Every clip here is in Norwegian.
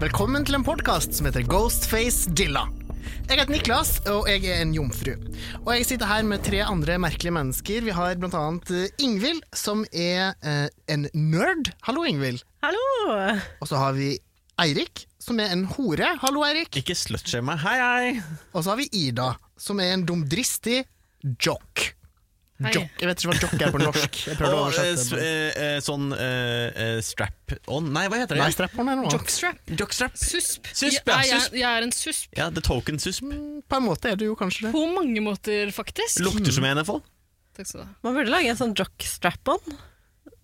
Velkommen til en podkast som heter Ghostface Dilla. Jeg heter Niklas, og jeg er en jomfru. Og jeg sitter her med tre andre merkelige mennesker. Vi har blant annet eh, Ingvild, som er eh, en nerd. Hallo, Ingvild. Hallo! Og så har vi Eirik, som er en hore. Hallo, Eirik. Ikke slutshame meg. Hei, hei! Og så har vi Ida, som er en dumdristig jock. Hei. Jock. Jeg vet ikke hva jock er på norsk. Jeg prøvde å Og, eh, s- oversette. det. eh, eh, sånn eh, eh, strap on Nei, hva heter det? Nei, strap on er noe. annet. Jockstrap. Jockstrap. Susp. Susp, ja, jeg, jeg, susp. jeg er en susp. Ja, The Token Susp. På en måte er du jo kanskje det. På mange måter, faktisk. Lukter som en, i hvert fall. Takk skal du ha. Man burde lage en sånn jockstrap-on.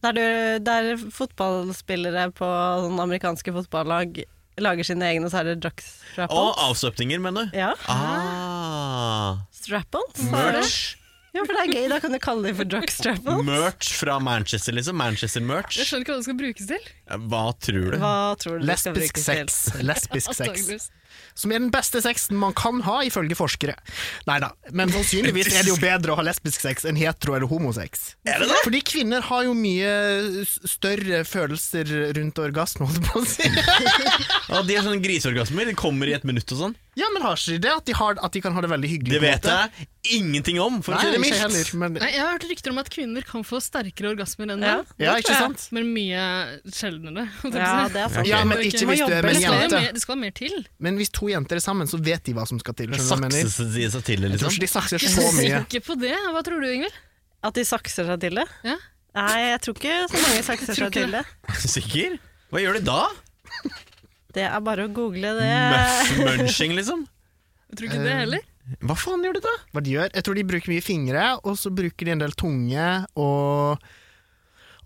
Der, du- der fotballspillere på sånn amerikanske fotballag lager sine egne, så er det Og jockstrap-ons. avstøpninger, mener du? Ja. Ah. Strap-ons. er det. Merch. Ja, for det er gøy. Da kan du kalle dem for jockstrap-ons. Merch fra Manchester, liksom. Manchester-merch. Jeg skjønner ikke hva det skal brukes til. Hva tror du? Hva tror du det skal Lesbisk brukes til? sex. Lesbisk sex. Antageligvis. Som er den beste sexen man kan ha, ifølge forskere. Nei da, men sannsynligvis er det jo bedre å ha lesbisk sex enn hetero- eller homosex. Er det Fordi kvinner har jo mye s- større følelser rundt orgasme, holdt jeg på å si. Ja, de er sånne griseorgasmer. De kommer i et minutt og sånn. Ja, men har ikke de det? At de, har, at de kan ha det veldig hyggelig? Det på en vet måte? jeg ingenting om, for å Nei, si det ikke jeg mildt. heller, men Nei, jeg har hørt rykter om at kvinner kan få sterkere orgasmer enn Ja. menn. Ja, ikke sant? Men mye sjeldnere. holdt jeg på å Ja, si. det er sant. Ja, men ikke hvis du er Du må med en det, skal jobbe jo jente. mer, det skal mer til. Men hvis to jenter er sammen, så vet de hva som skal til. skjønner du hva jeg mener? Sakse de seg til det, Jeg tror liksom. ikke de sakser Jeg så er mye. sikker på det. Hva tror du, Ingvild? At de sakser seg til det? Ja. Nei, jeg tror ikke så mange sakser tror seg ikke til det. Sikker? Hva gjør de da? Det er bare å google det. Eh. Muff-munching, liksom? Jeg tror ikke det Eh, heller. Hva faen gjør de da? hva de gjør. Jeg tror de bruker mye fingre, og så bruker de en del tunge og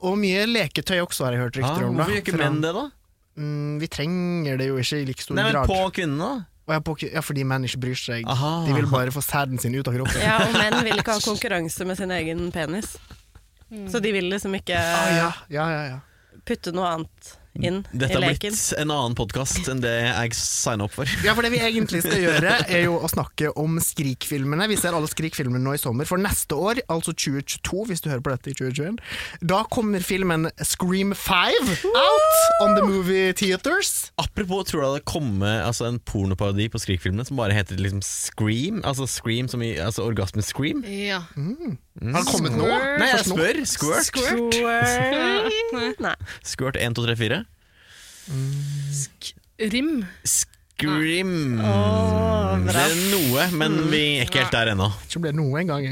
og mye leketøy også, har jeg hørt Ah, rykter om. da. hvorfor gjør ikke Fra- menn det, da? Mm, vi trenger det jo ikke i like stor Nei, men grad. På kvinnene, da? Og jeg på, ja, fordi menn ikke bryr seg. Aha. De vil bare få sæden sin ut av kroppen. Ja, og menn vil ikke ha konkurranse med sin egen penis. Mm. Så de vil liksom ikke Ah, ja, ja, ja, ja. putte noe annet inn Mm. Dette i har leken. blitt en annen podkast enn det jeg signa opp for. ja, for det vi egentlig skal gjøre, er jo å snakke om Skrik-filmene. Vi ser alle Skrik-filmene nå i sommer. For neste år, altså 2022, hvis du hører på dette i 2021, da kommer filmen Scream 5 out on the movie theaters. Apropos, tror du det hadde kommet altså, en pornoparodi på Skrik-filmene som bare heter liksom Scream? Altså Scream som i altså, orgasme Scream? Ja. Har den kommet nå? Nei, jeg Først nå? spør! Squirt. Squirt. Squirt. Nei. Squirt 1, 2, 3, 4. Rim. Scream. Åh, det bra. er noe, men vi er ikke helt der ennå. Ikke ble det noe engang.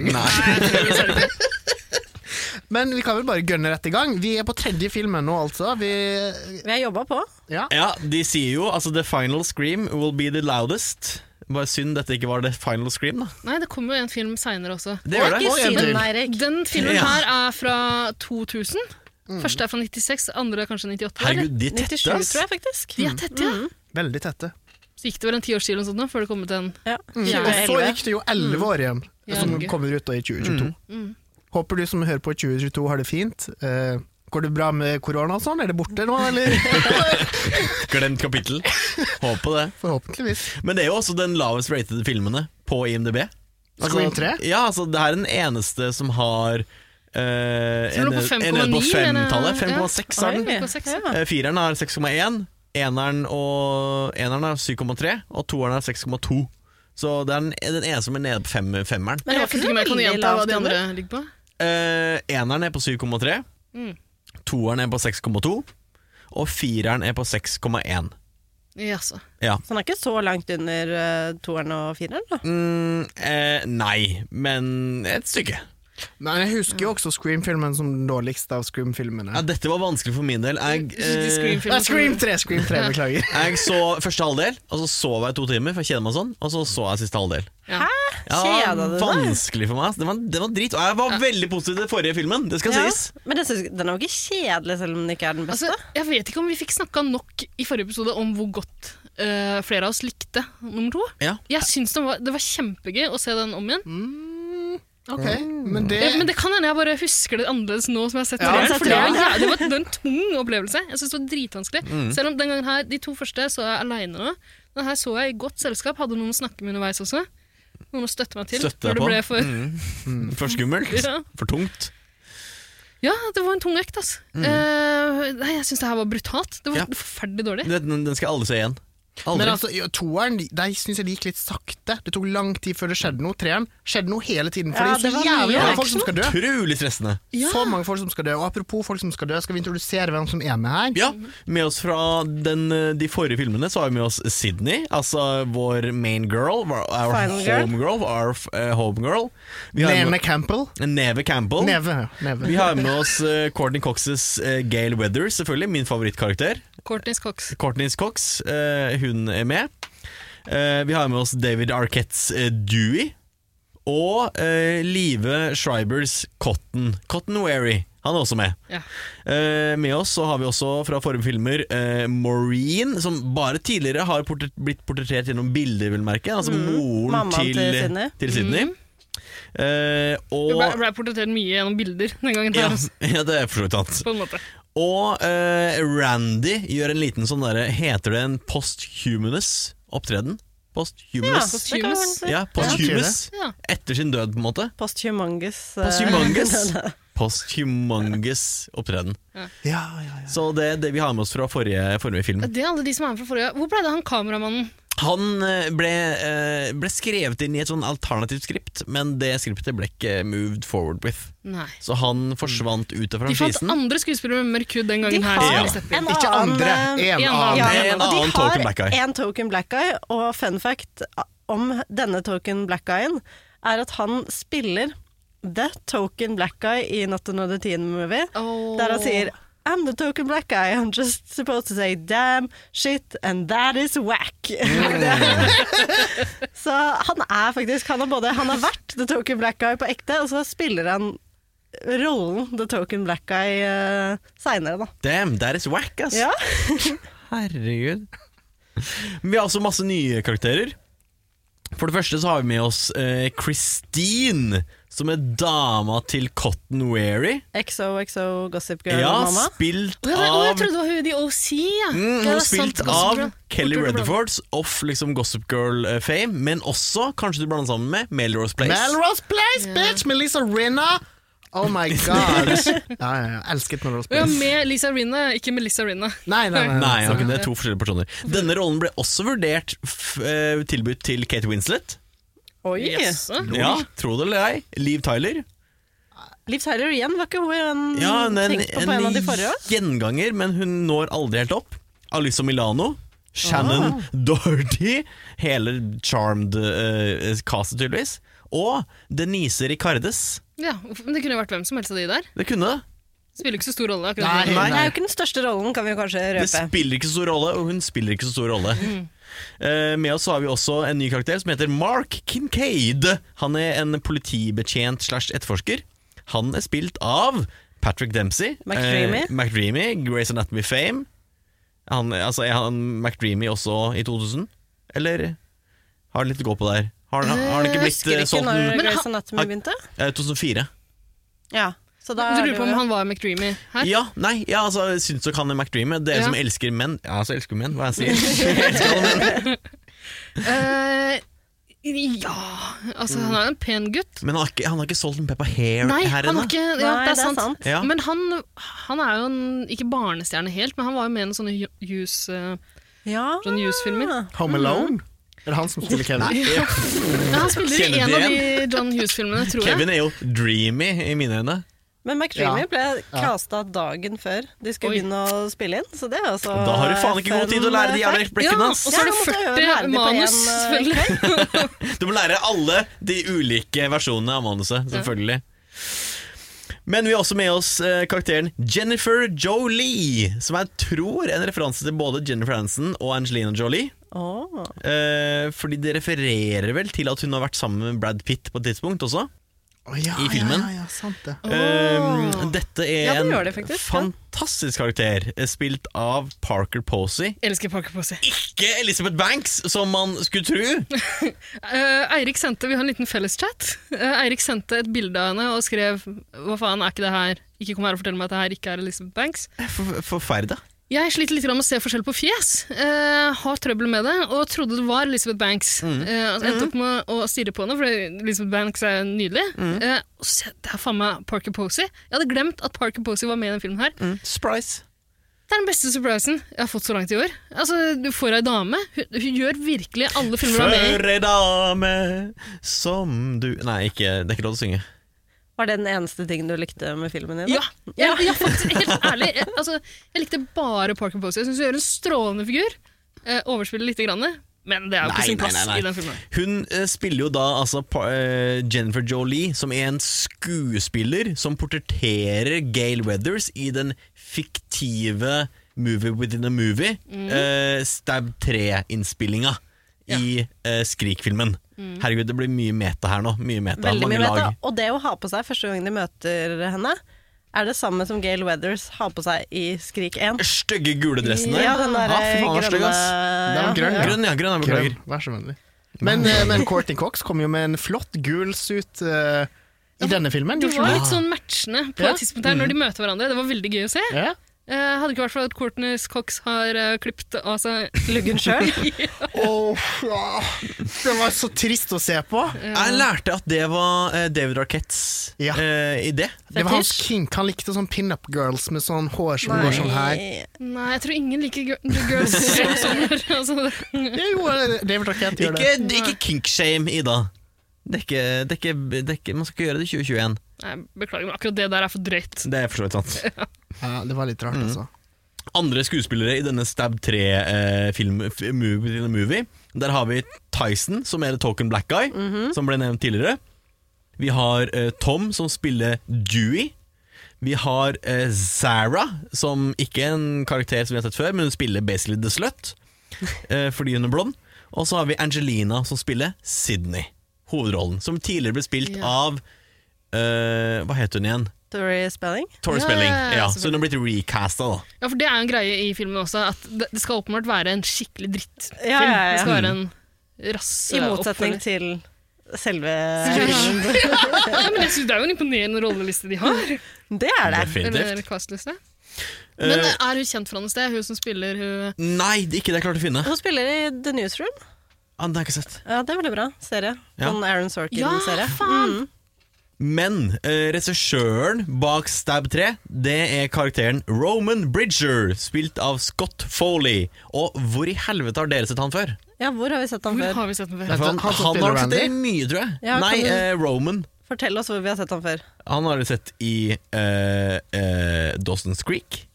Men vi kan vel bare gønne rett i gang. Vi er på tredje filmen nå, altså. Vi, Vi har jobba på. ja. Ja, de sier jo altså The final scream will be the loudest. Bare synd dette ikke var the final scream, da. Nei, det kommer jo en film seinere også. Det gjør det. Og Ikke en til. synd, Eirik. Den filmen Ja. her er fra 2000. Mm. Første er fra 96, andre er kanskje 98. eller? Herregud, de er 97, tette, ass. tror jeg faktisk. De er tette, ja. Mm. Veldig tette. Så gikk det vel en tiårskil eller noe sånt nå, før det kom ut en Ja. Og så 2011. gikk det jo elleve Mm. år igjen, Ja, som gøy. kommer ut da i 2022. Håper du som hører på i 2022 har det fint. Eh, går det bra med korona og sånn? Er det borte nå, eller? Glemt kapittel. Håper på det. Forhåpentligvis. Men det er jo også den lavest ratede filmene på IMDb. Scream 3? Ja, altså det er den eneste som har eh, en den er på en nede på 5,9, mener jeg. 5-tallet. 5,6 er den. Oi. Eh, Fireren har 6,1, eneren, og- eneren har 7,3, og toeren har 6,2. Så det er den, den eneste som er nede på fem, femmeren. Men det var ikke noe så mer kan du veldig gjenta hva lavt de under. andre ligger på? Eh, eneren er på 7,3, Mm. toeren er på 6,2, og fireren er på 6,1. Jaså. Så den er ikke så langt under eh, toeren og fireren, da. Mm, eh, nei, men et stykke. Men jeg husker jo også Scream-filmen som den dårligste av Ja, Scream-filmene. dette var vanskelig for min del. Jeg, De eh, Ja, Scream-filmene Scream som- 3! Scream 3, beklager. jeg så første halvdel, og så sov jeg i to timer, for jeg kjeda meg sånn. Og så så jeg siste halvdel. Ja. Ja, Kjeda du deg? vanskelig for meg. ass. Det var, det var drit. Og jeg var veldig positiv til den forrige filmen, det skal Ja. sies. Men jeg synes, den er jo ikke kjedelig, selv om den ikke er den beste. Altså, jeg vet ikke om vi fikk snakka nok i forrige episode om hvor godt eh, flere av oss likte nummer to. Ja. Jeg syns den var, Det var kjempegøy å se den om igjen. Ok, Mm. men det, Eh, Men det kan hende jeg bare husker det annerledes nå som jeg har sett Ja, det. det er For det, var, sant, jæ- det var det var en tung opplevelse. Jeg synes det var dritvanskelig. Selv om den gangen her, De to første så jeg aleine nå. Den her så jeg i godt selskap. Hadde noen å snakke med underveis også. Noen å støtte meg til. Støtte deg når det på. ble for, For skummelt. Ja. For tungt. Ja, det var en tung økt, altså. Eh, nei, jeg syns det her var brutalt. Det Ja. var forferdelig dårlig. Den, den skal alle se igjen. Aldri. Men altså, jo, toeren der syns jeg det gikk litt sakte. Det tok lang tid før det skjedde noe. Treeren skjedde noe hele tiden. For Ja, det er det var så jævlig mye mange folk som skal dø. Utrolig stressende. Ja. Så mange folk som skal dø. Og apropos folk som skal dø, skal vi introdusere hvem som er med her? Ja, Med oss fra den, eh, de forrige filmene så har vi med oss Sydney. Altså vår main girl. Our our Final girl. homegirl. Our eh, homegirl. Vi har Lene med, Campbell. Neve Campbell. Neve. ja, Neve. Vi har med oss eh, Courtney Coxes eh, Gail Weathers, selvfølgelig. Min favorittkarakter. Courtney's Cox. Courtney Cox, eh, hun er med. Eh, vi har med oss David Arquettes eh, Dewey. Og eh, Live Schreibers Cotton. Cotton Wary. Han er også med. Ja. Eh, med oss så har vi også fra forrige filmer eh, Maureen, som bare tidligere har portret- blitt portrettert gjennom bilder, vil merke. Altså moren Mammaen til, til Sydney. til Sydney. Eh, Hun ble, og ble portrettert mye gjennom bilder den gangen. ja, her, altså, ja, det er for så vidt sant. på en måte. Og eh, Randy gjør en liten sånn derre Heter det en posthumanus opptreden? Posthumanus? det kan man si. Ja, posthumus. Ja. Etter sin død, på en måte. Posthumangus. eh, Posthumangus. Posthumangus opptreden. Ja, ja, ja. Så det, det vi har med oss fra forrige, forrige film. Det er alle de som er med fra forrige. Hvor ble det av han kameramannen? Han eh, ble, eh, ble skrevet inn i et sånn alternativt skript, men det skriptet ble ikke moved forward with. Nei. Så han forsvant ut av De fant franchisen. andre skuespillere med mørk hud den De gangen her. har Ja. som ble satt inn. en Ikke annen, andre, eh, en en annen. Ja, Det er en og de annen har token black guy. En token black guy, og fun fact om denne token black guyen er at han spiller the token black guy i Not Another Teen Movie, Åh. der han sier I'm the token black guy, I'm just supposed to say damn, shit, and that is whack. Mm. så han er faktisk, han har både, han har vært the token black guy på ekte, og så spiller han rollen the token black guy uh, seinere, da. Damn, that is whack, ass! Ja. Herregud. Men vi har også masse nye karakterer. For det første så har vi med oss eh, Christine, som er dama til Cotton Weary. XOXO Gossip Girl, Ja, mamma. spilt Å, jeg, å, jeg av trodde det var hun i OC. Ja. Mm, Ja, hun det har er sant, spilt Gossip av Girl. Kelly Fort gjort å blande. Rutherfords off liksom Gossip Girl-fame, men også, kanskje du blander sammen med, Melrose Place. Melrose Place, bitch! Melissa Rinna! Oh my god. Ja, ja, ja. Elsket Melrose Og ja, Place. med Lisa Rinna, ikke Melissa Rinna. Nei, nei, nei. Nei, altså. ok, det er to forskjellige personer. Denne rollen ble også vurdert f eh, tilbudt til Kate Winslet. Oi! Jaså. Ja, tro det eller ei. Liv Tyler. Liv Tyler igjen, var ikke hun en, Ja, en, en, tenkt Mm, på på en, av de forrige? også? gjenganger, men hun når aldri helt opp. Alyssa Milano. Shannon Ah. Doherty. Hele charmed uh, castet, tydeligvis. Og Denise Ricardes. Ja, men det kunne jo vært hvem som helst av de der. Det kunne det. Det spiller jo ikke så stor rolle. akkurat Nei. nå. Det er jo ikke den største rollen, kan vi jo kanskje Det røpe. spiller ikke så stor rolle, og hun spiller ikke så stor rolle. Mm. Eh, med oss så har vi også en ny karakter som heter Mark Kincaid. Han er en politibetjent slash etterforsker. Han er spilt av Patrick Dempsey. McDreamy. eh, McDreamy, Grace Anatomy Fame. Han, altså, er han McDreamy også i 2000? Eller har han litt å gå på der? Har han, har han ikke blitt Husker eh, ikke solgt når den? Grace Anatomy har- begynte. Eh, 2004. Ja, så da Du er lurer det på jo- om han var McDreamy her? Ja, nei, ja, altså, jeg syns dere han er McDreamy? Dere Ja. som elsker menn. Ja, altså, elsker menn, hva jeg sier. Eh, ja Mm. Altså, han er en pen gutt. Men han har ikke, han har ikke solgt en Peppa Hair Nei, her ennå. han var ikke Ja, Nei, det er sant. Ja. Men han, han er jo en, ikke barnestjerne helt, men han var jo med i en sånn Hughes uh, Ja. Sånn Hughes-filmer. Home Alone? Er det han som spiller Kevin? Ja, han spiller i Kjenner en du av de John Hughes-filmene, tror jeg. Kevin er jo dreamy i mine øyne. Men McDreamy Ja. ble casta dagen før de skulle Oi. begynne å spille inn, så det er altså Og da har du faen ikke god tid til å lære de jævla Ja, replikkene og hans! så er Ja, det jeg måtte høre ferdig 40 på manus, en, eh, selvfølgelig. Du må lære alle de ulike versjonene av manuset, selvfølgelig. Men vi har også med oss eh, karakteren Jennifer Jolie, som jeg tror er en referanse til både Jennifer Aniston og Angelina Jolie. Åh. Eh, fordi det refererer vel til at hun har vært sammen med Brad Pitt på et tidspunkt også. Å, ja, I filmen. Ja, ja, ja, sant det. Eh, dette er Ja, det gjør en det faktisk, ja. fantastisk karakter, eh, spilt av Parker Posey. Elsker Parker Posey. ikke Elizabeth Banks, som man skulle tro. Eh, Eirik sendte, Vi har en liten felleschat. Eh, Eirik sendte et bilde av henne og skrev Hva faen, er ikke det her Ikke kom her og fortell meg at det her ikke er Elizabeth Banks. For, forferda. Jeg sliter litt grann med å se forskjell på fjes. eh, har trøbbel med det, og trodde det var Elizabeth Banks. Mm. Eh, altså, endte opp med å stirre på henne, for Elizabeth Banks er nydelig. Mm. Eh, og så, ser jeg, det er faen meg Parker Posey. Jeg hadde glemt at Parker Posey var med i denne filmen. her. Mm. Surprise. Det er den beste surprisen jeg har fått så langt i år. Altså, Du får ei dame. Hun, hun gjør virkelig alle filmer hun er med i. For ei dame som du Nei, ikke, det er ikke lov til å synge. Var det den eneste tingen du likte med filmen din? da? Ja, ja, ja faktisk, helt ærlig. Jeg, altså, jeg likte bare Parker Posey. Jeg syns hun gjør en strålende figur. Eh, overspiller lite grann, men det er jo Nei, på sin nei, plass nei, nei. i den filmen. Hun eh, spiller jo da altså, pa- eh, Jennifer Jolie, som er en skuespiller som portretterer Gail Weathers i den fiktive Movie Within a Movie, Mhm. eh, Stab 3-innspillinga i eh, Skrik-filmen. Mhm. Herregud, det blir mye meta her nå. Mye meta, Veldig mange mye meta. lag. Og det å ha på seg første gang de møter henne, er det samme som Gail Weathers har på seg i Skrik 1. Stygge gule dressen der. Ja, den der eh, Ja, fy faen, den er stygg, grønne ass. Den var ja. grønn, ja. Grønn, ja. Grønn, jeg beklager. Grønn, Vær så vennlig. Men, eh, men Courtney Cox kom jo med en flott gul suit eh, i denne filmen. De gjorde var hun litt sånn matchende på Ja. et tidspunkt her Mm. når de møter hverandre. Det var veldig gøy å se. ikke? Ja. Eh, hadde ikke vært for at Courtney Cox har uh, klippet av seg Luggen sjøl. Åh, ja. det var så trist å se på. Eh, Jeg lærte at det var eh, David Arquettes Ja. eh, idé. Det var hans kink. Han likte sånn pinup girls med sånn hår som går sånn her. Nei, jeg tror ingen liker gir- The Girls som sommer. Altså, det- Ja, Jo, David Arquette gjør Ikke, det. ikke kinkshame, Ida. Det er ikke, det er ikke, det er ikke, man skal ikke gjøre det i 2021. Nei, beklager, men akkurat det der er for drøyt. Det er for så vidt sant. Ja, det var litt rart, altså. Andre skuespillere i denne Stab 3-movie, movie, der har vi Tyson, som er Token Black Guy, Mhm. som ble nevnt tidligere. Vi har eh, Tom, som spiller Dewey. Vi har eh, Zara, som ikke er en karakter som vi har sett før, men hun spiller basically The Slut, eh, fordi hun er blond. Og så har vi Angelina, som spiller Sydney, hovedrollen, som tidligere ble spilt Ja. av eh, Hva het hun igjen? Tori Spelling. Tori Ja, Spelling. ja, ja, Ja, så hun har blitt recasta, da. Ja, for Det er jo en greie i filmen også, at det, det skal åpenbart være en skikkelig drittfilm. Ja, ja, ja. Mm. Det skal være en rasse I motsetning oppfølger. til selve Ja, men jeg synes Det er jo en imponerende rolleliste de har. Det er det. Eller Definitivt. castliste. Men Eh, er hun kjent fra noe sted? Hun som spiller hun Nei, det er ikke det jeg klarte å finne. Hun spiller i The Newsroom. Ah, det har jeg ikke sett. Ja, Det er veldig bra serie. Ja. Sånn Aaron Mm. Sorkin-serie. faen! Men eh, regissøren bak Stab 3, det er karakteren Roman Bridger, spilt av Scott Foley. Og hvor i helvete har dere sett han før? Ja, hvor har vi sett han Hvor før? har vi sett den Nei, for- før? For han, han som han spiller har sett det i Randy? mye, tror jeg. Ja, Nei, kan du- eh, Roman. Fortell oss hvor vi har sett han før. Han har dere sett i eh, eh, Dawson's Creek.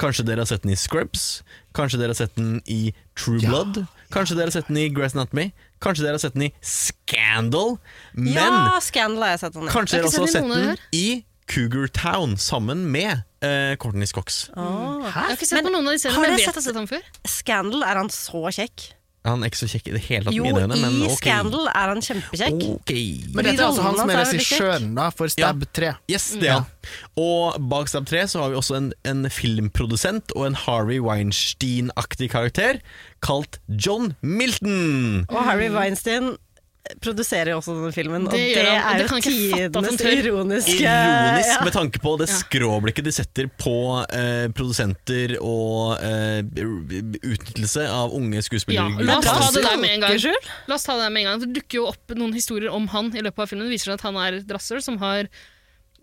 Kanskje dere har sett den i Scrubs. Kanskje dere har sett den i True Ja, Blood. Kanskje dere har sett den i Grace Anatomy. Kanskje dere har sett den i Scandal. Men ja, Scandal har jeg sett han i. Kanskje Jeg dere har også ikke har sett sett noen av den i Cougar Town sammen med uh, Courtney Cox. Åh. Jeg har ikke sett på noen av de seriene, har men dere jeg vet jeg sett- har sett den før. Scandal, er han så kjekk? Han er ikke så kjekk i det hele tatt. Jo, med ideene, men i ok. Oh. Scandal er han kjempekjekk. Ok. Men dette er altså han som Rollene er hans er jo litt regissøren da, for Stab 3. Yes, det er han. Og bak Stab 3 så har vi også en, en filmprodusent og en Harvey Weinstein-aktig karakter kalt John Milton. Og Harry Weinstein produserer jo også denne filmen, og Det det, gjør han, og er det jo kan jeg ikke fatte at han tidenes tør. ironiske Ironisk ja. med tanke på det skråblikket de setter på eh, produsenter og eh, utnyttelse av unge Ja, skuespillere. la oss ta det der med en gang. Unnskyld? La oss ta Det der med en gang Det dukker jo opp noen historier om han i løpet av filmen. Det viser seg at han er et rasshøl som har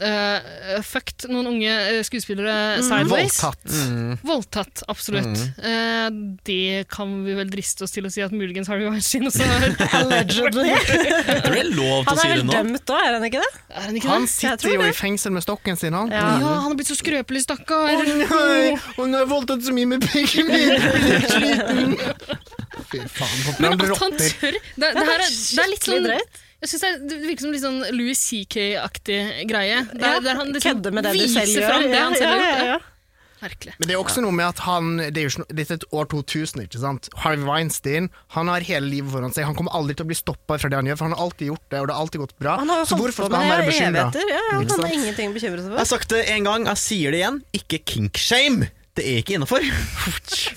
eh, fucked noen unge eh, skuespillere Mm. sideways. Voldtatt. Mm. Voldtatt, absolutt. Eh, det kan vi vel driste oss til å si at muligens Harvey Weinstein også har. Allegedly. Er det lov til Han å si er det vel nå? dømt òg, er han ikke det? Er han ikke Han det? Jeg sitter tror jo i det. fengsel med stokken sin, han. Ja. Ja, han har blitt så skrøpelig, stakkar. Å nei, å nei, jeg voldtatt så mye med pikken min! Jeg blir helt sliten! Fy faen, for Men noen at han rotter. tør det, det, Det her er er, det er litt skikkelig sånn drøyt. Jeg synes det, er, det virker som litt sånn Louis CK-aktig greie. Der, Ja, der han liksom Kødde med det du viser selv gjør. fram det han selv har ja, gjort. ja, ja. Ja, Merkelig. Men det er også noe med at han Det er jo ikke noe- dette er et år 2000, ikke sant? Harvey Weinstein han har hele livet foran seg. Han kommer aldri til å bli stoppa fra det han gjør, for han har alltid gjort det, og det har alltid gått bra. Han har jo Ah, Så holdt hvorfor på skal han med være det i bekymra? evigheter. Ja, han Ikke sant? har ingenting å bekymre seg Jeg har for. sagt det en gang, jeg sier det igjen. Ikke kinkshame. Det er ikke innafor.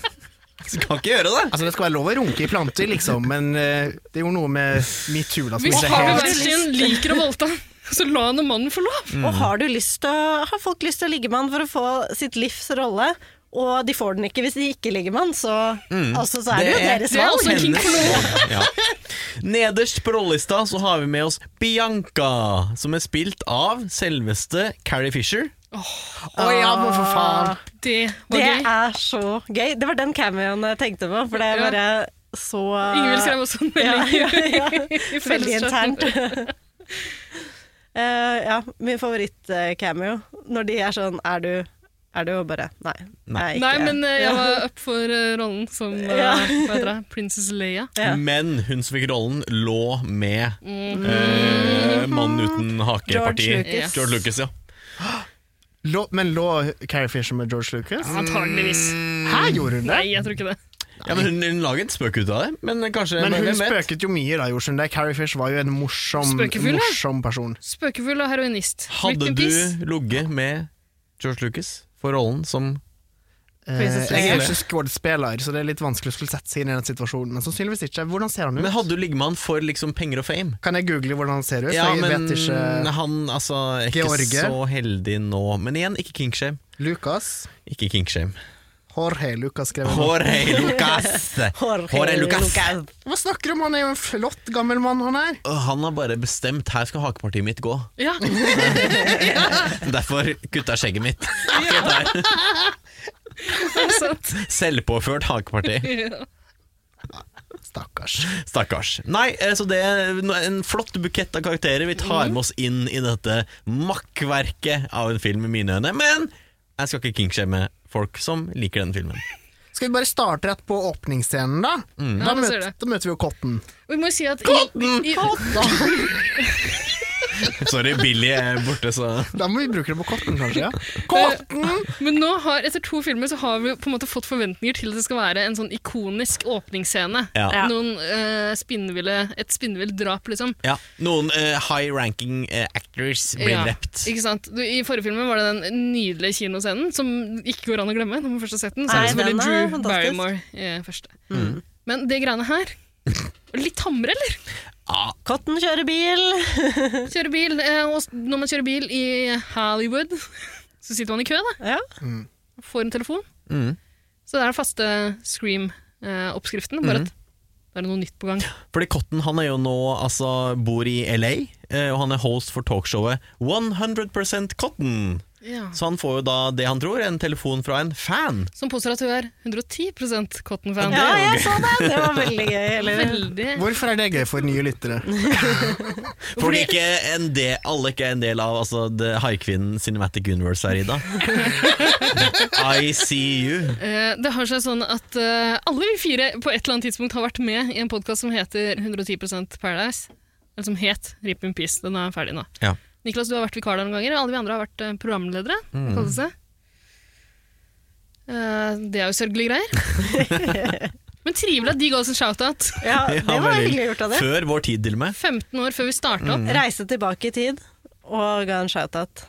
Skal ikke gjøre det. Altså, det skal være lov å runke i planter, liksom, men eh, det gjorde noe med metoo. da, som Hvis ikke er Harvey helt- Weinstein liker å voldta, så la han mannen få lov. Og har, du lyst til, å- har folk lyst til å ligge med han for å få sitt livs rolle, Og de får den ikke hvis de ikke ligger med han, så, altså, så er det, jo deres Mm. det er valg. også en king Hennes- for noe. ja. Nederst på rollelista så har vi med oss Bianca, som er spilt av selveste Carrie Fisher. Å ja, men for faen! Det var Det gøy. er så gøy. Det var den cameoen jeg tenkte på, for det er Ja. bare så Ingvild skrev også en Ja, melding. ja, ja. i Veldig felleschatten. internt. Eh, ja, min favoritt-cameo. Når de er sånn Er du Er du og bare Nei. Nei. jeg er Nei, ikke- men eh, jeg Ja. var up for eh, rollen som eh, Ja. hva heter det? Princess Leia. Ja. Mhm. Men hun som fikk rollen, lå med eh, mannen uten hake-parti. George Lucas. George Lucas, ja. Lå, men lå Carrie Fisher med George Lucas? Antageligvis. Mm. Mm. Her gjorde hun det! Nei, jeg tror ikke det. ja men hun, hun laget en spøk ut av det, men kanskje Men hun hvem vet? spøket jo mye da, gjorde hun det? Carrie Fisher var jo en morsom, Spøkefull, ja. morsom person. Spøkefull og heroinist. Hadde du ligget med George Lucas for rollen som Eh, Princess jeg er Leia. ikke skuespiller, så det er litt vanskelig å skulle sette seg inn i den situasjonen. Men sannsynligvis ikke. Hvordan ser han ut? Men hadde du ligget med han for liksom penger og fame? Kan jeg google hvordan han ser ut? for jeg vet ikke han altså, er ikke George? så heldig nå. Men igjen, ikke kinkshame. Lucas. Ikke kinkshame. Jorge Lucas skrev jeg nå. Jorge Lucas! Jorge Jorge Lucas! Lucas. Hva snakker du om? Han er jo en flott gammel mann, han her. Åh, Han har bare bestemt 'her skal hakepartiet mitt gå'. Ja, Derfor kutta jeg skjegget mitt. Akkurat der. det er sant. Selvpåført hakeparti. Ja. Stakkars. Stakkars. Nei, eh, så det er en flott bukett av karakterer vi tar Mhm. med oss inn i dette makkverket av en film i mine øyne. Men jeg skal ikke kinkshame folk som liker denne filmen. Skal vi bare starte rett på åpningsscenen, da? Da, Mm. Ja, det ser møter, det. da møter vi jo Cotton. Og vi må jo si at i- i- Sorry, Billy er borte, så Da må vi bruke det på Cotton, kanskje. ja Cotton! Men nå har, etter to filmer så har vi jo på en måte fått forventninger til at det skal være en sånn ikonisk åpningsscene. Ja. Ja. Noen, eh, spinnville, et spinnvilt drap, liksom. Ja, noen eh, high ranking eh, actors blir Ja, drept. Ikke sant? Du, I forrige filmen var det den nydelige kinoscenen som ikke går an å glemme. når man først har sett den. Så er det Nei, den selvfølgelig er Drew fantastisk. Barrymore eh, første. Mm. Men det greiene her Litt hamre, eller? Ah, Cotton kjører bil. Kjøre bil. Eh, og s- når man kjører bil i Hollywood, så sitter man i kø, da. Ja. Får en telefon. mm. Så det er den faste Scream-oppskriften. Mm. Bare at da er det noe nytt på gang. Fordi Cotton han er jo nå altså, bor i LA, eh, og han er host for talkshowet 100 Cotton. Så han får jo da det han tror, en telefon fra en fan. Som påstår at hun er 110 Cotton-fan. ja, jeg så den! Det var veldig gøy. Eller? Veldig Hvorfor er det gøy for nye lyttere? Fordi ikke en del, alle ikke er en del av altså, The Haikvinnen Cinematic Universe her, Ida. I see you. Eh, Det har seg sånn at eh, alle vi fire på et eller annet tidspunkt har vært med i en podkast som heter 110 Paradise. Eller som het Rip in Peace. Den er ferdig nå. Ja. Niklas, du har vært vikar der noen ganger. Alle vi andre har vært eh, programledere. Mm. kalles det. Eh, Det er jo sørgelige greier. Men trivelig at de ga oss en shout-out. Ja, det Ja, var veldig. hyggelig gjort av det. Før vår tid, til og med. 15 år før vi starta Mm. opp. Reise tilbake i tid og ga en shout-out.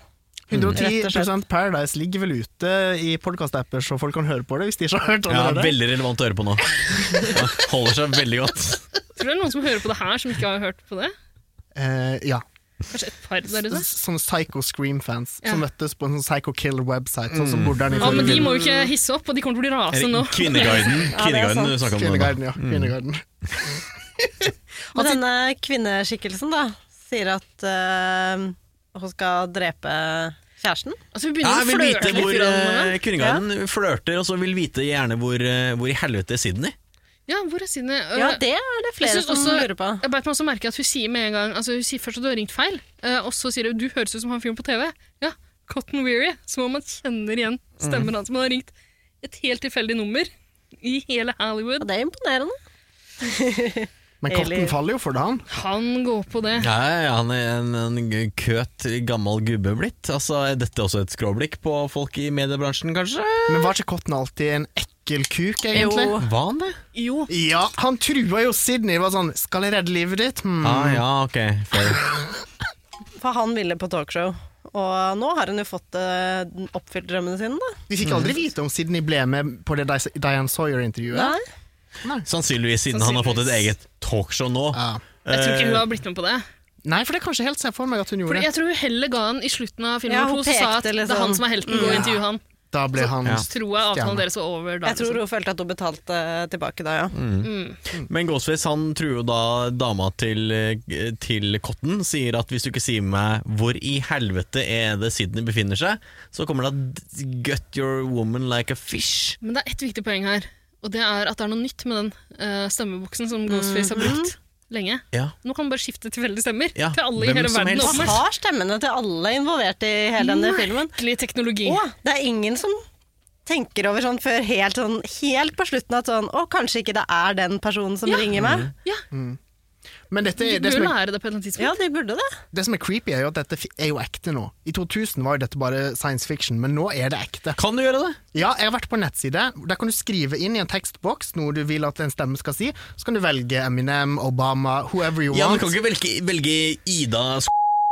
Mm. 110 Paradise ligger vel ute i podkast-apper, så folk kan høre på det hvis de ikke har hørt om Ja, det. veldig relevant å høre på nå. Ja, Holder seg veldig godt. Tror du det er noen som hører på det her, som ikke har hørt på det? Eh, ja. Kanskje et par der ute? S- Sånne Psycho Scream-fans Ja. som møttes på en sånn Psycho Killer-website, sånn Mm. som Bordern i Ja, men forrige de film. må jo ikke hisse opp, og de kommer til å bli rasende Altså, nå. Kvinneguiden, Kvinneguiden du snakka om. nå. Kvinneguiden, ja. Kvinneguiden. Og denne kvinneskikkelsen da, sier at eh, hun skal drepe kjæresten. Altså, vi Ja, jeg begynner å vil flørte vite litt hvor grann med eh, Kvinneguiden flørter, og så vil vite gjerne hvor, eh, hvor i helvete er Sydney. Ja, hvor er Eh, Synne? Ja, det er det flere Øh, Jeg synes som også- lurer på. Jeg beit meg også merke at hun sier med en gang Altså hun sier først at du har ringt feil, eh, og så sier hun du høres ut som han fyren på TV. Ja, Cotton Weary. Som om man kjenner igjen Mhm. stemmen hans. Man har ringt et helt tilfeldig nummer i hele Og Hollywood. det er imponerende. Men Eller- Cotton faller jo for det, han. Han går på det. Ja, ja, ja, han er en, en køt gammel gubbe blitt. Altså, Er dette også et skråblikk på folk i mediebransjen, kanskje? Men var ikke Cotton alltid en ekkel kuk, egentlig? Jo. Var han det? Jo. Ja, han trua jo Sydney. Var sånn 'Skal jeg redde livet ditt?' Hmm. Ah, ja, ok. Fair. For han ville på talkshow. Og nå har hun jo fått eh, oppfylt drømmene sine, da. Vi fikk Mm. aldri vite om Sydney ble med på det Dis- Diane Sawyer-intervjuet. Nei. Sannsynligvis siden han har fått et eget talkshow nå. Ja. Jeg tror ikke Eh, hun har blitt med på det. Nei, for det er kanskje helt ser for meg at hun Fordi gjorde. jeg tror hun heller ga han i slutten av film Ja, nummer hun to, så sa pekte at det liksom. er han som er helten, gå og intervju han. Da ble han Ja. Så tror jeg avtalen Stjerne. deres var over da. liksom. Jeg tror hun følte at hun betalte eh, tilbake da, ja. Men Ghostface han truer jo da dama til, eh, til Cotton. Sier at hvis du ikke sier meg hvor i helvete er det Sydney befinner seg, så kommer det at gut your woman like a fish. Men det er ett viktig poeng her, og det er at det er noe nytt med den eh, stemmeboksen som Ghostface Mm. har brukt lenge. Ja. Nå kan man bare skifte tilfeldige stemmer Ja, til alle i hvem hele som verden. helst. Han har stemmene til alle involvert i hele denne filmen. Merkelig teknologi. Å, det er ingen som tenker over sånn før helt, sånn, helt på slutten at sånn Å, kanskje ikke det er den personen som Ja. ringer meg. Mm. Ja, Men dette, Vi er- det, bør som er, lære det på et eller annet tidspunkt. Ja, de burde det. det som er creepy, er jo at dette fi- er jo ekte nå. I 2000 var jo dette bare science fiction, men nå er det ekte. Kan du gjøre det? Ja, jeg har vært på en nettside. Der kan du skrive inn i en tekstboks noe du vil at en stemme skal si. Så kan du velge Eminem, Obama, whoever you Ja, men want. Du kan ikke velge, velge Ida s***,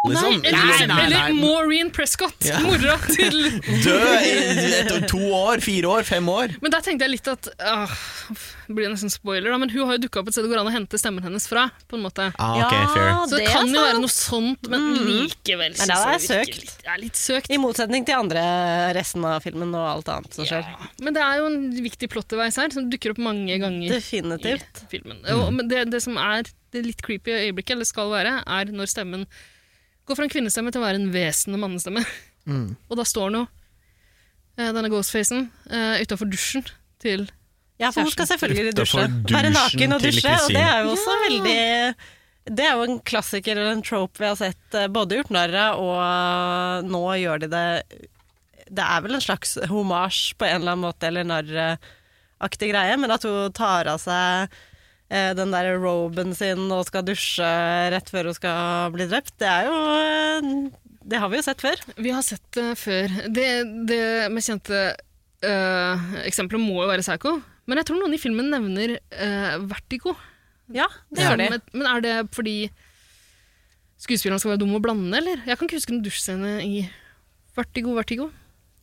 Nei, liksom. eller, Nei, nei, nei. eller Maureen Prescott, mora til Død i et, to år, fire år, fem år. Men der tenkte jeg litt at ah, Det blir nesten spoiler, da, men hun har jo dukka opp et sted det går an å hente stemmen hennes fra. på en måte. Ah, ok, fair. Så det, er sånn. kan jo sant. være noe sånt, men Men likevel det synes er jeg det virker søkt. Litt, det er litt søkt. I motsetning til andre resten av filmen og alt annet som skjer. Men det er jo en viktig plotteveis her, som dukker opp mange ganger Definitivt. i filmen. Og, men det, det som er det litt creepy øyeblikket, eller skal være, er når stemmen går fra en kvinnestemme til å være en vesende mannestemme. Og da står nå denne ghostfacen uh, utafor dusjen til Ja, for hun skal selvfølgelig dusje. Utenfor Være dusjen naken og til dusje, og det Kristine. er jo også veldig Det er jo en klassiker eller en trope vi har sett eh, både gjort narr av, og nå gjør de det Det er vel en slags homasj på en eller annen måte, eller narraktig greie, men at hun tar av seg eh, den der roben sin og skal dusje rett før hun skal bli drept, det er jo eh, Det har vi jo sett før. Vi har sett det før. Det, det mest kjente eh, eksempelet må jo være Psycho. Men jeg tror noen i filmen nevner eh, Vertigo. Ja, det gjør de. Men, men er det fordi skuespillerne skal være dumme og blande, eller? Jeg kan ikke huske noen dusjscene i Vertigo, Vertigo.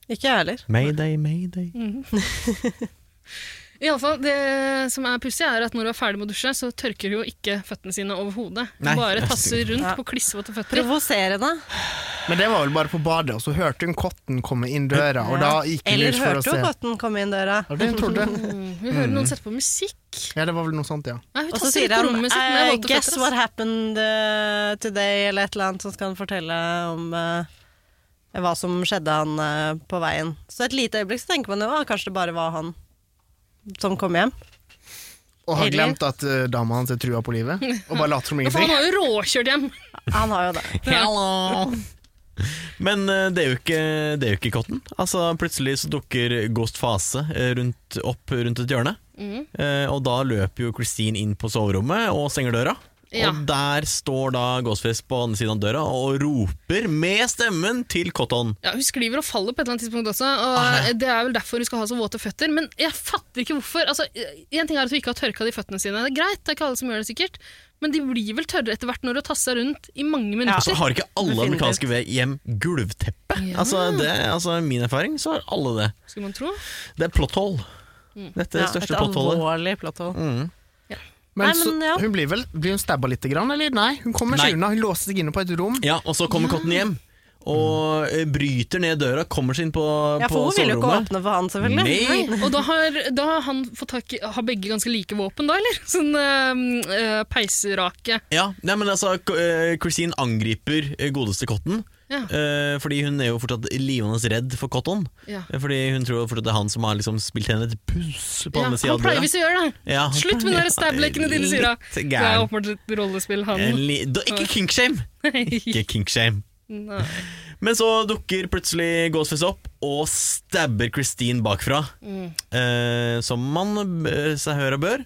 Ikke jeg heller. Mayday, mayday. I alle fall, Det som er pussig, er at når hun er ferdig med å dusje, så tørker hun jo ikke føttene sine over hodet. Hun Nei. bare tasser rundt Ja. på klissvåte føtter. Provoserende. Men det var vel bare på badet, og så hørte hun Kotten komme inn døra, og da gikk hun Eller ut for å hørte se. hun katten komme inn døra? Ja, det hun trodde. Mm, hun hører noen sette på musikk. Ja, det var vel noe sånt, ja. Nei, hun Og så tasser sier litt på han rommet sitt med «I våte guess føtter. what altså. happened eh, today, eller et eller annet som skal han fortelle om eh, hva som skjedde han eh, på veien. Så et lite øyeblikk så tenker man jo at kanskje det bare var han som kom hjem. Og har Eller- glemt at eh, dama hans er trua på livet, og bare later som Ja, for han ingenting. har jo råkjørt hjem. Han har jo det. Hello! Men eh, det er jo ikke, det er jo ikke Cotton. Altså, plutselig så dukker Ghost Fase eh, rundt, opp rundt et hjørne. Eh, og da løper jo Christine inn på soverommet og stenger døra. Ja. Og der står da Ghostface på andre siden av døra og roper med stemmen til Cotton. Ja, Hun skriver og faller på et eller annet tidspunkt også, og Ah, det er vel derfor hun skal ha så våte føtter. Men jeg fatter ikke hvorfor. Altså, en ting er at hun ikke har tørka de føttene sine. Det er greit, det er ikke alle som gjør det sikkert. Men de blir vel tørre etter hvert når hun tasser rundt i mange Altså, minutter. har ikke alle Definitivt. amerikanske ve- hjem gulvteppe? Ja. Altså, det, altså, min erfaring så har alle det. Skulle man tro. Det er plotthold. Dette er det største Mm. et plottholdet. alvorlig plotthold. Men, Nei, så, men ja. hun blir vel blir hun stabba lite grann, eller? Nei, hun kommer Nei. seg unna. Hun låser seg inne på et rom. Ja, og så kommer Cotton hjem og eh, bryter ned døra, kommer seg inn på, Ja, på for hun vil jo ikke soverommet. åpne for han, selvfølgelig. Nei. Og da har, da har han fått tak i Har begge ganske like våpen, da, eller? Sånn eh, eh, peiserake. Ja, nei, men altså, K- eh, Christine angriper eh, godeste Cotton. Ja. eh, Fordi hun er jo fortsatt livende redd for Cotton. Ja. Eh, Fordi hun tror fortsatt det er han som har liksom spilt henne et puss på Ja, andre han sida av pleier døra. visst å gjøre det. Ja, han Slutt med de pleier- der stabblekene dine, sier hun. Litt Det er gæren. åpenbart et rollespill, En han. li- Da- Ikke kinkshame! Ikke kinkshame. Nei. Men så dukker plutselig Ghostface opp og stabber Christine bakfra. Eh, som man b- seg hør og bør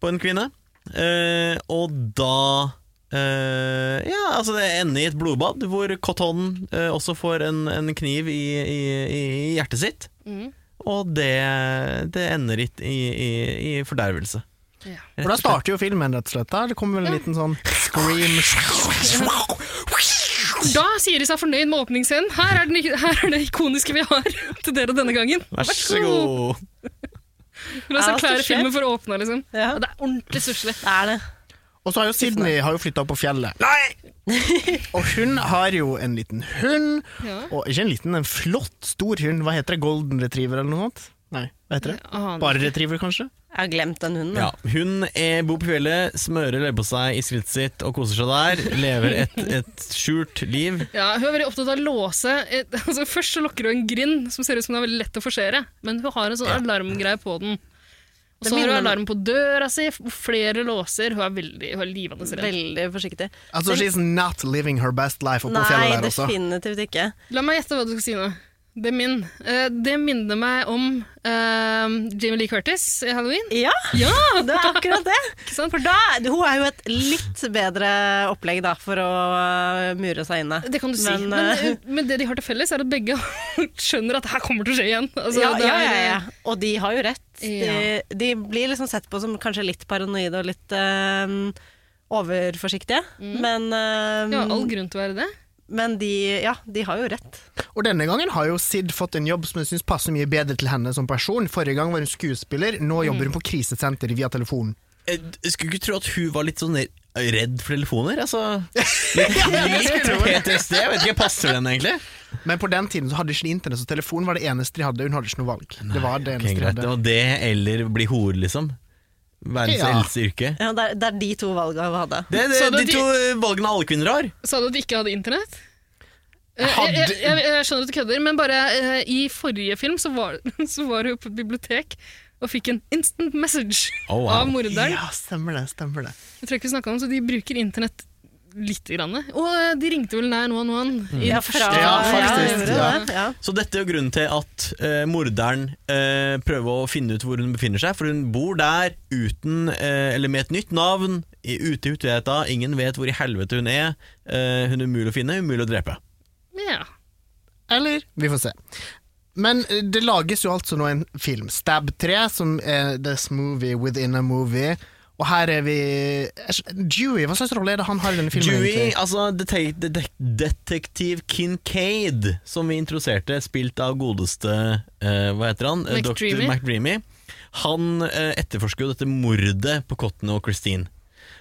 på en kvinne. Eh, og da eh, Ja, altså det ender i et blodbad, hvor Cotton eh, også får en, en kniv i, i, i hjertet sitt. Mm. Og det, det ender i, i, i- i fordervelse. Ja. Og da starter jo filmen, rett og slett. Da. Det kommer vel en liten sånn scream. Da sier de seg fornøyd med åpningsscenen. Her er, den, her er det ikoniske vi har til dere denne gangen. Vær så god. La Ja, oss erklære stusslig. filmen for åpna, liksom. Ja. Og det er ordentlig stusslig. Det er det. Og så har jo Sydney har jo flytta opp på fjellet. Og hun har jo en liten hund. Ja. Og ikke en liten, en flott, stor hund. Hva heter det? Golden retriever eller noe sånt? Nei, hva heter det? Aner Bare retriever, kanskje? Jeg har glemt den hunden. Ja, hun er, bor på fjellet, smører leverpostei i skrittet sitt og koser seg der. Lever et, et skjult liv. Ja, hun er veldig opptatt av å låse. Eh, Altså, først så lokker hun en grind som ser ut som den er veldig lett å forsere, men hun har en sånn alarmgreie på den. Og Det så har hun minner meg- alarm på døra si, f- flere låser. Hun er veldig hun er livende redd. Veldig forsiktig. Altså, she's not living her best life oppå Nei, fjellet der altså. også. definitivt ikke. La meg gjette hva du skal si nå. Det er min. Eh, Det minner meg om eh, Jamie Lee Curtis i Halloween. Ja, Ja! det er akkurat det! Ikke sant? For da, hun er jo et litt bedre opplegg da, for å øh, mure seg inne. Det kan du si. Men, Men, men, eh, det de har til felles, er at begge skjønner at det her kommer til å skje igjen. Altså, ja, det ja, er- ja, ja. Og de har jo rett. Ja. De, de blir liksom sett på som kanskje litt paranoide og litt øh, overforsiktige. Mm. Men, øh, Det var all grunn til å være det. men de, ja, de har jo rett. Og denne gangen har jo Sid fått en jobb som jeg syns passer mye bedre til henne som person. Forrige gang var hun skuespiller, nå jobber hun på krisesenter via telefonen. Jeg skulle ikke tro at hun var litt sånn redd for telefoner. Altså, litt litt PTSD. Jeg vet ikke, passer den egentlig? Men på den tiden så hadde ikke de internett, så telefon var det eneste de hadde. Hun hadde ikke noe valg. Det var det Ok, eneste de greit. hadde. Det var det eller bli hore, liksom. Verdens Ja. eldste yrke. Ja, det, er, det er de to valgene hun hadde. Det er det, Så da de de- to valgene alle kvinner har. Sa du at de ikke hadde internett? Eh, Hadde- Jeg, jeg, jeg, jeg skjønner at du kødder, men bare eh, i forrige film så var, så var hun på et bibliotek og fikk en instant message Oh, wow. av morderen. Ja, stemmer det, stemmer det. Jeg tror ikke vi snakket om, så de bruker internett lite grann. Og eh, de ringte vel 911 i Ja, den første fra- Ja, faktisk, gjorde ja. det, ja. Så dette er jo grunnen til at eh, morderen eh, prøver å finne ut hvor hun befinner seg, for hun bor der uten, eh, eller med et nytt navn, i, ute i utveta, ingen vet hvor i helvete hun er, eh, hun er umulig å finne, umulig å drepe. Ja. Eller Vi får se. Men eh, det lages jo altså nå en film, Stab 3, som er this movie within a movie. Og her er vi Dewey, hva slags rolle er det han har i denne filmen? Dewey, egentlig? altså detek detek detektiv Kincaid, som vi introduserte, spilt av godeste eh, Hva heter han? Eh, McDreamy. Dr. McDreamy. Han eh, etterforsker jo dette mordet på Cotton og Christine.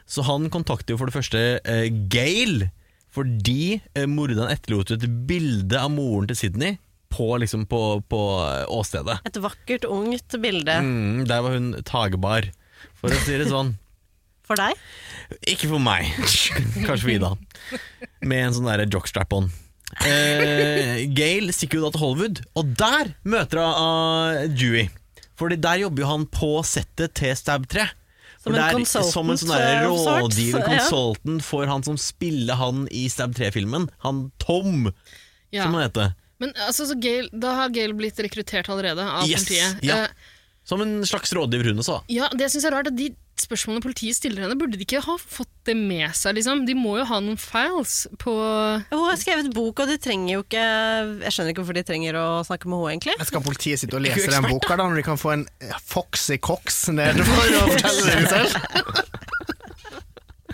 Så han kontakter jo for det første eh, Gail, fordi eh, morderen etterlot jo et bilde av moren til Sydney på, liksom, på, på eh, åstedet. Et vakkert, ungt bilde Mm, der var hun tagebar, for å si det sånn. for deg. Ikke for meg. Kanskje for Ida. Med en sånn derre jockstrap-on. Eh, Gail stikker jo da til Hollywood, og der møter hun uh, Dewey. Fordi der jobber jo han på settet til Stab 3. Som For en der- consultant, Som en sånn derre eh, of sorts, rådgiver, ja. consultant, for han som spiller han i Stab 3-filmen. Han Tom, ja. som han heter. Men altså, så Gail, da har Gail blitt rekruttert allerede av Yes, politiet. ja. Eh, Som en slags rådgiver, hun også. Ja, det jeg synes er rart at de spørsmålene politiet stiller henne, burde de ikke ha fått det med seg, liksom? De må jo ha noen files på Hun har skrevet bok, og de trenger jo ikke Jeg skjønner ikke hvorfor de trenger å snakke med henne, egentlig. Men Skal politiet sitte og lese Ikke den ekspert, boka, da, når de kan få en eh, Foxy Cox ned for å fortelle det selv?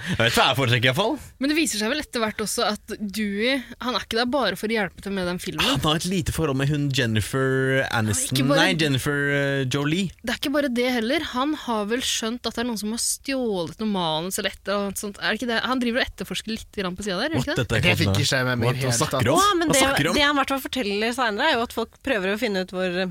Jeg vet hva jeg foretrekker, iallfall. Men det viser seg vel etter hvert også at Dewey han er ikke der bare for å hjelpe til med den Mm. filmen. Han har et lite forhold med hun Jennifer Aniston ikke bare- Nei, Jennifer eh, Jolie. Det er ikke bare det heller. Han har vel skjønt at det er noen som har stjålet noe manus eller et eller annet sånt. Er det ikke det? Han driver og etterforsker litt grann på sida der, gjør han ikke det? dette Det fikk ikke jeg med meg i What, det hva hele snakker tatt. du om? Ja, men Hva det, snakker du om? det han i hvert fall forteller seinere, er jo at folk prøver å finne ut hvor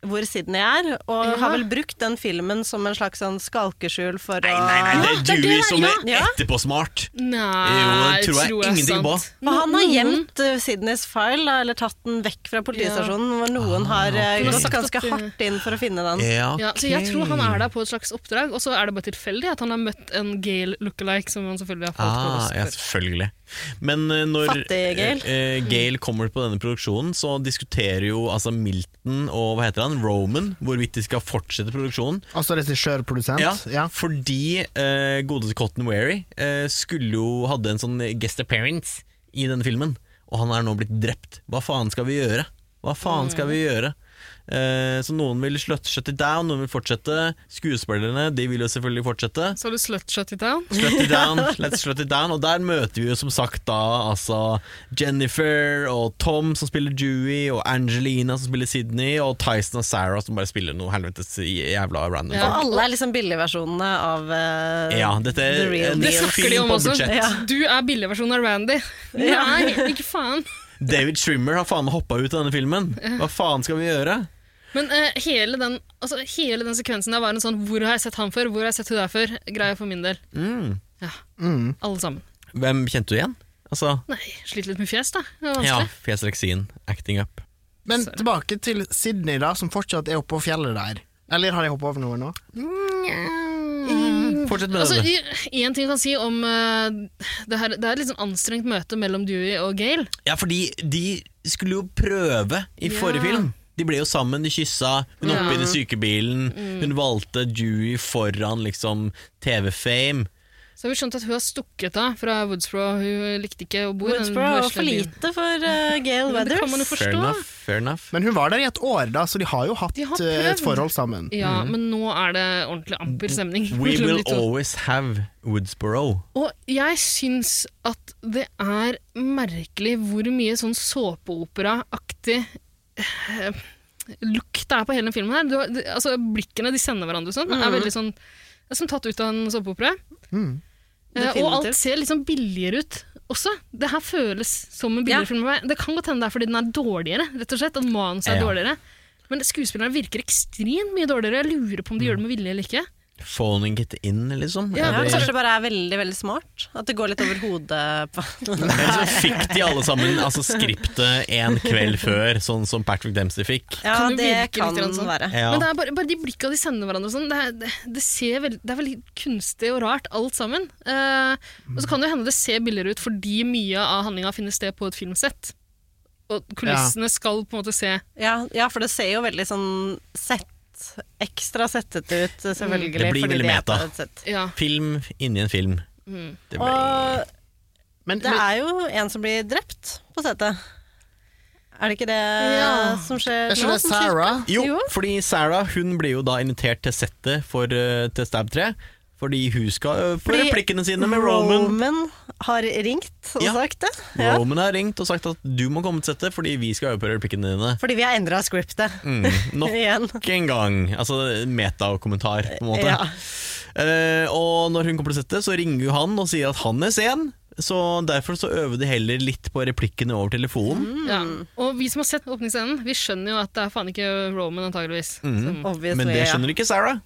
hvor Sydney er, og Ja. har vel brukt den filmen som en slags sånn skalkeskjul for Nei, å nei, nei, det Ja, er det er Dewey det, som er ja. etterpåsmart. Nei, Jo, det tror jeg ingenting på. For han har Noen- gjemt eh, Sydneys file, da, eller tatt den vekk fra politistasjonen, hvor noen har eh, Ah, ok. Eh. gått Sagt at ganske det- hardt inn for å finne den. Ja, så jeg tror han er der på et slags oppdrag, og så er det bare tilfeldig at han har møtt en Gale lookalike, som han selvfølgelig har falt på. Ah, oss ja, for. selvfølgelig. Men eh, når Fattig Gail. eh, eh, Gail kommer på denne produksjonen, så diskuterer jo altså Milton og hva heter han, Roman hvorvidt de skal fortsette produksjonen. Altså regissør-produsent? Ja, Ja. Fordi eh, godeste Cotton Weary eh, skulle jo hadde en sånn guest appearance i denne filmen, og han er nå blitt drept. Hva faen skal vi gjøre? Hva faen skal vi gjøre? Eh, så noen vil slut- shut it down, noen vil fortsette. Skuespillerne de vil jo selvfølgelig fortsette. Så har du slutshut it down. Shut it down, let's shut it down. Og der møter vi jo som sagt da altså Jennifer og Tom som spiller Dewey, og Angelina som spiller Sydney, og Tyson og Sarah som bare spiller noe helvetes jævla random. Ja. folk. Og alle er liksom billigversjonene av eh, Ja, dette er The Real en Det Deal. snakker de film om på også. budsjett. Ja. Du er billigversjonen av Randy. Ja. Nei, ikke faen. David Schwimmer har faen meg hoppa ut av denne filmen. Hva faen skal vi gjøre? Men eh, hele, den, altså, hele den sekvensen der var en sånn 'hvor har jeg sett han før', 'hvor har jeg sett hun der før'? Greie for min del. Mm. Ja, Mm. Alle sammen. Hvem kjente du igjen? Altså, Nei, sliter litt med fjes, da. Det var ja, vanskelig. fjesreksien, acting up. Men Sorry. tilbake til Sydney, da, som fortsatt er oppe på fjellet der. Eller har jeg hoppa over noe nå? Mm. Fortsett med Altså, det. i- en ting jeg kan si om eh, det, her, det er et litt sånn anstrengt møte mellom Dewey og Gail. Ja, fordi de skulle jo prøve i Ja. forrige film. De ble jo sammen, de kyssa, hun hoppet Ja. Mm. inn i sykebilen. Hun valgte Dewey foran liksom TV-fame. Så har vi skjønt at hun har stukket av fra Woodsboro. Hun likte ikke å bo i den Woodsboro var for vesle byen. lite for eh, Gail Mm. Men det kan man jo Weathers. Fair forstå. enough. fair enough Men hun var der i et år, da, så de har jo hatt De har eh, et prøvd. forhold sammen. Ja, men nå er det ordentlig amper stemning. Mm. We mellom will de to. always have Woodsboro. Og jeg syns at det er merkelig hvor mye sånn såpeoperaaktig eh, lukt det er på hele den filmen her. Du, har- det, altså, blikkene de sender hverandre og sånn, er veldig sånn det er som tatt ut av en såpeopera. Mm. Eh, og Definitivt. alt ser litt sånn billigere ut også. Det her føles som en Ja. billigere film. for meg. Det kan godt hende det er fordi den er dårligere, rett og slett. At manuset er Ja. dårligere. Men skuespillerne virker ekstremt mye dårligere. Jeg lurer på om de gjør det med vilje eller ikke. Phoning it in, liksom. Ja, altså- Er det- Kanskje det bare er veldig veldig smart? At det går litt over hodet på Men så fikk de alle sammen altså, skriptet en kveld før, sånn som Patrick Dempsey fikk. Ja, Kan jo det virke litt kan grann sånn. være. Ja. Men det er bare, bare de blikka de sender hverandre og sånn, det, er- det, det, ser veld, det er veldig kunstig og rart alt sammen. Eh, og så kan det jo hende det ser billigere ut fordi mye av handlinga finner sted på et filmsett. Og kulissene skal på en måte se Ja, ja, for det ser jo veldig sånn sett Ekstra settete Mm. ut, selvfølgelig. Det blir fordi veldig er meta. på et sett. Ja. Film inni en film. Mm. Det ble... Og Men, det men, er jo en som blir drept på settet. Er det ikke det Ja. sånn som skjer er ikke nå, det som skjer? Sarah? Jo, Jo. fordi Sarah hun blir jo da invitert til settet for, eh, til Stab 3. Fordi hun skal øve på Fordi replikkene sine med Roman. har ringt og Ja. sagt det. Ja. Roman har ringt og sagt at du må komme til settet fordi vi skal øve på replikkene dine. Fordi vi har endra scriptet Mm, nok igjen. en gang. Altså metakommentar, på en måte. Ja. Eh, og når hun kommer til settet, så ringer jo han og sier at han er sen. Så derfor så øver de heller litt på replikkene over Mm. telefonen. ja. Og vi som har sett åpningsscenen, vi skjønner jo at det er faen ikke Roman, antageligvis. Mm. Obviously, Men det ja. skjønner ikke Sarah.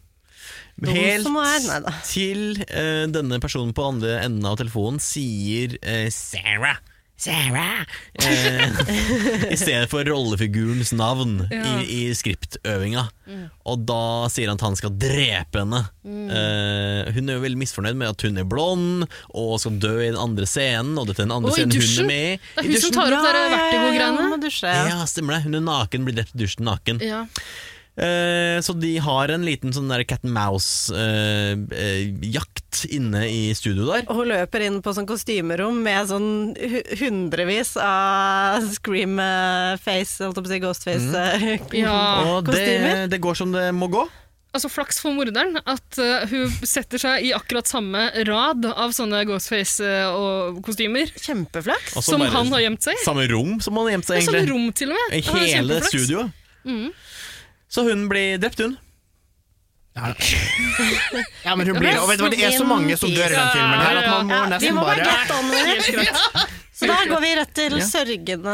Helt som er- nei da. til eh, denne personen på andre enden av telefonen sier eh, Sarah. Sarah! Eh, I stedet for rollefigurens navn Ja. i, i skriptøvinga. Mm. Og da sier han at han skal drepe henne. Eh, hun er jo veldig misfornøyd med at hun er blond og skal dø i den andre scenen. Og dette er den andre Og i scenen hun dusjen. er med i. Det I er hun som dusjen. tar opp Ja, de ja, ja, ja, vertigo-greiene. må dusje, ja. Ja, stemmer det. Hun er naken, blir drept i dusjen naken. Ja. Eh, Så de har en liten sånn der cat and mouse-jakt inne i studio der. Og hun løper inn på sånn kostymerom med sånn hu- hundrevis av scream eh, face, holdt jeg på å si ghostface eh, Ja. Og kostymer. det, det går som det må gå. Altså Flaks for morderen at eh, hun setter seg i akkurat samme rad av sånne ghostface eh, og kostymer Kjempeflaks. Og så som bare- han har gjemt seg i. Samme rom som han har gjemt Det seg, er sånn egentlig. rom, til og med. Han har Hele kjempeflaks. studioet. Mm. Så hun blir drept, hun. Ja. ja, men hun blir og vet du hva, Det er så mange som dør i den filmen her at man må Ja, vi nesten må bare bare get on with it. Så da går vi rett til sørgende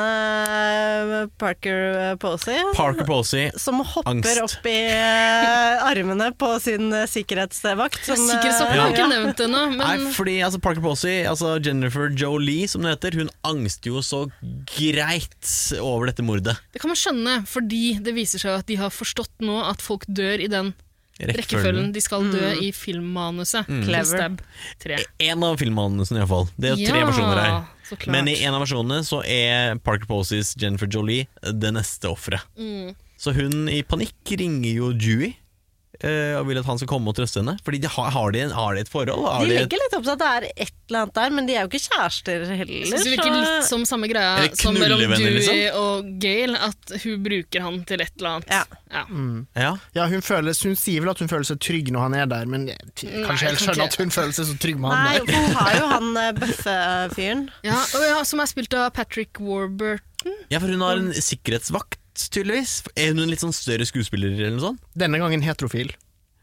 eh, Parker Posey, Parker Posey. som hopper Angst. opp i eh, armene på sin eh, sikkerhetsvakt. som, eh, Sikkerhetsvakten har ikke nevnt ennå, men Nei, fordi altså, Parker Posey, altså Jennifer Jolie, som det heter, hun angster jo så greit over dette mordet. det kan man skjønne, fordi det viser seg at de har forstått nå at folk dør i den rekkefølgen de skal dø Mm. i filmmanuset. Til Clever. Stab 3. En av filmmanusene, iallfall. Det er jo tre Ja, personer her. så klart. Men i en av versjonene så er Parker Posies Jennifer Jolie det neste offeret. Mm. Så hun i panikk ringer jo Dewey eh, og vil at han skal komme og trøste henne. Fordi de har, har, de en, har de et forhold? Har De de et, legger litt opp til at det er et eller annet der, men de er jo ikke kjærester heller. Jeg synes det virker så- litt sånn- som samme Er greia det som mellom knullevenner, Dewey liksom? og Gail, at hun bruker han til et eller annet. Ja. ja. Ja, hun, føles, hun sier vel at hun føler seg trygg når han er der, men jeg t- Nei, kanskje helt kan skjønner ikke- at hun føler seg så trygg med Nei, han for hun har jo han eh, bøffefyren. Ja, og ja, som er spilt av Patrick Warburton. ja, for hun har en sikkerhetsvakt, tydeligvis. Er hun en litt sånn større skuespiller, eller noe sånt? der. Denne gangen heterofil.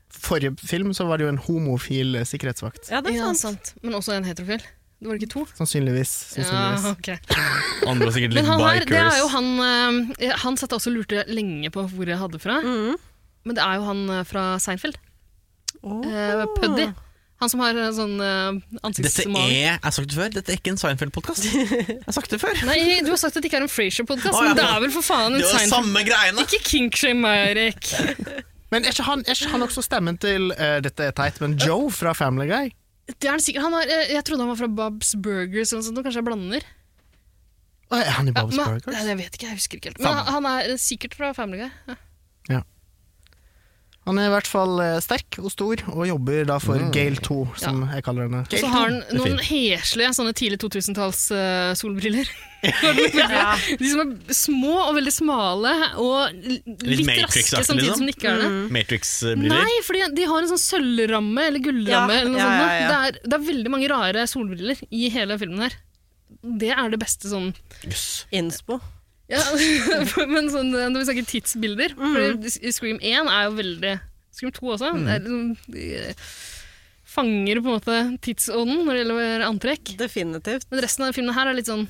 Forrige film så var det jo en homofil eh, sikkerhetsvakt. Ja, det er Ja, sant. sant. Men også en heterofil. Det var ikke to. Sannsynligvis. Ja, sannsynligvis. ok. Andre var sikkert Men litt han her, det er jo bikers. han eh, Han satt jeg også og lurte lenge på hvor jeg hadde fra. Mm. Men det er jo han eh, fra Seinfeld. Eh, Puddy. Han som har eh, sånn uh, Dette er, ansiktsmaling. jeg har sagt det før, dette er ikke en Seinfeld-podkast. Jeg har sagt det før. Nei, du har sagt at det ikke er en Frasier-podkast, Å, ja. men det er vel for faen en Det var Seinfeld. samme greiene. Ikke kinkshame, Eirik. Men er ikke, han, er ikke han også stemmen til eh, Dette er teit, men Joe fra Family Guy? Det er han sikkert. Han er, eh, jeg trodde han var fra Bob's Burgers eller noe sånt, nå kanskje jeg blander. Å, er han i Ja, Bob's men- Nei, Burgers? jeg vet ikke, jeg husker ikke helt. Men han han er eh, sikkert fra Family Guy. Ja. Han er i hvert fall eh, sterk og stor, og jobber da for Gale 2, som jeg kaller henne. Og så har han Det er noen fint. heslige sånne tidlig 2000-talls eh, solbriller. De som er små og veldig smale og l- litt, Matrix-aktig, raske samtidig liksom. som de ikke er det. Matrix-briller. Nei, fordi de har en sånn sølvramme eller gullramme. Ja, eller noe ja, sånt. ja, ja. Det, er, det er veldig mange rare solbriller i hele filmen her. Det er det beste sånn Jøss. Innspo. ja, Men sånn, eh, når vi snakker tidsbilder Mm. For i Scream 1 er jo veldig Scream 2 også. Mm. Det er liksom, de eh, fanger på en måte tidsånden når det gjelder antrekk. Definitivt. Men resten av filmen her er litt sånn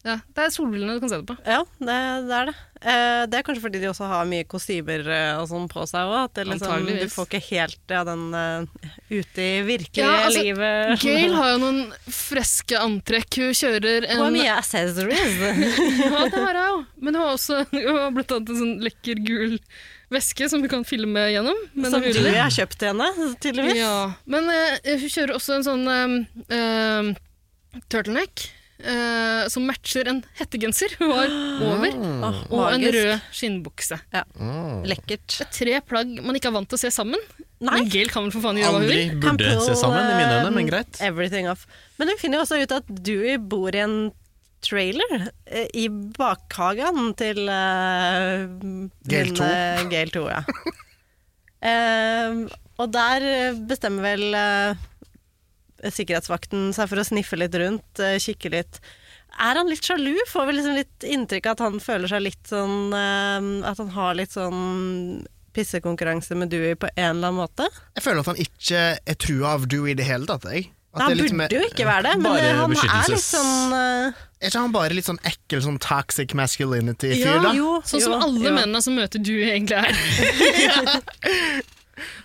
ja, Det er solbrillene du kan se det på. Ja, det, det er det. Eh, det er kanskje fordi de også har mye kostymer eh, og sånn på seg òg. At det liksom, du Antageligvis. får ikke helt ja, den eh, ute i virkelige Ja, altså, livet. Gail har jo noen freske antrekk. Hun kjører en Hun har mye accessories. Ja, det har jeg jo. Men hun har også hun har blant annet en sånn lekker gul væske som hun kan filme gjennom. Men som hun- du har kjøpt til henne, tydeligvis. Ja. Men eh, hun kjører også en sånn eh, eh, turtleneck eh, som matcher en hettegenser hun har over, Åh, og en magisk. rød skinnbukse. Lekkert. Det er tre plagg man ikke er vant til å se sammen. Nei. Men Gail kan vel for faen gjøre hva hun Aldri vil. burde Campbell, se sammen, i mine øyne, eh, men greit. Everything off. Men hun finner jo også ut at Dewey bor i en trailer eh, i bakhagen til eh, Gale hun, 2. eh, Gale 2, ja. Eh, og der eh, bestemmer vel eh, sikkerhetsvakten seg for å sniffe litt rundt, eh, kikke litt. Er han litt sjalu? Får vi liksom litt inntrykk av at han føler seg litt sånn eh, At han har litt sånn pissekonkurranse med Dewey på en eller annen måte? Jeg føler at han ikke er trua av Dewey i det hele tatt. Jeg. At det Nei, han er litt burde mer- jo ikke være det, men Bare eh, han er beskyttelses- litt sånn eh, Er ikke han bare litt sånn ekkel sånn toxic masculinity-fyr, Ja, da? jo, Sånn som jo, alle jo. mennene som møter du egentlig er.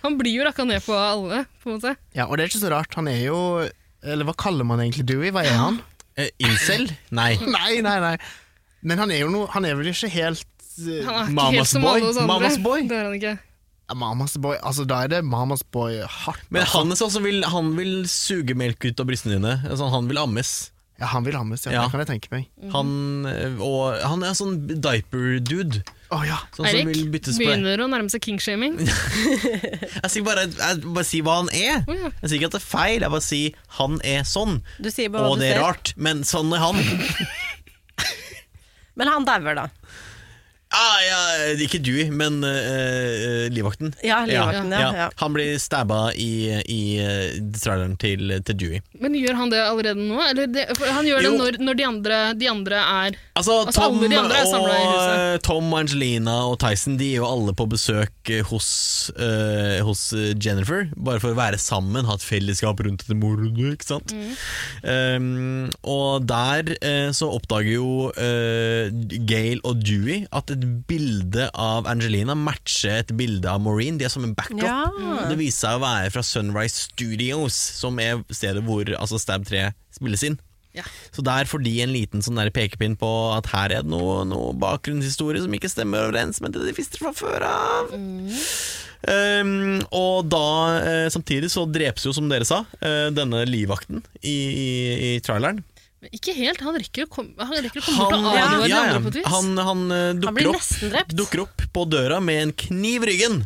Han blir jo rakka ned på av alle, på en måte. Ja, og det er ikke så rart. Han er jo Eller hva kaller man egentlig Dewey? Hva er han? Eh, incel? Nei. Nei, nei, nei. Men han er jo noe Han er vel ikke helt eh, Han er ikke Mamas helt som boy. alle oss andre. Mamas boy. Det er han ikke. Mamas boy. Altså, da er det mamas boy hardt. Men altså. han, er sånn som vil, han vil suge melk ut av brystene dine. Altså, han vil ammes. Ja, han vil hammes, ja. Ja. Det kan jeg tenke meg. Mhm. Han, eh, og, han er en sånn diaper-dude. Å ja. Sånn som vil Eirik byttes på. begynner å nærme seg kingshaming. Jeg sier bare, jeg bare sier hva han er. Å, ja. Jeg sier ikke at det er feil, jeg bare sier han er sånn. Du sier bare Og hva du det er ser. rart, men sånn er han. Men han dauer, da. Ah, ja, ikke du, men eh, eh, livvakten. Ja, livvakten, ja. ja. Han blir stabba i, i eh, traileren til, til Dewey. Men gjør han det allerede nå? Eller det, for han gjør det Jo. når, når de, andre, de andre er Altså, Altså, Tom, alle de andre og, er eh, samlet i huset. Tom, Angelina og Tyson De er jo alle på besøk eh, hos, eh, hos eh, Jennifer, bare for å være sammen, ha et fellesskap rundt dette mordet. Ikke sant? Mm. Um, og der eh, så oppdager jo eh, Gail og Dewey at et bilde av Angelina matcher et bilde av Maureen. De er som en backup. Ja. Og Det viser seg å være fra Sunrise Studios, som er stedet hvor altså Stab 3 spilles inn. Ja. Så der får de en liten sånn der pekepinn på at her er det noe, noe bakgrunnshistorie som ikke stemmer overens med det de visste fra før av. Um, og da, eh, samtidig så drepes jo, som dere sa, eh, denne livvakten i, i, i traileren. Men Ikke helt. Han rekker å komme han rekker å komme bort Han, og ja, advare de ja, andre på et vis. han, han, eh, Han dukker blir opp nesten drept. dukker opp på døra med en kniv i ryggen.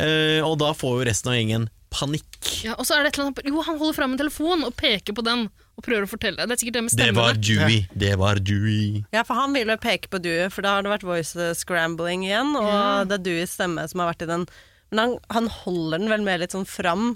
eh, og da får jo resten av gjengen panikk. Ja, og så er det et eller annet, jo, han holder fram en telefon og peker på den og prøver å fortelle. Det er sikkert det med Det stemmene. var Dewey, det var Dewey. Ja, for han ville jo peke på Dewey, for da har det vært voice eh, scrambling igjen, og det er Deweys stemme som har vært i den. Men han, han holder den vel mer litt sånn fram,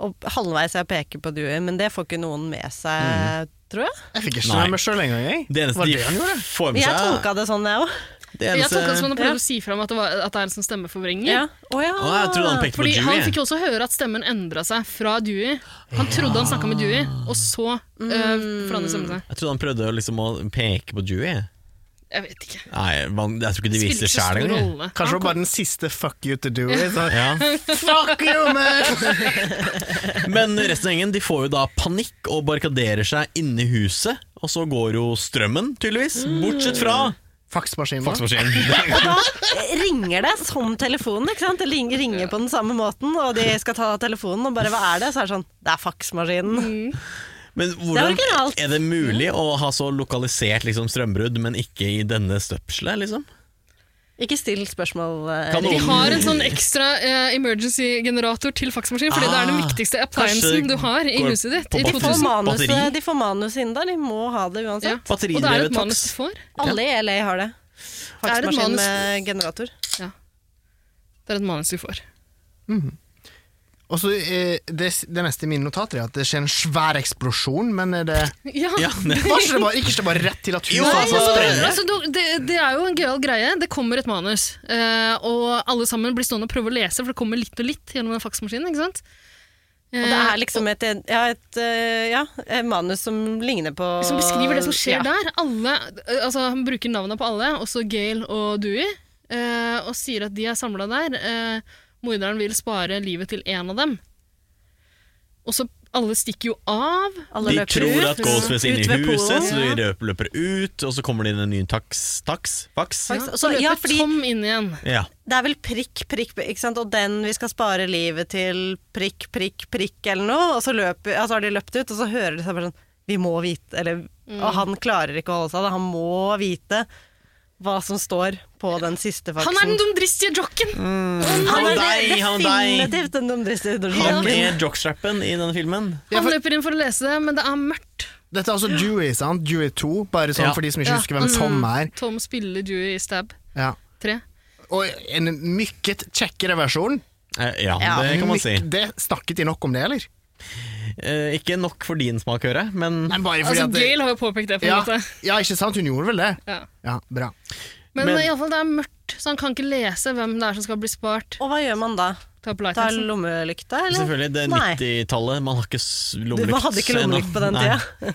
og halvveis er å peke på Dewey, men det får ikke noen med seg, tror jeg. Jeg fikk ikke Nei. med meg sjøl engang, jeg. Det eneste Var de det han gjorde? får med Men jeg seg tolka det sånn, jeg òg. det Jeg tolka det som han Ja. prøvde å si fram at det, var, at det er en sånn stemmeforvrengning. Ja. Å ja. Å, jeg trodde han pekte på Fordi han Dewey. fikk jo også høre at stemmen endra seg fra Dewey. Han trodde han snakka med Dewey, og så uh, forandret stemmen seg. Jeg trodde han prøvde å liksom å peke på Dewey. Jeg vet ikke. Nei, man, jeg tror ikke de Spilte viser ikke det så sjæl stor engang. rolle. Kanskje det Han var bare den siste fuck you to do it. Så, Ja. fuck you, man! Men resten av gjengen de får jo da panikk og barrikaderer seg inne i huset. Og så går jo strømmen, tydeligvis. Bortsett fra Faksmaskinen. faksmaskinen. Og da ringer det som telefonen, ikke sant? Det ling- ringer på den samme måten, og de skal ta telefonen og bare 'hva er det?' Så er det sånn 'det er faksmaskinen'. Men hvordan originalt. er det mulig å ha så lokalisert liksom, strømbrudd, men ikke i denne støpselet, liksom? Ikke still spørsmål. eh, Kan kom- De Erik. noen- har en sånn ekstra eh, emergency-generator til faksmaskin, fordi det er den Ah, viktigste kanskje appliancen du har i går huset ditt. på I batteri. De får 2000. Batteri. manuset de får manus inn der, de må ha det uansett. Ja. Og det er Batteridrevet et manus faks. du får. Alle i LA har det. Det er et Faksmaskin manus- med generator. Det er et manus du får. Og så eh, det, det neste i mine notater er at det skjer en svær eksplosjon, men er det Ja. Ja, ne- Var ikke det bare, ikke det bare rett til at Jo, huset Nei, altså, altså, sprelle. altså, du- det, det er jo en gøyal greie. Det kommer et manus, eh, og alle sammen blir stående og prøve å lese, for det kommer litt og litt gjennom den faksmaskinen. ikke sant? Og det Eh, er liksom et, ja, et eh, ja, et manus som ligner på Som beskriver det som skjer ja. der. Alle, eh, altså, han bruker navnene på alle, også Gail og Dewey, eh, og sier at de er samla der. Eh, morderen vil spare livet til én av dem. Og så alle stikker jo av. Alle De løper tror ut, at Ghostface er ut inne i ved huset, poolen. så de røp- løper ut, og så kommer det inn en ny taks, taks, faks. Faks. Og Så- så løper ja, fordi- Tom inn igjen. Ja. Det er vel prikk, prikk, prikk, ikke sant? og den vi skal spare livet til, prikk, prikk, prikk eller noe, og så, løper, ja, så har de løpt ut, og så hører de seg bare sånn Vi må vite, eller Og han klarer ikke å holde seg, da. han må vite hva som står på den siste faksen. Han er den dumdristige jocken! Han er deg, det- han deg. definitivt den dumdriste Han idrettsjokken. er jockstrappen i denne filmen. Ja, Han for- løper inn for å lese det, men det er mørkt. Dette er altså Dewey, sant? Dewey 2, bare sånn Ja. for de som ikke Ja. Mm. husker hvem Tom er. Tom spiller Dewey i Stab Ja. 3. Og en mykket kjekkere versjon. Eh, Ja, Ja. det kan man Myk- si. Det Snakket de nok om det, eller? Eh, Ikke nok for din smak, hører jeg, men Nei, bare fordi Altså, at det, Gail har jo påpekt det, på en ja, måte. ja, ikke sant? Hun gjorde vel det? Ja. Ja, bra. Men, Men- i alle iallfall, det er mørkt, så han kan ikke lese hvem det er som skal bli spart. Og hva gjør man da? Ta på Ta lighten. lommelykta, eller? Selvfølgelig, det er Nei. 90-tallet. Man har ikke s- lommelykt. Man hadde ikke lommelykt på den ennå. tida. Nei.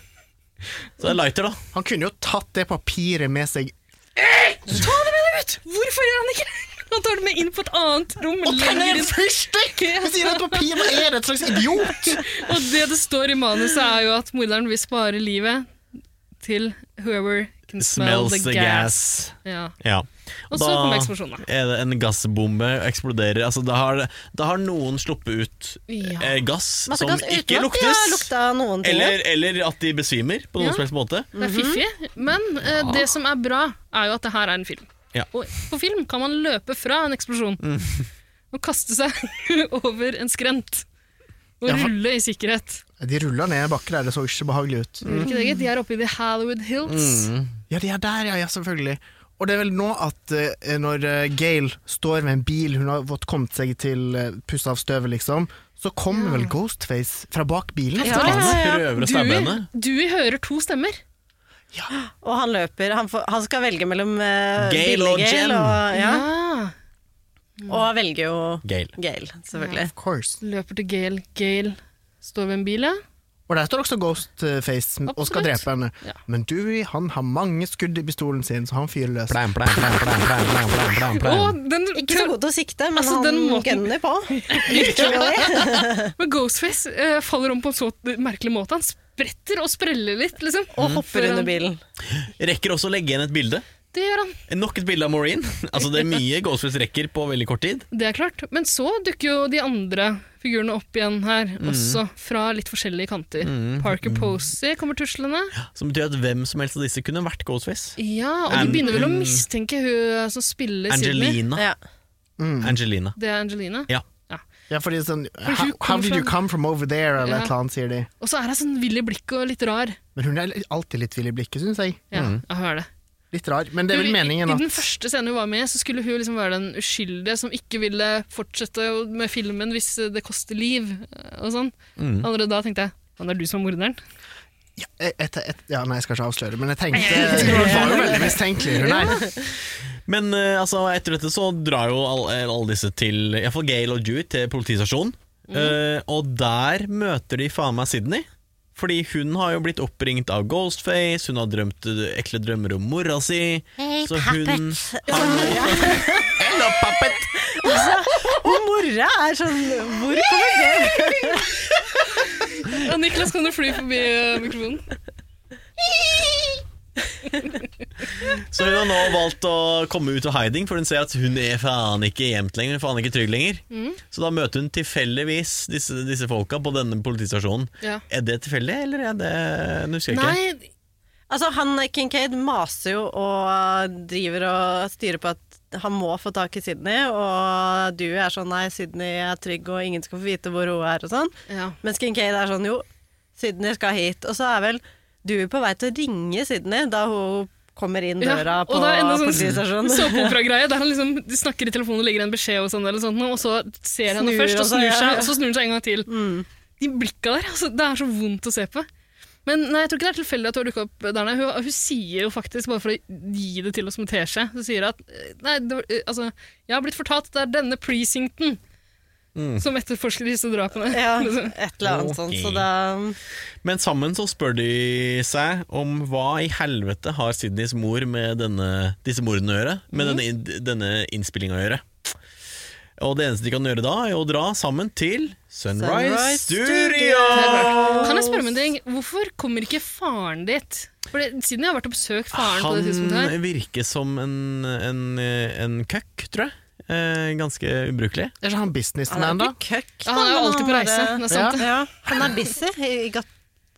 Så det er lighter, da. Han kunne jo tatt det papiret med seg Ta det med deg ut! Hvorfor gjør han ikke det? Han tar det med inn på et annet rom. Og lenger tegner inn. en fyrstikk! Ved siden av et papir! Hva er det? Et slags idiot! Og det det står i manuset, er jo at morderen vil spare livet til whoever can smell Smells the gas. Ja. Ja. Og så kommer eksplosjonen, da. er det en gassbombe eksploderer. Altså, da, har, da har noen sluppet ut Ja. eh, gass Masse som gass uten ikke at de har luktes, lukta noen ting. eller, eller at de besvimer på noen Ja. som helst måte. Det er fiffig, men eh, det som er bra, er jo at det her er en film. Ja. Mm. Og på film kan man løpe fra en eksplosjon og kaste seg over en skrent. Og Ja, for- rulle i sikkerhet. De rulla ned bakken der, det så ikke så behagelig Mm. ut. Gjør ikke det, gitt? De er oppe i The Hollywood Hills. Ja, de er der, ja, ja, selvfølgelig. Og det er vel nå at eh, når eh, Gail står med en bil hun har fått kommet seg til uh, pussa av støvet, liksom, så kommer vel Ghostface fra bak bilen? Ja, ja, Ah, ja. Prøver å stabbe henne. Dewey hører to stemmer. Og han løper. Han, får, han skal velge mellom uh, Gale og Jen. Og, ja, Ah, og han velger jo Gale. Gale, selvfølgelig. Of course. løper til Gail. Gail står ved en bil, ja. Og der står også Ghostface m- og skal Absolutt. drepe henne. Ja. Men Dewey han har mange skudd i pistolen sin, så han fyrer løs. Plam, plam, plam, plam, plam, plam, plam, plam, Og plam. den, Ikke så god til å sikte, men Altså, han den måten- gønner på. Literally. men Ghostface eh, faller om på en så merkelig måte. Han spretter og spreller litt, liksom. Mhm. Og hopper under bilen. Rekker også å legge igjen et bilde. Det gjør han. Nok et bilde av Maureen. altså, det er mye Ghostface rekker på veldig kort tid. Det er klart. Men så dukker jo de andre figurene opp igjen her, Mhm. også fra litt forskjellige kanter. Parker Posey kommer tuslende. Som betyr at hvem som helst av disse kunne vært Ghostface. Ja, og An- de begynner vel å mm. mistenke hun som spiller Sydney. Angelina. Ja. Angelina. Det er Angelina. Ja. Ja, fordi sånn hun How, how kommer did you fra- come from over there? Eller Ja. et eller annet, sier de. Og så er hun sånn vill i blikket og litt rar. Men hun er alltid litt vill i blikket, syns jeg. Ja, Mhm. jeg hører det. Litt rar. Men det er vel Hun- meningen I at den første scenen hun var med i, så skulle hun liksom være den uskyldige som ikke ville fortsette med filmen hvis det koster liv. og sånn. Allerede da tenkte jeg han er du som er morderen. ja, et, et, ja, Nei, jeg skal ikke avsløre, men jeg tenkte Hun var jo veldig mistenkelig, hun her. Men eh, altså, etter dette så drar jo alle alle disse til Iallfall Gail og Jude til politistasjonen. Mm. Eh, og der møter de faen meg Sydney. Fordi hun har jo blitt oppringt av Ghostface, hun har drømt eh, ekle drømmer om mora si. Hey, så hun puppet. har nå Hello, puppet! Og mora er sånn Hvor kommer det? Ja, Niklas, kan du fly forbi eh, mikrofonen? Så hun har nå valgt å komme ut av hiding, for hun ser at hun er faen ikke gjemt lenger. Hun er faen ikke trygg lenger Så da møter hun tilfeldigvis disse, disse folka på denne politistasjonen. Ja. Er det tilfeldig, eller er det Nå husker jeg ikke. Nei, Altså, han Kincaid maser jo og driver og styrer på at han må få tak i Sydney, og du er sånn nei, Sydney er trygg og ingen skal få vite hvor hun er og sånn. ja. Mens Kincaid er sånn jo, Sydney skal hit. Og så er vel du på vei til å ringe Sydney da hun kommer inn døra Ja, på og det er enda sånn politistasjonen. såpeopera-greie, der han liksom de snakker i telefonen og legger en beskjed, og sånn eller sånt, og så ser han det Snur først, og og så- Mm. snur ja, seg, ja. og så snur han seg en gang til. De blikka der, altså, det er så vondt å se på. Men nei, jeg tror ikke det er tilfeldig at hun har dukka opp der. nei. Hun, hun sier jo faktisk, bare for å gi det til oss som en teskje, så sier hun at eh, nei, det, var- eh, altså, jeg har blitt fortalt at det er denne precincten som etterforsker disse drapene. Ja, Liksom. et eller annet sånt. Så Ok. da Men sammen så spør de seg om hva i helvete har Sydneys mor med denne, disse mordene å gjøre? Med denne, denne innspillinga å gjøre? Og det eneste de kan gjøre da, er å dra sammen til Sunrise, Sunrise Studio! Kan jeg spørre om en ting? Hvorfor kommer ikke faren ditt? For det, siden jeg har vært og besøkt faren på det tidspunktet her. Han virker som en, en, en køkk, tror jeg. Eh, ganske ubrukelig. Er ikke han Han er businessman, jo da? ikke køkk. Ja, han er jo men alltid på bare- reise, det er sant. Ja, ja. Han er busy. He got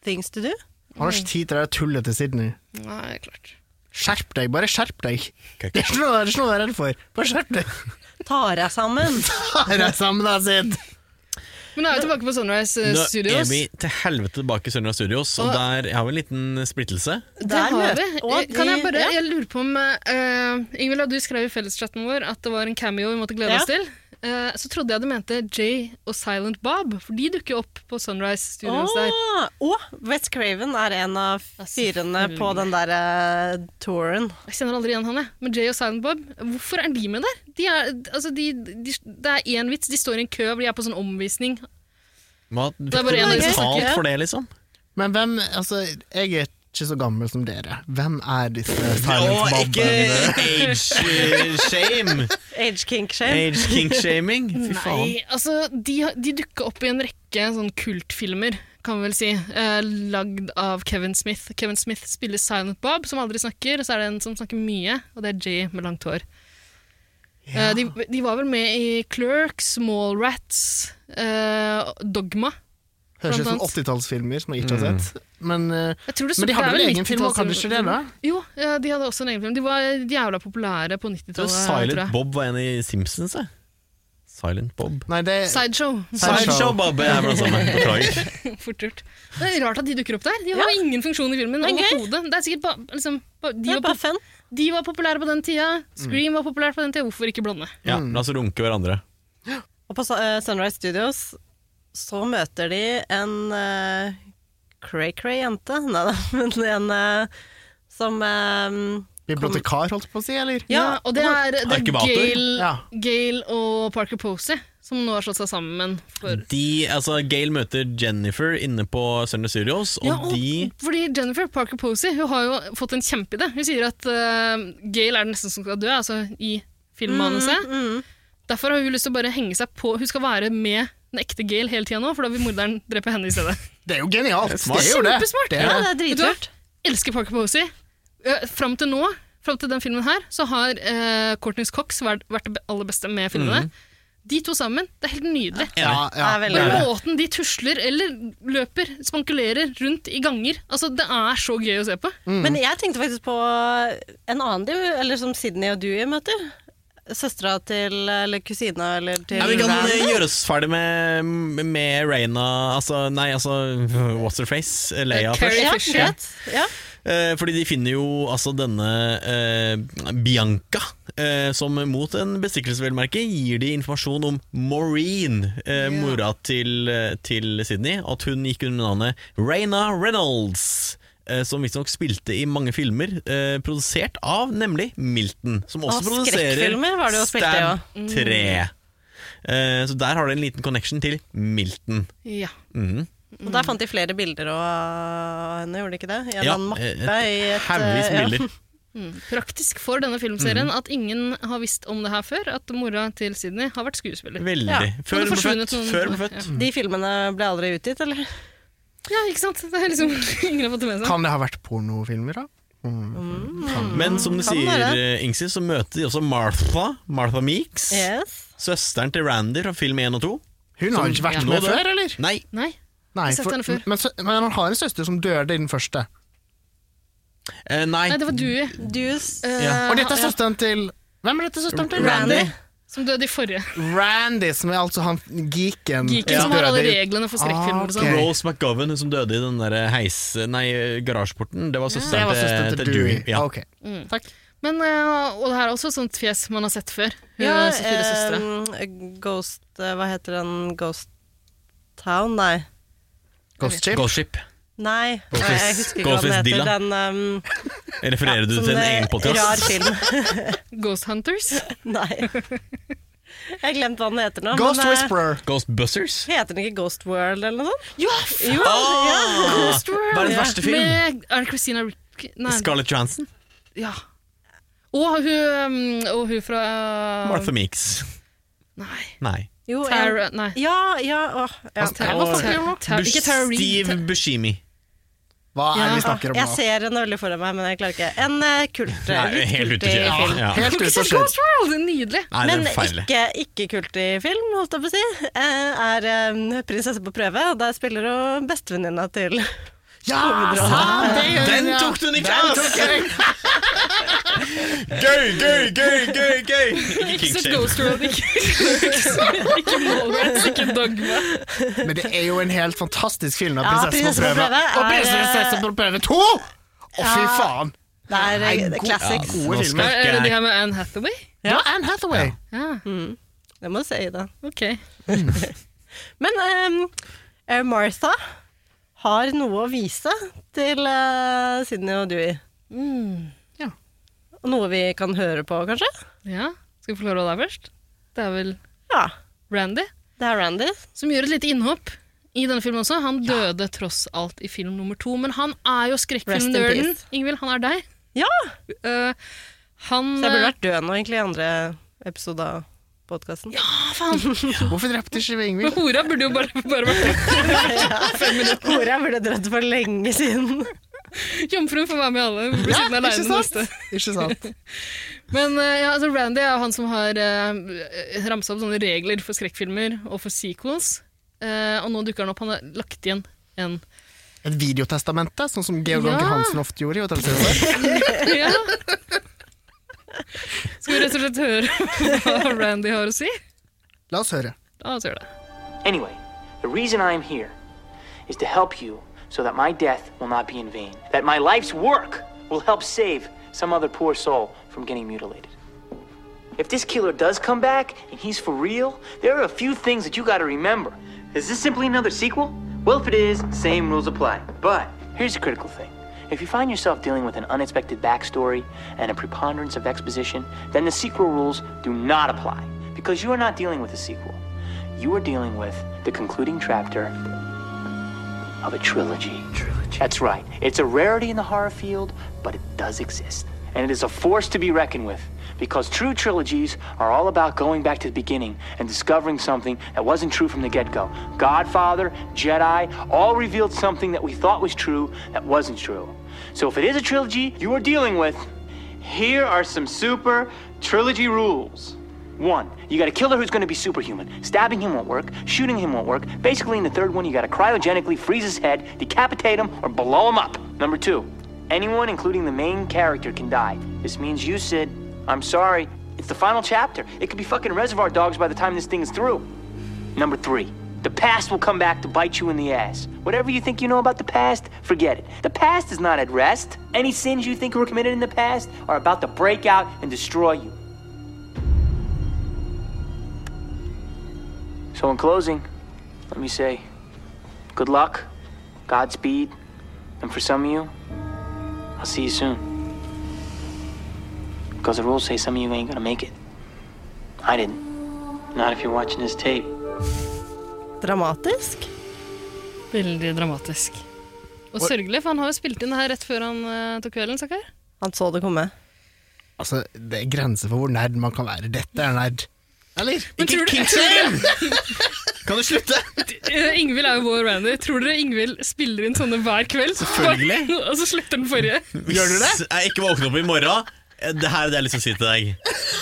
things to do. Han har ikke tid til det der tullet til Sydney. Nei, klart. Skjerp deg, bare skjerp deg. Køkk. Det er ikke noe, det er ikke noe å være redd for. Bare skjerp deg. Tar jeg sammen. Her er sammen, da, Sid. Men nå er vi tilbake på Sunrise eh, Nå er Studios. vi til helvete tilbake i Sunrise Studios, og Og- der jeg har vi en liten splittelse. Det Der har møter- vi. Eh, og Kan jeg de- bare, ja. jeg lurer på om eh, Ingvild, du skrev i felleschatten vår at det var en cameo vi måtte glede Ja. oss til. Eh, så trodde jeg du mente Jay og Silent Bob, for de dukker jo opp på Sunrise Studios der. Åh, Og West Craven er en av Ja, fyrene på selvfølgelig. den der eh, touren. Jeg kjenner aldri igjen han, jeg. Men Jay og Silent Bob, hvorfor er de med der? De er, altså, de, de, det er én vits, de står i en kø, de er på sånn omvisning. Hva er bare en av de fikk du som betalt snakker. for det, liksom? Men hvem Altså, jeg er ikke så gammel som dere. Hvem er disse Og Silent ikke Bob-ene? age-shame! Age kink shame. Age-kink-shaming. Fy faen. Nei, altså, de, har- de dukka opp i en rekke sånn kultfilmer, kan vi vel si. Eh, lagd av Kevin Smith. Kevin Smith spiller Silent Bob, som aldri snakker, og så er det en som snakker mye, og det er Jay med langt hår. Eh, de, de var vel med i Clerks, Mallrats, eh, Dogma. Høres ut som Blant annet. 80-tallsfilmer som jeg ikke har sett. Men, eh, Jeg tror det men de hadde stod- det er sånn vel vel egen film, og kanskje ikke det, da? 90-tallsfilmer. Jo, ja, de hadde også en egen film. De var jævla populære på Jeg tror 90-tallet. tror Silent jeg. Bob var en i Simpsons, jeg. Silent Bob. Nei, det Sideshow. Sideshow. Sideshow Bob er blant sammen. Beklager. Fort gjort. Det er rart at de dukker opp der. De har ingen funksjon i filmen. Det er gøy. overhodet. Det er sikkert ba, liksom, ba, Det de, er var bare pop- fun. de var populære på den tida, Scream Mm. var populær på den tida, hvorfor ikke blonde? Ja, la oss runke hverandre. Og på Su- eh, Sunrise Studios så møter de en eh, cray-cray jente. Nei da, men en eh, som eh, Bibliotekar, holdt jeg på å si, eller? Ja, og det er, det er Arkivator. Gail, Ja. Gail og Parker Posey som nå har slått seg sammen for De, altså, Gail møter Jennifer inne på Sunrise Studios, og, Ja, og- de Fordi Jennifer Parker Posey hun har jo fått en kjempeidé. Hun sier at eh, Gail er den nesten som skal dø, altså i Mm, filmmanuset. Derfor har hun lyst til å bare henge seg på Hun skal være med den ekte Gail hele tida nå, for da vil morderen drepe henne i stedet. Det er jo genialt! smart. Det er jo det. Kjempesmart. Det Ja, er det. det er dritlurt. elsker Parker Posey. Eh, Fram til nå, fram til den filmen her, så har eh, Courtney Cox vært, vært det aller beste med filmene. De to sammen, det er helt nydelig. Ja, Mm. ja. Det er veldig Og bra. måten de tusler eller løper, spankulerer rundt i ganger Altså, det er så gøy å se på. Mm. Men jeg tenkte faktisk på en annen du, eller som Sydney og Dewey møter. søstera til Eller kusina eller til Ja, vi kan Ran. eh, gjøre oss ferdig med, med Reina altså, Nei, altså What's her face? Leia først. Carrie Ja, Fisher. greit. Ja. Eh, fordi de finner jo altså denne eh, Bianca, eh, som mot en bestikkelsesvelmerke gir de informasjon om Maureen, eh, Ja. mora til, eh, til Sydney, at hun gikk under navnet Raina Reynolds. eh, Som visstnok spilte i mange filmer, eh, produsert av nemlig Milton. Som også Og produserer skrekkfilmer var det jo spilt i, ja. Stab 3. Eh, så der har du en liten connection til Milton. Ja. Mhm. Og der fant de flere bilder og av henne, gjorde de ikke det? I en Ja, annen mappe et i et eh, Haugevis ja. bilder. Praktisk for denne filmserien Mm. at ingen har visst om det her før, at mora til Sydney har vært skuespiller. Veldig. Ja, men Før hun det ble forsvunnet født. noen- Før hun ble født. De filmene ble aldri utgitt, eller? Ja, ikke sant? Det er liksom ingen har fått det med seg. Kan det ha vært pornofilmer, da? Mm. Men som du Kan sier, være. eh, Ingsi, så møter de også Martha, Martha Meeks. Yes. Søsteren til Randy fra film 1 og 2. Hun har jo ikke vært Nå med dør. før, eller? Nei, Nei. Nei, Jeg har sett henne før. Men, sø- men han har en søster som døde i den første. eh, nei. Nei, det var Dewey. Dus. Eh, Ja. Og dette er søsteren til Hvem er dette søsteren til? Randy. Som døde i forrige. Randy, som er altså han geeken. Geeken som som har alle døde i- reglene for skrekkfilmer. og Ah, sånn. ok. Rose McGovern, hun som døde i den der eh, heis... Nei, garasjeporten. Det var Det søsteren, var søsteren til Dewey. Ja. Ok. Takk. Mm. Men, eh, Og det her er også et sånt fjes man har sett før. Hun Ja, er så fire søstre. eh, Ghost eh, Hva heter den? Ghost Town? Nei. Ghost Ship. Ghost Ship. Nei, Ghostface- Nei, jeg husker ikke hva den Ghostface heter. Dilla. Den um, Refererer du som til en eh, egen rar podkast? film. Ghost Hunters. Nei. Jeg har glemt hva den heter nå. Ghost men, eh, Whisperer. Ghostbusters? Heter den ikke Ghost World eller noe sånt? Ja, Jo, Ah! Ghost World! Verdens verste film. Med, er det Christina Rick... Nei, Scarlett Johansson. ja. Og hun, um, og hun fra um, Martha Meeks. Nei. Nei. jo, en- Tara Nei. Ja, ja, åh, ja. Altså, Tara- Hva snakker vi om nå? Tara- Tara- Ikke Tara Reid. Steve Buscemi. Hva er det Ja. vi snakker om Jeg nå? ser henne veldig foran meg, men jeg klarer ikke. En eh, kult, Nei, litt helt ute å kultig kjøre. film. Ja. Helt Har ute du ikke og sett skjedd. Ghost World? Det er nydelig. Nei, Men det er feil. ikke, ikke kultig film, holdt jeg på å si. Eh, er eh, 'Prinsesse på prøve', og der spiller hun bestevenninna til Ja, sant, det gjør Den hun, ja. tok du, Den Niklas! tok jeg. Gøy, gøy, gøy, gøy! gøy Ikke Ikke sett kinkshame. Ghost World. Ikke, ikke, ikke Mallrats, ikke Dogma. Men det er jo en helt fantastisk film av Ja, 'Prinsessen på prøve'. er- Og 'Prinsessen på prøve 2'! Å, fy Ja. faen! Det er eh, Nei, god- classics. Gode filmer. Nå skal Er det ikke de jeg her med Anne Hathaway? Ja, Anne Hathaway. Ja, Det må du si, da. ok. Men ehm, eh, Martha har noe å vise til eh, Sydney og Dewey. Mm. Ja. Og Noe vi kan høre på, kanskje? Ja, Skal vi få høre hva det er først? Det er vel Ja. Randy Det er Randy. som gjør et lite innhopp i denne filmen også. Han døde tross alt i film nummer to, men han er jo Rest in skrekkfilmnerden. Ingvild, han er deg. Ja! Eh, han Så jeg burde vært død nå, egentlig, i andre episode av podkasten. Ja. Ah, faen! Hvorfor drepte ikke vi Ingvild? Hora burde jo bare, bare vært Hvor jeg burde dratt for lenge siden. Jomfruen får være med i alle. Hun blir sittende ikke aleine sant? neste. Ikke sant? Men eh, ja, altså Randy er jo han som har uh, ramsa opp sånne regler for skrekkfilmer og for sequels. Eh, og nå dukker han opp. Han har lagt igjen en Et videotestamente, sånn som Georg Ja. Anker Hansen ofte gjorde. i Hotel Cæsar. ja. Skal vi rett og slett høre hva Randy har å si? La oss høre. La oss gjøre det. Anyway, the reason I am here is to help you so that my death will not be in vain, that my life's work will help save some other poor soul from getting mutilated. If this killer does come back and he's for real, there are a few things that you gotta remember. Is this simply another sequel? Well, if it is, same rules apply. But here's a critical thing. If you find yourself dealing with an unexpected backstory and a preponderance of exposition, then the sequel rules do not apply because you are not dealing with a sequel. You are dealing with the concluding chapter of a trilogy. Trilogy. That's right. It's a rarity in the horror field, but it does exist. And it is a force to be reckoned with because true trilogies are all about going back to the beginning and discovering something that wasn't true from the get go. Godfather, Jedi, all revealed something that we thought was true that wasn't true. So if it is a trilogy you are dealing with, here are some super trilogy rules. One, you got a killer who's going to be superhuman. Stabbing him won't work. Shooting him won't work. Basically, in the third one, you got to cryogenically freeze his head, decapitate him, or blow him up. Number two, anyone, including the main character, can die. This means you, Sid. I'm sorry, It's the final chapter. It could be fucking reservoir dogs by the time this thing is through. Number three, the past will come back to bite you in the ass. Whatever you think you know about the past, forget it. The past is not at rest. Any sins you think were committed in the past are about to break out and destroy you. So, in closing, let me say good luck, Godspeed, and for some of you, I'll see you soon. Because the rules say some of you ain't gonna make it. I didn't. Not if you're watching this tape. Dramatisk. Veldig dramatisk. Og sørgelig, for han har jo spilt inn det her rett før han eh, tok kvelden, stakkar. Han så det komme. Altså, det er grenser for hvor nerd man kan være. Dette er nerd. Eller? Men tror du- Kan du slutte? Eh, Ingvild er jo vår Randy. Tror dere Ingvild spiller inn sånne hver kveld? Selvfølgelig. og så slutter den forrige. Gjør du det? Hvis jeg ikke våkner opp i morgen eh, det her er det jeg har lyst til å si til deg.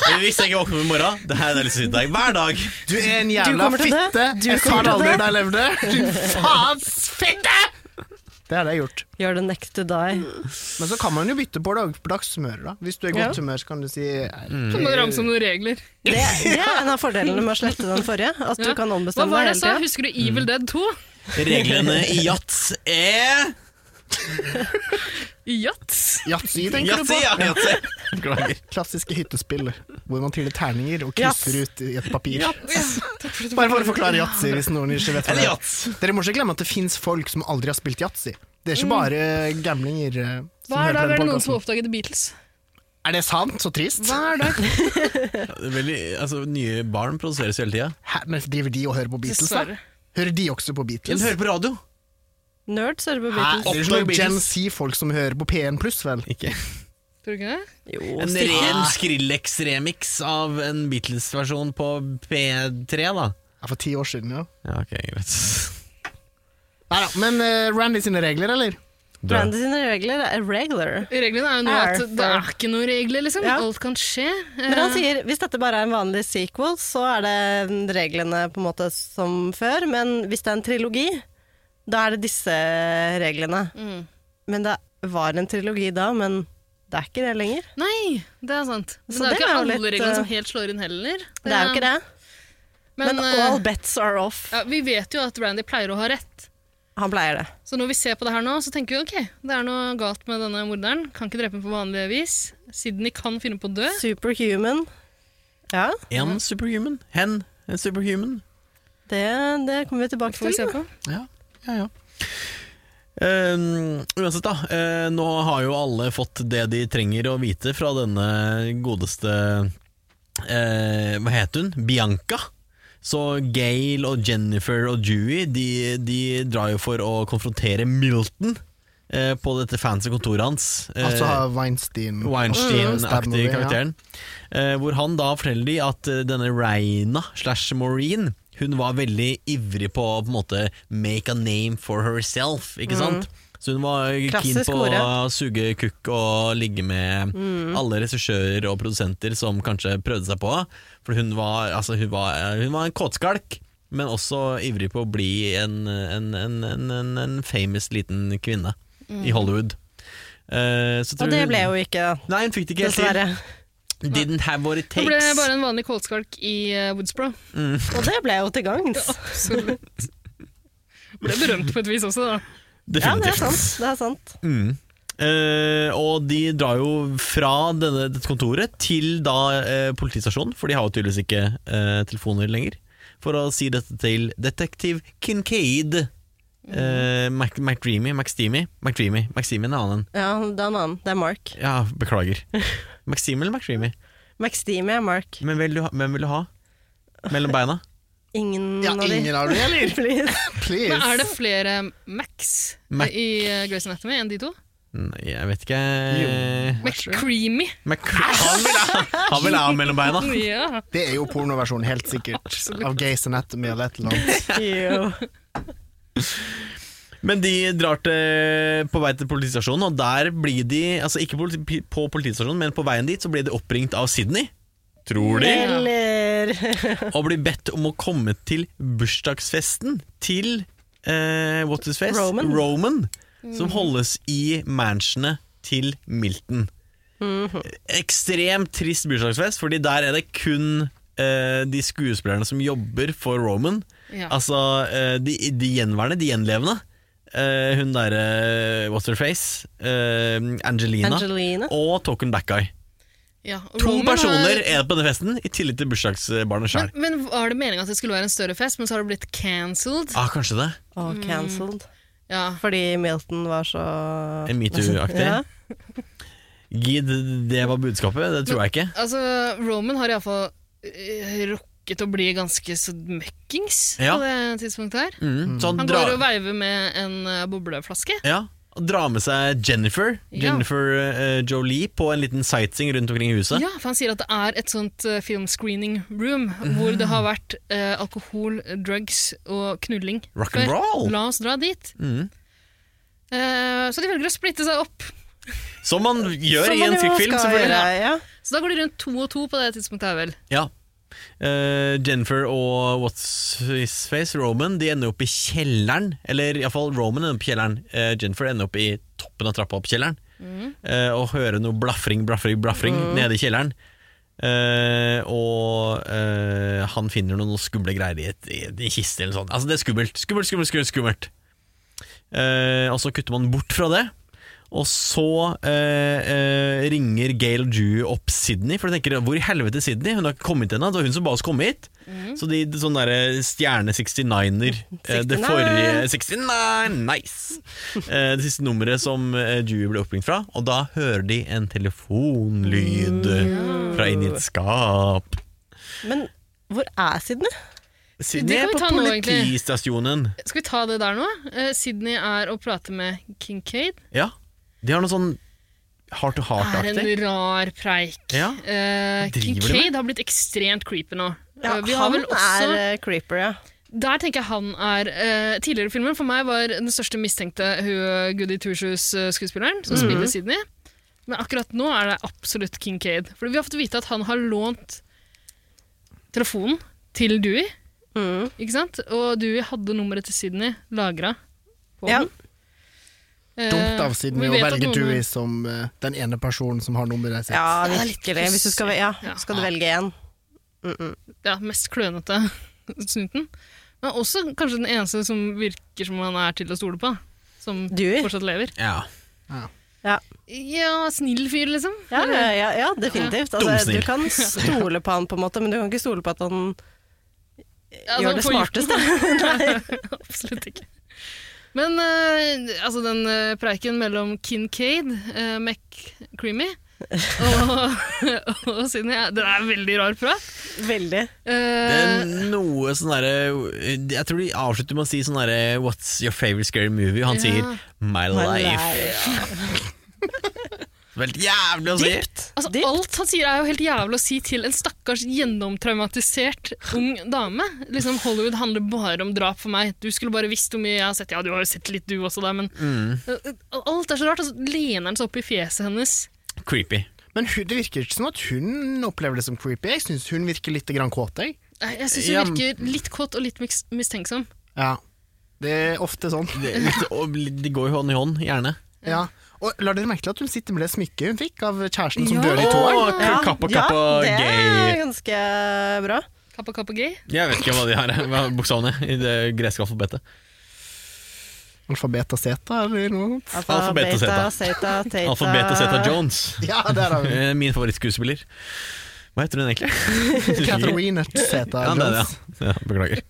Men Hvis jeg ikke våkner opp i morgen, det her er det jeg har lyst til å si til deg. Hver dag. Du er en Du jævla kommer til det. fitte! Du Jeg sa kommer det aldri til det. da jeg levde! Din faens fitte! Det har jeg gjort. You're the next to die. Men så kan man jo bytte på dagligdags humør, da. Hvis du er i godt humør, så kan du si eh, Mm. Så må du ramse om noen regler. Det, det er en av fordelene med å slette den forrige. At du Ja. kan Hva ombestemme var det deg jeg sa? hele tida. Husker du Mm. Evil Dead 2? Reglene i Jats er Jats. yatzy, tenker du Jatsi, på? ja. Jatsi. Beklager. Klassiske hyttespill hvor man triller terninger og Jazz. krysser ut i et papir. Takk for at du Bare for å forklare yatzy, hvis noen ikke vet hva Eller det er. Jats. Dere må ikke glemme at det fins folk som aldri har spilt yatzy. Det er ikke bare gamlinger eh, som Hver hører på dag den Mm. er det noen podcasten. som oppdager The Beatles. Er det sant? Så trist. Hver dag. Veldig, altså, nye barn produseres hele tida. Hæ, men driver de og hører på Beatles, da? Dessverre. Hører de også på Beatles? Den hører på radio. Nerds hører på Hæ? Det er Beatles. jo ikke Oppdag noen Gen Beatles. Z-folk som hører på P1 pluss, vel? Ikke. Tror du ikke det? Jo, En stikk. ren Skrillex-remix av en Beatles-versjon på P3, da. Ja, for ti år siden, ja. Ja, ok, greit. Neida, men eh, Randy sine regler, eller? Brandy sine regler er regular. Reglene er jo nå Er at det for- er ikke noen regler, liksom. Ja. Alt kan skje. Men Eh. han sier hvis dette bare er en vanlig sequel, så er det reglene på en måte som før. Men hvis det er en trilogi, da er det disse reglene. Mm. Men det var en trilogi da, men det er ikke det lenger. Eh, Nei, det er sant. Men Så det er jo det ikke er jo alle litt, reglene som eh, helt slår inn heller. Det er jo ikke det. Men, Men eh, all bets are off. ja, vi vet jo at Randy pleier å ha rett. Han pleier det. Så når vi ser på det her nå, så tenker vi ok, det er noe galt med denne morderen. Kan ikke drepe ham på vanlig vis. Sydney kan finne på å dø. Superhuman. Ja, En superhuman. Hen. En superhuman. det, det kommer vi tilbake Får vi se til. på. Ja, ja, ja. Ehm, uansett, da. eh, nå har jo alle fått det de trenger å vite fra denne godeste eh, Hva het hun? Bianca. Så Gail og Jennifer og Dewey de, de drar jo for å konfrontere Milton eh, på dette fancy kontoret hans. Eh, Altså har Weinstein Weinstein-aktig Stab-movie, ja. Mm, karakteren. Eh, hvor han da forteller de at eh, denne Raina slash Maureen hun var veldig ivrig på å på en måte make a name for herself, ikke sant? Så hun var keen Mm. Klassisk på å ord. suge kukk og ligge med Mm. alle regissører og produsenter som kanskje prøvde seg på. For hun var, altså, hun var, hun var en kåtskalk, men også ivrig på å bli en, en, en, en, en, en famous liten kvinne i Hollywood. Eh, så Mm. Og tror det hun- ble jo ikke, Nei, hun fikk det ikke helt til. dessverre. Didn't have what it Hun ble takes. bare en vanlig kåtskalk i eh, Woodsboro. Og det ble jo til gangs. Absolutt. Ble berømt på et vis også, da. Ja, det Definitivt. er sant. Det er sant. Mm. Eh, og de drar jo fra denne, dette kontoret til da eh, politistasjonen, for de har jo tydeligvis ikke eh, telefoner lenger, for å si dette til detektiv Kincaid. Eh, Mac- McDreamy, McSteamy McDreamy, McSteamy er en annen Ja, det er en annen. Det er Mark. Ja, beklager McSteamy eller McDreamy? McSteamy er Mark. Men hvem vil du ha, hvem vil du ha? Mellom beina? Ingen Ja, av de. ingen av dem, eller? Please. Please. Men er det flere Max Mac. i eh, Grey's Anatomy enn de to? Nei, jeg vet ikke McCreamy. McCre- Han vil ha, han vil ha mellom beina Ja. Det er jo pornoversjonen, helt sikkert. Av Gays Anatomy eller et eller Eh, annet. Jo. Men de drar til, på vei til politistasjonen, og der blir de Altså ikke politi, på politistasjonen, men på veien dit så blir de oppringt av Sydney. Tror de. Eller Og blir bedt om å komme til bursdagsfesten til eh, What's His Face? Roman. Som holdes i mansionet til Milton. Ekstremt trist bursdagsfest, Fordi der er det kun eh, de skuespillerne som jobber for Roman. Ja. Altså eh, de, de gjenværende, de gjenlevende. Eh, hun derre What's her face? Eh, Angelina. Angelina. Og Token Back Guy. Ja, og To Roman har- personer er det på denne festen, i tillegg til bursdagsbarnet Men, sjøl. men var det meninga at det skulle være en større fest, men så har det blitt cancelled? Ah, kanskje det. Og cancelled. Ja. Fordi Milton var så En metoo-aktig. Ja. Gid, det var budskapet. Det tror jeg ikke. Altså, Roman har iallfall eh, rukket å bli ganske så møkkings Ja. på det tidspunktet her. Mm. Så han Han drar, går og veiver med en eh, bobleflaske. ja, og drar med seg Jennifer Ja. Jennifer eh, Jolie på en liten sightseeing rundt omkring i huset. Ja, for Han sier at det er et sånt eh, filmscreening room hvor det har vært eh, alkohol, drugs og knulling. Rock and roll! La oss dra dit. Mhm. Eh, så de velger å splitte seg opp. Som man gjør Som i man en jo skrekkfilm, skal selvfølgelig. gjøre, ja. Så da går de rundt to og to på det tidspunktet her, vel. Ja. Eh, Jennifer og What's His Face, Roman, de ender opp i kjelleren. Eller iallfall Roman ender opp i kjelleren. Eh, Jennifer ender opp i toppen av trappa opp i kjelleren. Eh, og hører noe blafring, blafring, blafring nede i kjelleren. Eh, og eh, han finner noen skumle greier i et- i en kiste eller noe sånt. Altså, det er skummelt. Skummelt, skummelt, skummelt. skummelt. Eh, og så kutter man bort fra det. Og så eh, eh, ringer Gail Jew opp Sydney, for de tenker hvor i helvete er Sydney? Hun har ikke kommet ennå. Det var hun som ba oss komme hit. Mhm. Så de de sånne der stjerne 69-er eh, Det 69. forrige 69, nice! Eh, det siste nummeret som eh, Jew ble oppringt fra, og da hører de en telefonlyd Mm, fra inni et skap. Men hvor er Sydney? Sydney kan er vi på ta nå, egentlig. politistasjonen. Skal vi ta det der nå? Eh, Sydney er og prater med Kincaid. Ja. De har noe sånn heart to er en heart-aktig. rar preik. Ja. Eh, Driver de med? Kincaid har blitt ekstremt creepy nå. Ja, Eh, vi har han vel også, er eh, creeper, ja. Der tenker jeg han er eh, Tidligere i filmen for meg var den største mistenkte hun eh, Goody Two-Shoes-skuespilleren, Mhm. som spiller Sydney. Men akkurat nå er det absolutt Kincaid. For vi har fått vite at han har lånt telefonen til Dewey. Mm. Ikke sant? Og Dewey hadde nummeret til Sydney lagra på Ja. den. Eh, Dumt av siden vi vi å vet at velge noen- Dewey som eh, den ene personen som har nummeret sitt. Ja, Det er litt virkelig. Hvis du skal, ve- ja, pussig. skal du velge én. ja, mest klønete snuten. Men også kanskje den eneste som virker som han er til å stole på. Som Dewey? fortsatt lever. Ja. Ja. Ja, snill fyr, liksom. Ja, ja, ja, ja, definitivt. Altså, Dumsnill. du kan stole på han, på en måte, men du kan ikke stole på at han Altså, gjør det på jorden- smarteste. Absolutt ikke. Men eh, altså den eh, preiken mellom Kincaid, uh, McCreamy og, og Sydney, ja, den er veldig rar prat. Veldig. Eh, Det er noe sånn derre Jeg tror de avslutter med å si sånn derre What's your favorite scary movie? Og han Ja. sier My life. Vel jævlig å si! Altså, Dypt. alt han sier er jo helt jævlig å si til en stakkars gjennomtraumatisert ung dame. Liksom, Hollywood handler bare om drap for meg. Du skulle bare visst hvor mye jeg har sett. Ja, du har jo sett litt du også, da, men Alt er så rart. Og så lener han seg opp i fjeset hennes. Creepy. Men hun, det virker ikke som at hun opplever det som creepy. Jeg syns hun virker litt grann kåt. Jeg. Nei, Jeg syns hun Ja, men- virker litt kåt og litt mis- mistenksom. Ja. Det er ofte sånn. Det, og de går jo hånd i hånd, gjerne. Ja. Og la dere merke til at hun sitter med det smykket hun fikk av kjæresten som Ja. døde i tåa. Åh, kappa, kappa, ja, det er gay. ganske bra. Kappa kappa gay. Jeg vet ikke hva de har hva er bokstavene i det greske alfabetet. Alfabeta seta eller noe sånt. Alfabet og Altså, beta, zeta. zeta, teta. Alfabetet Zeta Jones. Ja, der har vi Eh, Min favorittskuespiller. Hva heter hun egentlig? Catherine Zeta Ja, det er det, Jones. ja. ja. Beklager.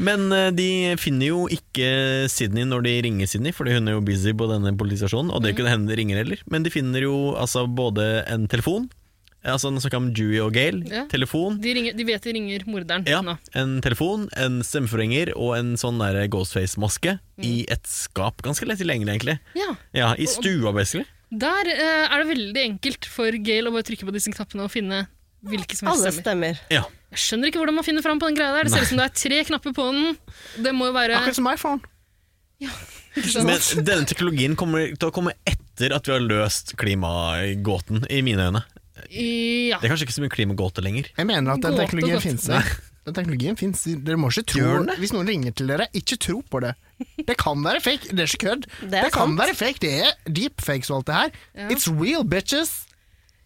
Men eh, de finner jo ikke Sydney når de ringer Sydney, fordi hun er jo busy på denne politistasjonen. Og det Mm. kunne hende de ringer heller. Men de finner jo altså, både en telefon, altså den som kan Dewey og Gale, Ja. telefon, De, ringer, de vet de ringer morderen ja, nå. en telefon, en stemmeforhenger og en sånn der Ghostface-maske i Mm. et skap. Ganske lett tilgjengelig, egentlig. Ja. Ja, I stua, basically. Der eh, er det veldig enkelt for Gail å bare trykke på disse knappene og finne hvilke som helst Alle stemmer. stemmer. Ja. Jeg skjønner ikke hvordan man finner fram på den greia der. Det ser ut som det er tre knapper på den. Det må jo være Akkurat som iPhone. Men, Men denne teknologien kommer til å komme etter at vi har løst klimagåten, i mine øyne. ja. Det er kanskje ikke så mye klimagåte lenger. Jeg mener at den Gåte, teknologien gåte. finnes. jeg. Den teknologien fins. Dere må ikke Gjør tro den det? Hvis noen ringer til dere, ikke tro på det. Det kan være fake. Det er ikke kødd. Det, er kan sant. være fake. Det er deepfakes og alt det her. Ja. It's real, bitches!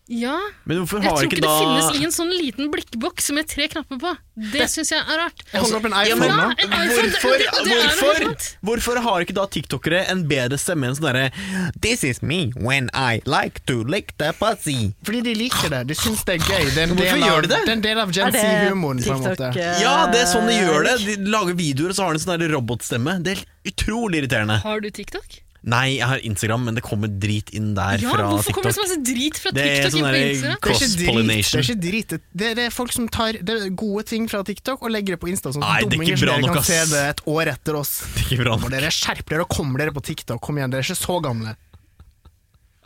Ja. Men hvorfor Jeg har tror ikke ikke da det finnes i en sånn liten blikkboks med tre knapper på. Det syns jeg er rart. Jeg holder opp en Ja, iPhone men- nå. en iPhone, det- Hvorfor, det- det er noe hvorfor, annet. hvorfor har ikke da tiktokere en bedre stemme enn sånn derre This is me when I like to lick the pussy. Fordi de liker det. De syns det er gøy. Det er en Hvorfor del gjør av, de det? er en del av Gen Z-humoren, på en måte. eh, Ja, det er sånn de gjør det. De lager videoer, og så har de sånn der robotstemme. Det er utrolig irriterende. Har du TikTok? Nei, jeg har Instagram, men det kommer drit inn der Ja, fra hvorfor kommer TikTok. det så masse drit fra Det er TikTok inn sånn der- på Instagram? Det er ikke drit. Det Cross-pollination. er, ikke drit. Det, det, det er folk som tar det er gode ting fra TikTok og legger det på Insta. Sånn Nei, at det er ikke dumminger som bra dere nok, kan se ass. det et år etter oss. Ikke bra Må nok. dere skjerpe dere og komme dere på TikTok. Kom igjen, dere er ikke så gamle.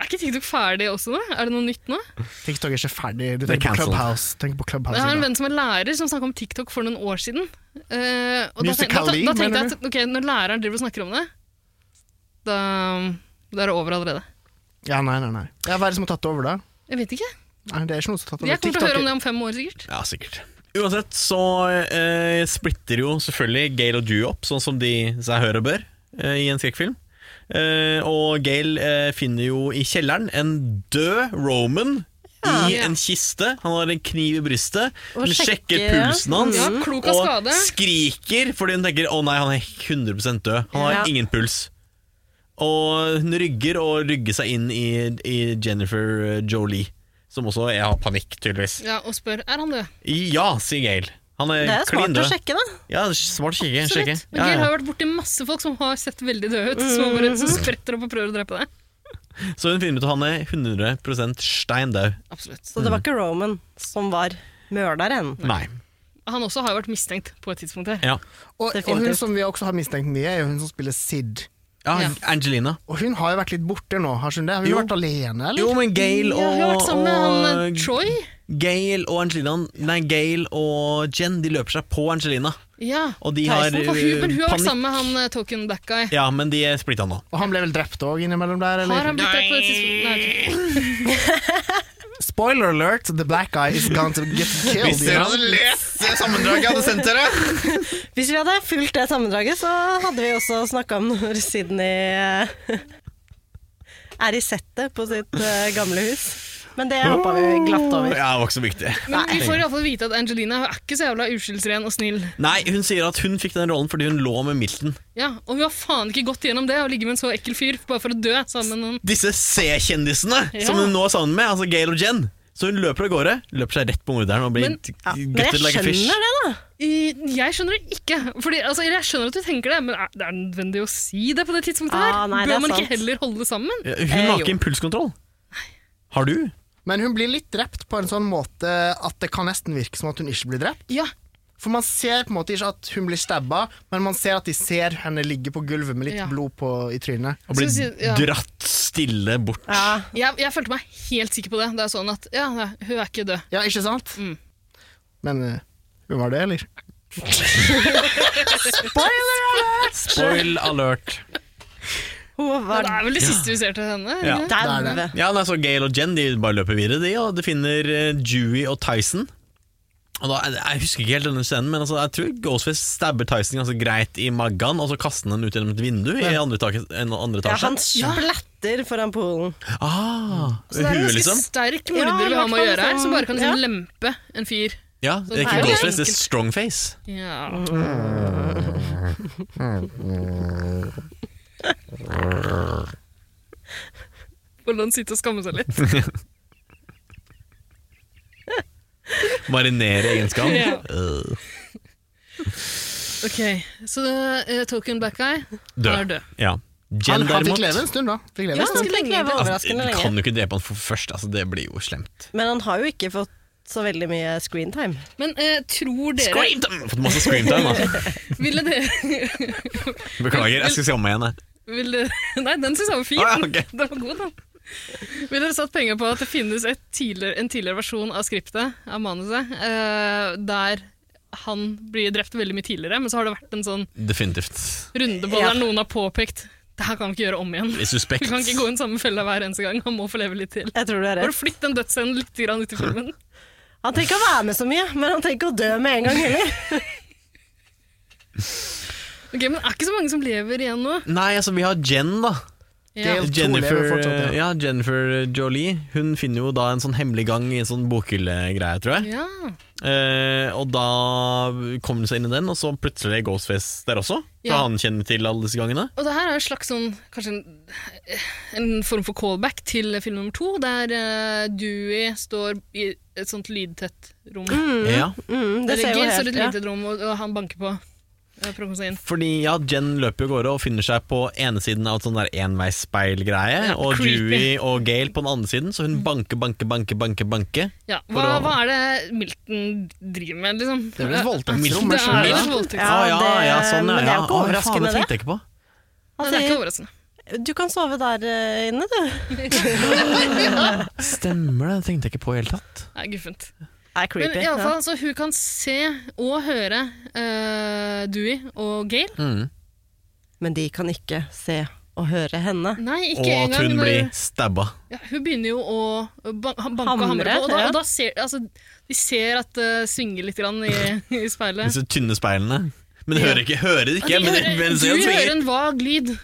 Er ikke TikTok ferdig også nå? Er det noe nytt nå? TikTok er ikke ferdig. Du Det tenker er på cancelled. Clubhouse. Tenk på Clubhouse Jeg har en i dag. venn som er lærer, som snakka om TikTok for noen år siden. Eh, og da, tenk, da, Musical.ly, da tenkte jeg mener at ok, når læreren driver og snakker om det, da, da er det over allerede. Ja, nei, nei, nei. Ja, Hva er det som har tatt det over, da? Jeg vet ikke. Nei, det er ikke noen som har tatt over. Jeg kommer til å høre om er- det om fem år, sikkert. Ja, sikkert. Uansett så eh, splitter jo selvfølgelig Gale og Drew opp, sånn som de seg hør og bør eh, i en skrekkfilm. Eh, og Gale eh, finner jo i kjelleren en død Roman i Ja. en kiste. Han har en kniv i brystet. Og Hun sjekker, sjekker- pulsen hans Ja, klok av og skade. skriker fordi hun tenker 'Å nei, han er 100 død'. Han Ja. har ingen puls. Og hun rygger og rygger seg inn i, i Jennifer eh, Jolie, som også er- har panikk, tydeligvis. Ja, og spør er han død. Ja, sier Gail. Han er, Det er klin smart å død. sjekke, da. Ja, smart kikke. Sjekke. Absolutt. Men Ja, Geir har ja. jo vært borti masse folk som har sett veldig døde ut, som, bare, som spretter opp og prøver å drepe deg. Så hun finner ut at han er 100 stein død. Absolutt. Så det var ikke Roman som var mørderen. Nei. Han også har jo vært mistenkt på et tidspunkt her. Ja. Og, og hun Definitivt. som vi også har mistenkt mye, er jo hun som spiller Sid. ja, Ja. Angelina. Og hun har jo vært litt borte nå, har ikke hun det? Har hun Jo. vært alene, eller? Jo, men Gail Ja, og, hun har vært sammen med han eh, og Troy. Gail og Angelina Nei, Gail og Jen De løper seg på Angelina. Ja. Og de har Tyson, for hun, men hun har panikk. vært sammen med han eh, token black guy. Ja, men de er splitta nå. Og han ble vel drept òg innimellom der, eller? Har han blitt det på et tidspunkt? Nei, ok. Spoiler alert, the black guy is going to get killed. you know? lest det sammendraget jeg hadde sendt dere! Hvis vi hadde fulgt det sammendraget, så hadde vi også snakka om når Sydney eh, er i settet på sitt eh, gamle hus. Men det hoppa vi glatt Ja, over. det var ikke så viktig. Men vi får iallfall vite at Angelina er ikke så jævla uskyldsren og snill. Nei, hun sier at hun fikk den rollen fordi hun lå med Milton. Ja, Og hun har faen ikke gått gjennom det å ligge med en så ekkel fyr bare for å dø sammen med noen. disse C-kjendisene Ja. som hun nå er sammen med, altså Gail og Jen. Så hun løper av gårde, løper seg rett på morderen og blir Men- Ja, men jeg gutted like a fish. skjønner det, da. I- Jeg skjønner det ikke. Fordi, altså, jeg skjønner at du tenker det, men er det er nødvendig å si det på det tidspunktet her? Ah, nei, det Bør er man sant. ikke heller holde det sammen? Ja, Eh, Hun har jo. ikke impulskontroll. Har du? Men hun blir litt drept på en sånn måte at det kan nesten virke som at hun ikke blir drept. Ja, For man ser på en måte ikke at hun blir stabba, men man ser at de ser henne ligge på gulvet med litt Ja. blod på, i trynet. Og blir Skal vi si- ja. dratt stille bort. Ja. jeg, jeg følte meg helt sikker på det. Det er sånn at ja, nei, hun er ikke død. Ja, ikke sant? Mm. Men eh, hun var det, eller? Spoil alert. Hun Ja, var det er vel det siste vi ser til henne? er det Ja. ikke det? Det er daud. det. Ja, nei, så Gail og Jen de bare løper videre, de, og de finner eh, Dewey og Tyson. Og da, jeg husker ikke helt denne scenen, men altså, jeg tror Ghostface stabber Tyson ganske greit i maggan, og så kaster han den ut gjennom et vindu i andre, taket, en andre Ja, etasje. han splatter foran Polen. Ah, Mm. Så det er en huet, ganske liksom. sterk Ja, i morder vi har hvert med å fall gjøre her, som bare kan liksom sånn- lempe en fyr. Ja, det er det er ikke jo Ghostface, det er enkelt. Strongface. Ja. Hvordan sitte og skamme seg litt. Marinere egen skam. Ja. Øh. Ok, Så eh, Token Black Guy Død. er død. Ja. Jen, Han, han fikk derimot leve en stund, da. Fikk leve Ja, en stund. han fikk leve altså, overraskende Du lenge. kan jo ikke drepe han for først, altså, det blir jo slemt. Men han har jo ikke fått så veldig mye screentime. Men eh, tror dere Scream time! Fått masse scream time, da. Ville dere Beklager, jeg skal se om meg igjen. jeg. ville, Nei, den syns jeg var fin. Ah, ja, ok. Den var god, den. Ville dere satt penger på at det finnes et tidligere, en tidligere versjon av skriptet, av manuset, eh, der han blir drept veldig mye tidligere, men så har det vært en sånn Definitivt. runde på Ja. der noen har påpekt det her kan vi ikke gjøre om igjen. I Suspekt. Vi kan ikke gå i den samme fella hver eneste gang. Han må få leve litt til. Jeg tror du har Bare rett. flytt den dødsscenen litt grann ut i filmen. Han trenger ikke å være med så mye, men han trenger ikke å dø med en gang heller. Ok, men det er ikke så mange som lever igjen nå. Nei, altså, vi har Jen, da. Ja. Dale. Jeg tror Jennifer, lever fortsatt, ja. ja, Jennifer Jolie Hun finner jo da en sånn hemmelig gang i en sånn bokhyllegreie, tror jeg. ja. Eh, og da kommer hun seg inn i den, og så plutselig er Ghostface der også. For Ja. han kjenner til alle disse gangene. Og det her er en slags sånn, kanskje en, en form for callback til film nummer to, der eh, Dewey står i et sånt lydtett rom. Ja. Mm, det Eller ser jo Gil helt står i et ja. lydtett rom, og, og han banker på. eh, for å komme seg inn. Fordi ja, Jen løper jo av gårde og finner seg på ene siden av et sånn der enveisspeilgreie, Ja, og creepy. Dewey og Gail på den andre siden, så Mm. hun banker, banker, banker, banker. banker. Ja, For hva, å- hva er det Milton driver med, liksom? Det er vel et voldtektsrom? Milton. jeg Det er skjønner jo det. et voldtekt. Ja, ah, ja, det- ja, sånn, ja, men det er jo ja. ikke Ah, overraskende, faen, det. det. tenkte jeg ikke på. Han Nei, det er ikke sier overraskende. du kan sove der eh, inne, du. Stemmer det, det tenkte jeg ikke på i det hele tatt. Nei, guffent. Det er Men creepy. i alle ja. fall, så hun kan se og høre eh, Dewey og Gail. Mm. Men de kan ikke se og høre henne. Nei, ikke Og at engang hun når- blir stabba. ja, Hun begynner jo å ban banke og Hamre, hamre på, og da, ja. og da ser altså, de ser at det svinger litt grann i, i speilet. Disse tynne speilene. Men hører ikke, hører ikke, Altså, men, de hører- men ser du at hører svinger. en vag lyd.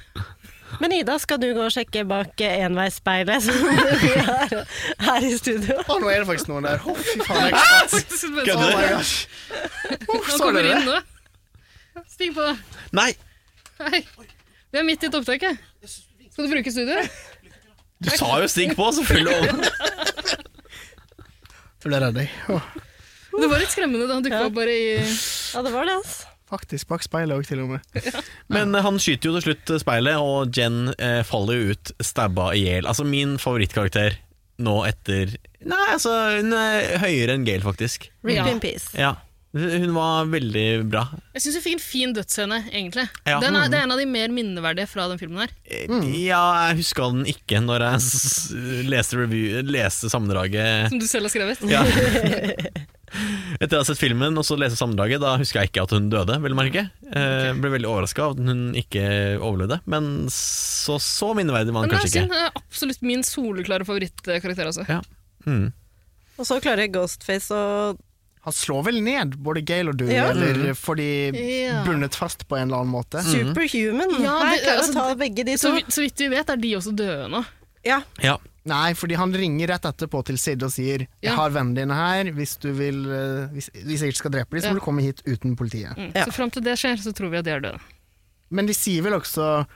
Men Ida, skal du gå og sjekke bak eh, enveisspeilet som vi har her i studio? Å, nå er det faktisk noen der. Å, fy faen. Jeg, oh Kødder du? my gosh. Uff, Han så kommer dere inn det? nå. Stig på. Nei, Hei. Vi er midt i et opptak. jeg. Skal du bruke studio? du sa jo stikk på, selvfølgelig. Ble redd, jeg. Åh, Det var litt skremmende da han dukka Ja. opp bare i Ja, det var det, altså. Faktisk bak speilet òg, til og med. Men eh, han skyter jo til slutt eh, speilet, og Jen eh, faller jo ut stabba i hjel. Altså min favorittkarakter nå etter Nei, altså hun er høyere enn Gail, faktisk. Rip Ja. in peace. Ja. Hun var veldig bra. Jeg syns vi fikk en fin dødsscene, egentlig. Ja. Mm. Den er, det er en av de mer minneverdige fra den filmen her. Eh, Mm. Ja, jeg huska den ikke når jeg s- leste, review, leste sammendraget Som du selv har skrevet. Ja. Etter å ha sett filmen og så lese sammendraget, da husker jeg ikke at hun døde. Vel merke. Eh, ble veldig overraska av at hun ikke overlevde. Men så, så minneverdig var Men hun det er kanskje synd. ikke. Det er absolutt min soleklare favorittkarakter. Altså. Ja. Mm. Og så klarer Ghostface å Han slår vel ned både Gail og Dewey, Ja. eller får de Ja. bundet fast på en eller annen Mm. måte? Mm. Superhuman. Ja, Her det- klarer altså, å ta begge de Så, to. vi- så vidt vi vet, er de også døde nå. Ja. ja. Nei, fordi han ringer rett etterpå til Sid og sier Jeg Ja. har vennene dine her, hvis du vil eh, Hvis, hvis jeg ikke skal drepe dem, så Ja. Mm. må du komme hit uten politiet. Ja. Så fram til det skjer, så tror vi at de er døde. Men de sier vel også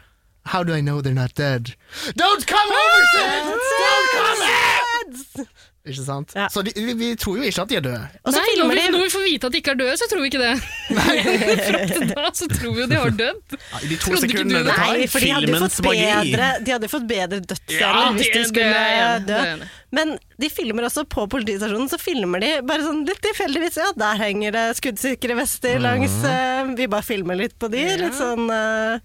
How do I know they're not dead? Don't come over, Ah! Sid! Don't come here! Ikke sant? Ja. Så de, vi, vi tror jo ikke at de er døde. Og så Nei, når filmer vi, når de vi får vite at de ikke er døde, så tror vi ikke det. fram til da så tror vi jo de har dødd. Ja, I de to Trodde ikke sekundene du det tar. Nei, for de hadde jo Filmens fått magi. bedre, de hadde fått bedre dødsscener Ja, hvis det- de det skulle er jeg enig i, det dø. er jeg enig i. Men de filmer også på politistasjonen, så filmer de bare sånn litt tilfeldigvis. Ja, der henger det skuddsikre vester langs Mhm. eh, Vi bare filmer litt på de. Ja. Litt sånn eh,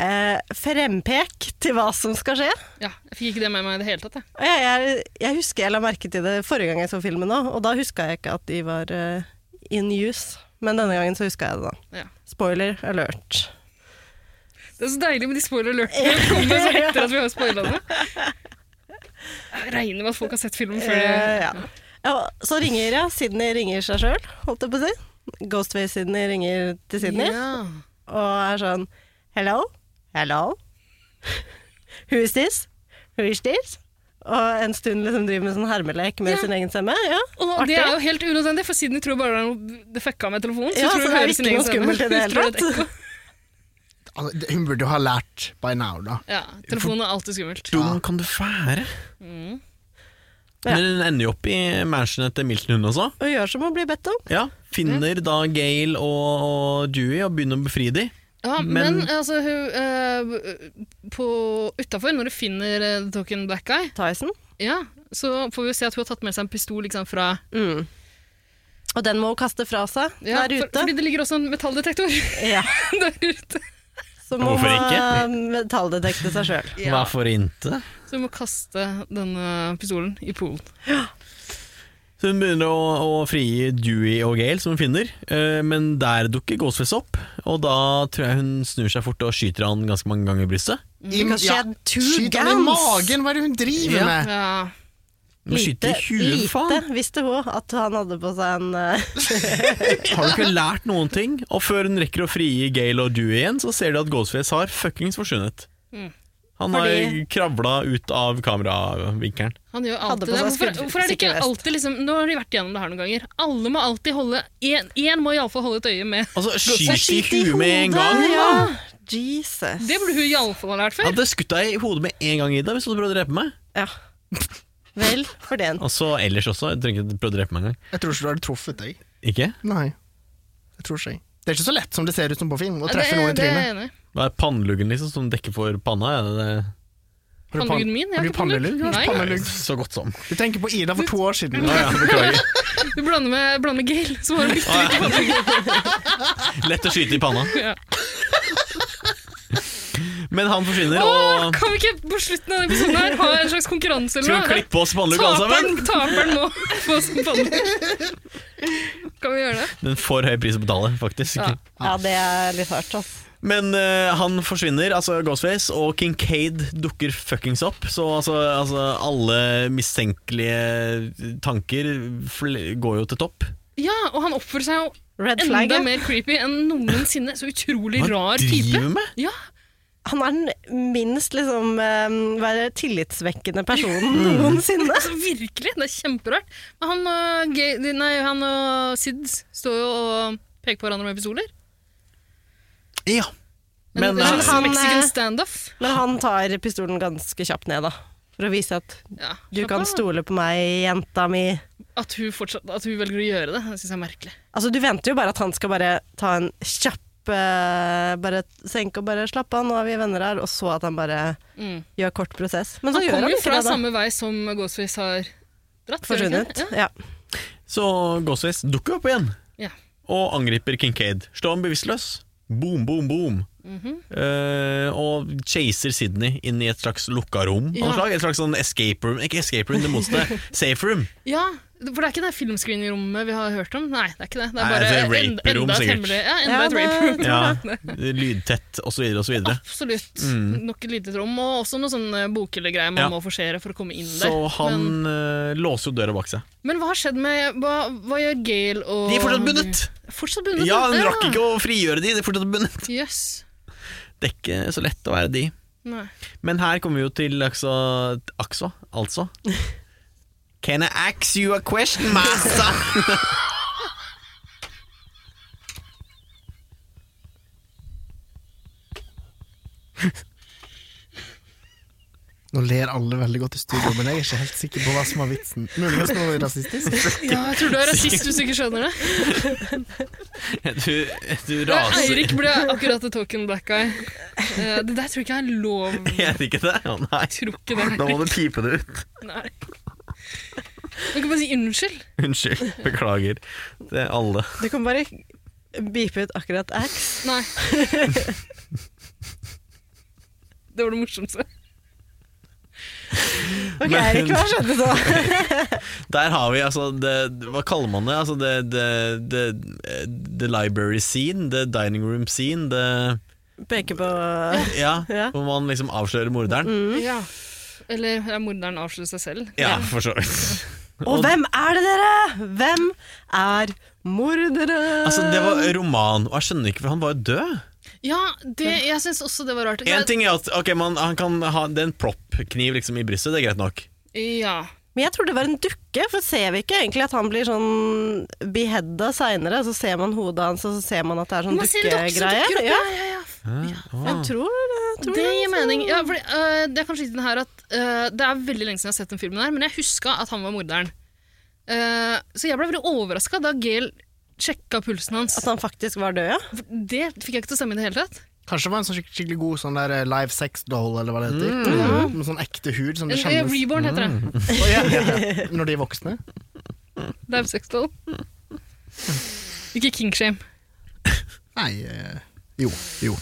eh, frempek til hva som skal skje. Ja, jeg fikk ikke det med meg i det hele tatt. Jeg. Og jeg, jeg, jeg husker jeg la merke til det forrige gang jeg så filmen òg, og da huska jeg ikke at de var eh, in use. Men denne gangen så huska jeg det, da. Ja. Spoiler alert. Det er så deilig med de spoiler alertene som kommer så etter at vi har spoila det. Jeg regner med at folk har sett filmen før. de- Eh, ja. Ja, så ringer ja, Sydney ringer seg sjøl, holdt jeg på å si. Ghostface Sydney ringer til Sydney Ja. og er sånn Hello? Hello? Who is this? Who is this? Og en stund liksom driver med sånn hermelek med Ja. sin egen stemme. Ja, Og det er jo helt unødvendig, for Sydney tror bare det er noe- det fucka med telefonen. Så Ja, så tror hun det er hører sin ikke egen noe stemme. skummelt i det Hun tror hele det er et ekko. Altså, det- hun burde jo ha lært by now, da. Ja, telefonen er alltid skummelt. Dum kan du være. Mm. Ja. Men hun ender jo opp i mansionet til Milton, hun også. Og gjør som hun blir bedt om. Ja, Finner Mm. da Gail og, og Dewey og begynner å befri dem. Ja, Men- men, altså, hun eh, på utafor, når du finner eh, The Talking Black Guy, Tyson. ja, så får vi jo se at hun har tatt med seg en pistol liksom, fra Mm. Og den må hun kaste fra seg ja, der for, ute. Fordi det ligger også en metalldetektor Ja, der ute. så må Hvorfor hun ikke? eh, metalldetekte seg sjøl. Hva for inte? Så hun må kaste denne pistolen i poolen. Så hun begynner å, å frigi Dewey og Gail, som hun finner, eh, men der dukker Ghostface opp. Og da tror jeg hun snur seg fort og skyter han ganske mange Mm, ganger i brystet. I, Because she had two Skyt han i guns. magen, hva er det hun driver Ja. med? Ja. Beskytte i huet, lite faen! visste hun at han hadde på seg en eh, Har du ikke lært noen ting? Og før hun rekker å frigi Gale og Dewey igjen, så ser du at Ghostface har fuckings forsvunnet. Han har Fordi- kravla ut av kameravinkelen. Han gjør Hadde alltid på det. seg Hvorfor, skudd- hvorfor er det ikke sikkervest. alltid liksom, Nå har de vært igjennom det her noen ganger. Alle må alltid holde Én én må iallfall holde et øye med Altså, Jeg skyt i skyter huet med en gang! hodet, da! Ja. Jesus. Det burde hun iallfall ha lært Jeg før. hadde skutt deg i hodet med en gang, Ida, hvis du hadde prøvd å drepe meg. Ja. Vel fortjent. Og så ellers også. Jeg trenger ikke prøve å drepe meg engang. Jeg tror ikke du hadde truffet deg. Ikke? Nei. Jeg tror ikke. Det er ikke så lett som det ser ut som på film, å Ja, treffe noen i det er jeg trynet. enig i. Hva er panneluggen liksom, som dekker for panna? Er det det? Har du pan- Panneluggen min? Har Jeg har du ikke pannelugg. pannelugg? Kanskje Nei. pannelugg? Så godt som. Du tenker på Ida for to år siden. Ja, ja, beklager. Du blander med, blander med Gail, som har en viktig Lett å skyte i panna. Ja. Men han forsvinner, Åh, og Kan vi ikke på slutten av denne episoden her ha en slags konkurranse skal eller vi noe? klippe oss pannelugg alle sammen? Taperen, taperen må få sin pannelugg. Kan vi gjøre det? Den får høy pris å betale, faktisk. Ja. Ja, det er litt hardt, altså. Men eh, han forsvinner, altså Ghostface, og Kincaid dukker fuckings opp. Så altså, altså alle mistenkelige tanker fl- går jo til topp. Ja, og han oppfører seg jo Red flag. enda ja. mer creepy enn noensinne. Så utrolig Hva rar driver type. du med? Ja, Han er den minst liksom eh, være tillitsvekkende personen Mm. noensinne. altså Virkelig, det er kjemperart. Men han og, Ga- nei, han og Sids står jo og peker på hverandre med pistoler. Ja. Men, Men, det er eh, en slags han, eh, Mexican standoff. Men han tar pistolen ganske kjapt ned, da. For å vise at Ja, du slapp kan av. stole på meg, jenta mi. At hun, fortsatt, at hun velger å gjøre det, det syns jeg er merkelig. Altså, du venter jo bare at han skal bare ta en kjapp eh, bare senke og bare slappe av, nå er vi venner her, og så at han bare Mm. gjør kort prosess. Men så Han gjør kommer han jo ikke fra det, da. samme vei som Ghostface har dratt. gjør han ikke Forsvunnet. det? Ja. Så Ghostface dukker opp igjen Ja. Ja. og angriper Kincaid. Slår ham bevisstløs. Boom, boom, boom. Mhm. Eh, og chaser Sydney inn i et slags lukka rom. Ja. av noe Slag, et slags sånn escape room. Ikke escape room, det motsatte. Safe room. Ja, for det er ikke det filmscreening-rommet vi har hørt om. Nei, det er ikke det. Det Nei, er bare det er en- rape-rom, enda et sikkert. hemmelig- Ja, enda Ja, et det- rape-rom. Ja, lydtett, og så videre, og så videre. Ah, Absolutt. Nok et lite rom, og også noe sånn eh, bokhylle-greier man Mm. Ja. må forsere for å komme inn der. Så han eh, låser jo døra bak seg. Men, men hva har skjedd med Hva, hva gjør Gail og De er fortsatt bundet! Fortsatt bundet? Ja, hun rakk ikke å frigjøre de, de er fortsatt bundet. Jøss. Det er ikke så lett å være de. Nei. Men her kommer vi jo til aksa, aksa altså. Can I ask you a question, master? Nå ler alle veldig godt i studio, men jeg er ikke helt sikker på hva som var vitsen. Muligens noe rasistisk. Ja, jeg tror du er rasist hvis du ikke skjønner det. du, du raser. Eirik ble akkurat et token black guy. Eh, Det der tror jeg ikke er lov. Gjør ikke det? Å nei. Jeg tror ikke det er Da må du pipe det ut. Nei. Du kan bare si unnskyld. Unnskyld. Beklager. Det er alle. Du kan bare beepe ut akkurat X. Nei. Det var det morsomste. Ok, Men- Erik, hva skjedde da? Der har vi altså det, Hva kaller man det? Altså det, det, det, eh, the library scene, the dining room scene, the Peker på Ja, Ja. hvor man liksom avslører morderen. Ja. Eller ja, morderen avslører seg selv. Ja, for så vidt. Og hvem er det, dere? Hvem er mordere? Altså, det var roman, og jeg skjønner ikke, for han var jo død. Ja, det, jeg syns også det var rart. En ting er at ok, man, han kan ha det er en proppkniv liksom, i brystet, det er greit nok. Ja. Men jeg tror det var en dukke, for ser vi ikke egentlig at han blir sånn beheadda seinere? Så ser man hodet hans, og så ser man at det er sånn Man ser det også dukker dukkegreie. opp, Ja, ja, ja, ja. jeg tror, jeg tror Ah. altså. Det gir mening. Ja, fordi, øh, det er kanskje ikke den her at øh, Det er veldig lenge siden jeg har sett den filmen, her men jeg huska at han var morderen. Eh, så jeg ble veldig overraska da Gail sjekka pulsen hans. At han faktisk var død, ja. For Det fikk jeg ikke til å stemme i det hele tatt. Kanskje det var en sånn skik- skikkelig god sånn der eh, live sex doll, eller hva det Mm. heter. Med sånn ekte hud som det Eller, eh, kjennes Reborn heter det. Å, ja, ja, ja. Når de er voksne. Det er sexdoll. Ikke kingshame. Nei eh, Jo. Jo.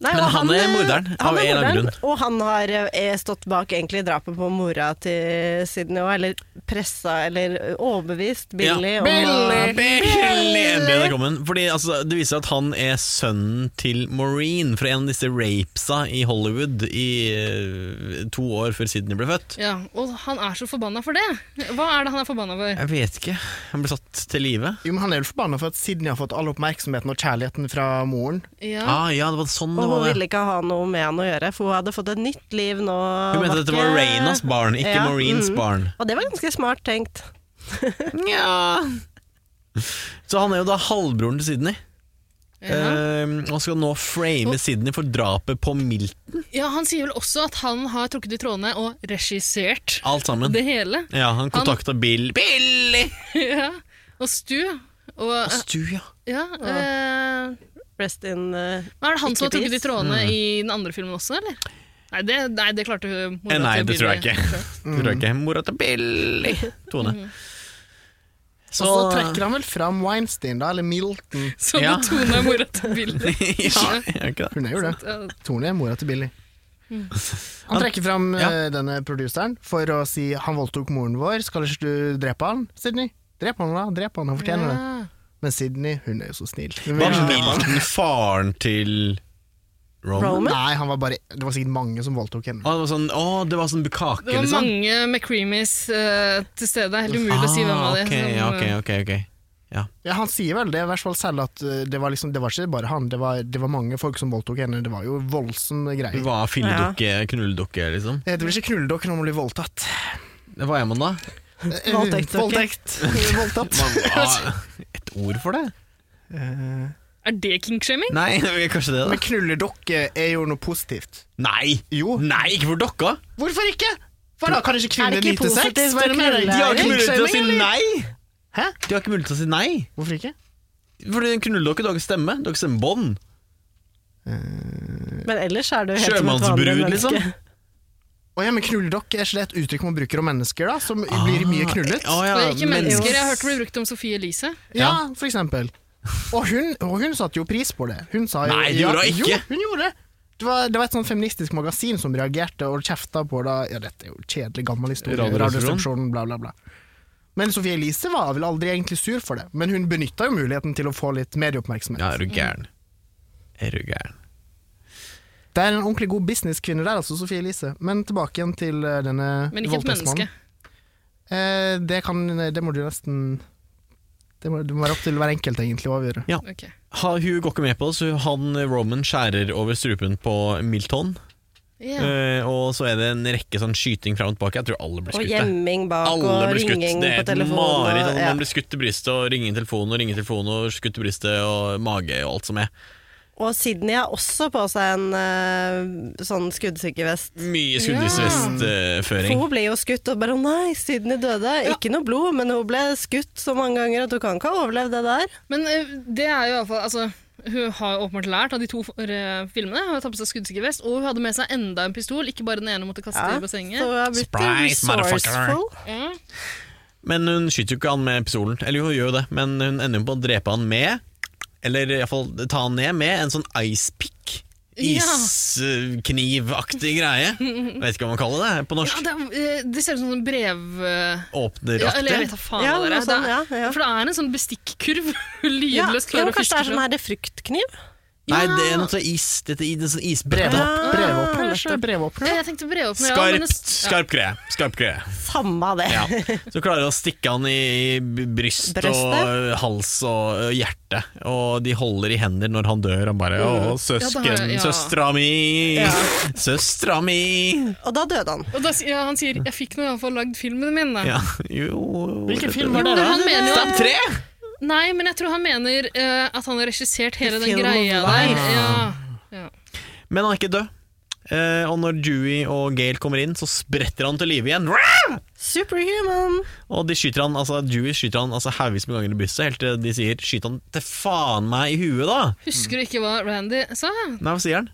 Nei, Men og han er eh, morderen, han av er en eller annen morderen, Og han har eh, stått bak egentlig drapet på mora til Sydney òg, eller pressa eller overbevist Billy Ja. om å- Billy! Endelig er det kommet. Fordi altså, Det viser at han er sønnen til Maureen fra en av disse rapesa i Hollywood i eh, to år før Sydney ble født. Ja, og han er så forbanna for det. Hva er det han er forbanna for? Jeg vet ikke. Han ble satt til live. Jo, men Han er vel forbanna for at Sydney har fått all oppmerksomheten og kjærligheten fra moren. Ja. Ah, ja, det var sånn Og hun det var. ville det. ikke ha noe med han å gjøre, for hun hadde fått et nytt liv nå. Hun mente at dette var altså. ikke- Rainas barn, ikke Ja, Maureens mm. barn. Og det var ganske smart tenkt. Så han er jo da halvbroren til Sydney. Ja. Eh, og skal nå frame Sydney for drapet på Milton. ja, Han sier vel også at han har trukket i trådene og regissert Alt sammen. det hele. Ja, Han kontakta Bill Billy! Ja. Og Stu. Og, Og Stu, ja. ja, eh, Rest in eh, er det han som har trukket i peace. trådene Mm. i den andre filmen også, eller? Nei, det, nei, det klarte Eh, hun mora Nei, til det tror jeg Billy. ikke. Det tror jeg ikke. Mora til Billy! Tone. Og så trekker han vel fram Weinstein, da, eller Milton. Som Ja. ja. Tone er mora til Billy. ja, gjør ikke det. Hun er jo det. Ja. Tony er mora til Billy. Mm. Han trekker fram Ja. eh, denne produceren for å si han voldtok moren vår, skal ikke du drepe han, Sydney? Drep han da, drep han, han fortjener det. Men Sydney, hun er jo så snill. Hun vil Var ikke drepe han. Milton faren til Roman? Roman. Nei, han var bare, det var sikkert mange som voldtok henne. Å, det var sånn, å, det var sånn bukake, Det var liksom? mange McCreamies eh, til stede. Det er helt umulig å si hvem av Ah, Ah, dem. ok, som, ja, ok, ok, ok. Ja. Ja, han sier vel det, i hvert fall selv, at eh, det var, liksom, det var ikke bare han, det var, det var mange folk som voldtok henne. Det var jo voldsomme Hun greier. var filledukke, knulledukke, liksom? Det heter vel ikke knulledokke når man blir voldtatt. Hva er man da? Eh, Voldtektsdokke. Voldtekt. Voldtatt. Man har et ord for det? eh, Er det kinkshaming? Nei, kanskje det, Men da. knulledokke er jo noe positivt. Nei! Jo. Nei, ikke for dokka! Hvorfor ikke? For da kan ikke Er kvinner det ikke nyte sex? positivt Hva er det å med knulle? deg? De har ikke mulighet til å si Shaming, eller? nei! Hæ? De har ikke mulighet til å si nei. Hvorfor ikke? Fordi en knulledokke, dere stemmer. Dere stemmer bånd. Men ellers er det jo helt som et vanlig Sjømannsbrud, menneske. liksom. Å ja, men knulledokk er ikke det et uttrykk man bruker om mennesker, da? Som blir mye knullet? Å, ja, Det er ikke men- mennesker. Jeg har hørt det bli brukt om Sophie Elise. Ja, for eksempel. Og hun, og hun satte jo pris på det. Hun sa jo Nei, det ja, gjorde hun ikke. Jo, hun gjorde det. Det var, det var et sånt feministisk magasin som reagerte og kjefta på det. Ja, dette er jo kjedelig, gammel historie. Radioresepsjon. Radioresepsjonen, bla, bla, bla. Men Sofie Elise var vel aldri egentlig sur for det. Men hun benytta jo muligheten til å få litt medieoppmerksomhet. Ja, er du gæren? Er du gæren? Det er en ordentlig god businesskvinne der, altså, Sofie Elise. Men tilbake igjen til eh, denne Men ikke et voldtektsmannen. menneske. Eh, det, kan, det må du nesten det må, det må være opp til hver enkelt egentlig å avgjøre. Ok. Ha, hun går ikke med på det, så han eh, Roman skjærer over strupen på Milton. Ja. Eh, og så er det en rekke sånn skyting fram og tilbake. Jeg tror alle blir Og skutt. jeg. gjemming bak, Alle og blir skutt. ringing Det er på et telefonen. mareritt. og- at ja. Man blir skutt i brystet og ringe i telefonen og ringe i telefonen og skutt i brystet og mage og alt som er. Og Sydney har også på seg en eh, sånn skuddsyke vest. Mye For skuddvestføring. hun ble jo skutt, og bare 'å nei, Sydney døde'. Ikke noe blod, men hun ble skutt så mange ganger at hun kan ikke ha overlevd det der. Men eh, det er jo iallfall altså, Hun har jo åpenbart lært av de to for, eh, filmene. Hun har tatt på seg skuddsikker vest, og hun hadde med seg enda en pistol. Ikke bare den ene hun måtte kaste Så i bassenget. hun har blitt Surprise, motherfucker. resourceful. Ja. Men hun skyter jo ikke han med pistolen. Eller jo, hun gjør jo det, men hun ender jo på å drepe han med eller iallfall ta han ned med en sånn ice pick. Ja. Isknivaktig greie. Vet ikke hva man kaller det på Ja, norsk. det, er, eh, det ser ut som en brev... eh, Ja, eller jeg Åpneraktig. vet da faen Ja, hva det er. noe sånn, det er ja, ja. For det er en sånn bestikkurv hun Ja, lydløst jo, klarer å kanskje det fiske er sånn her fruktkniv? Nei, det er noe sånn is, dette er en sånn isbrev. Brevåpner. Ja, Ah, Brevåpner. nettopp. Brevåpner. Ja, Eh, Jeg tenkte brevåpner. ja, men det- Skarpt, skarp greie. Skarp greie. Samme det. Ja. Så klarer jeg å stikke han i b- bryst og Brøstet. hals og ø, hjerte, og de holder i hender når han dør. Han bare 'Å, søsken, Ja, da har jeg- ja. søstra mi, Ja. søstra mi'. Og da døde han. Ja. Og da, sier- ja, han sier 'jeg fikk nå iallfall lagd filmen min', da. Ja, jo Hvilken dette- film var det, Men da? han mener jo Stab tre! Nei, men jeg tror han mener eh, at han har regissert hele den Film of greia der. life. Ja. Ja. Men han er ikke død. Eh, og når Dewey og Gail kommer inn, så spretter han til live igjen. Rah! Superhuman. Og de skyter han, altså Dewey skyter han altså, haugevis med ganger i brystet, helt til de sier 'skyt han til faen meg i huet', da. Husker du ikke hva Randy sa? Nei, hva sier han?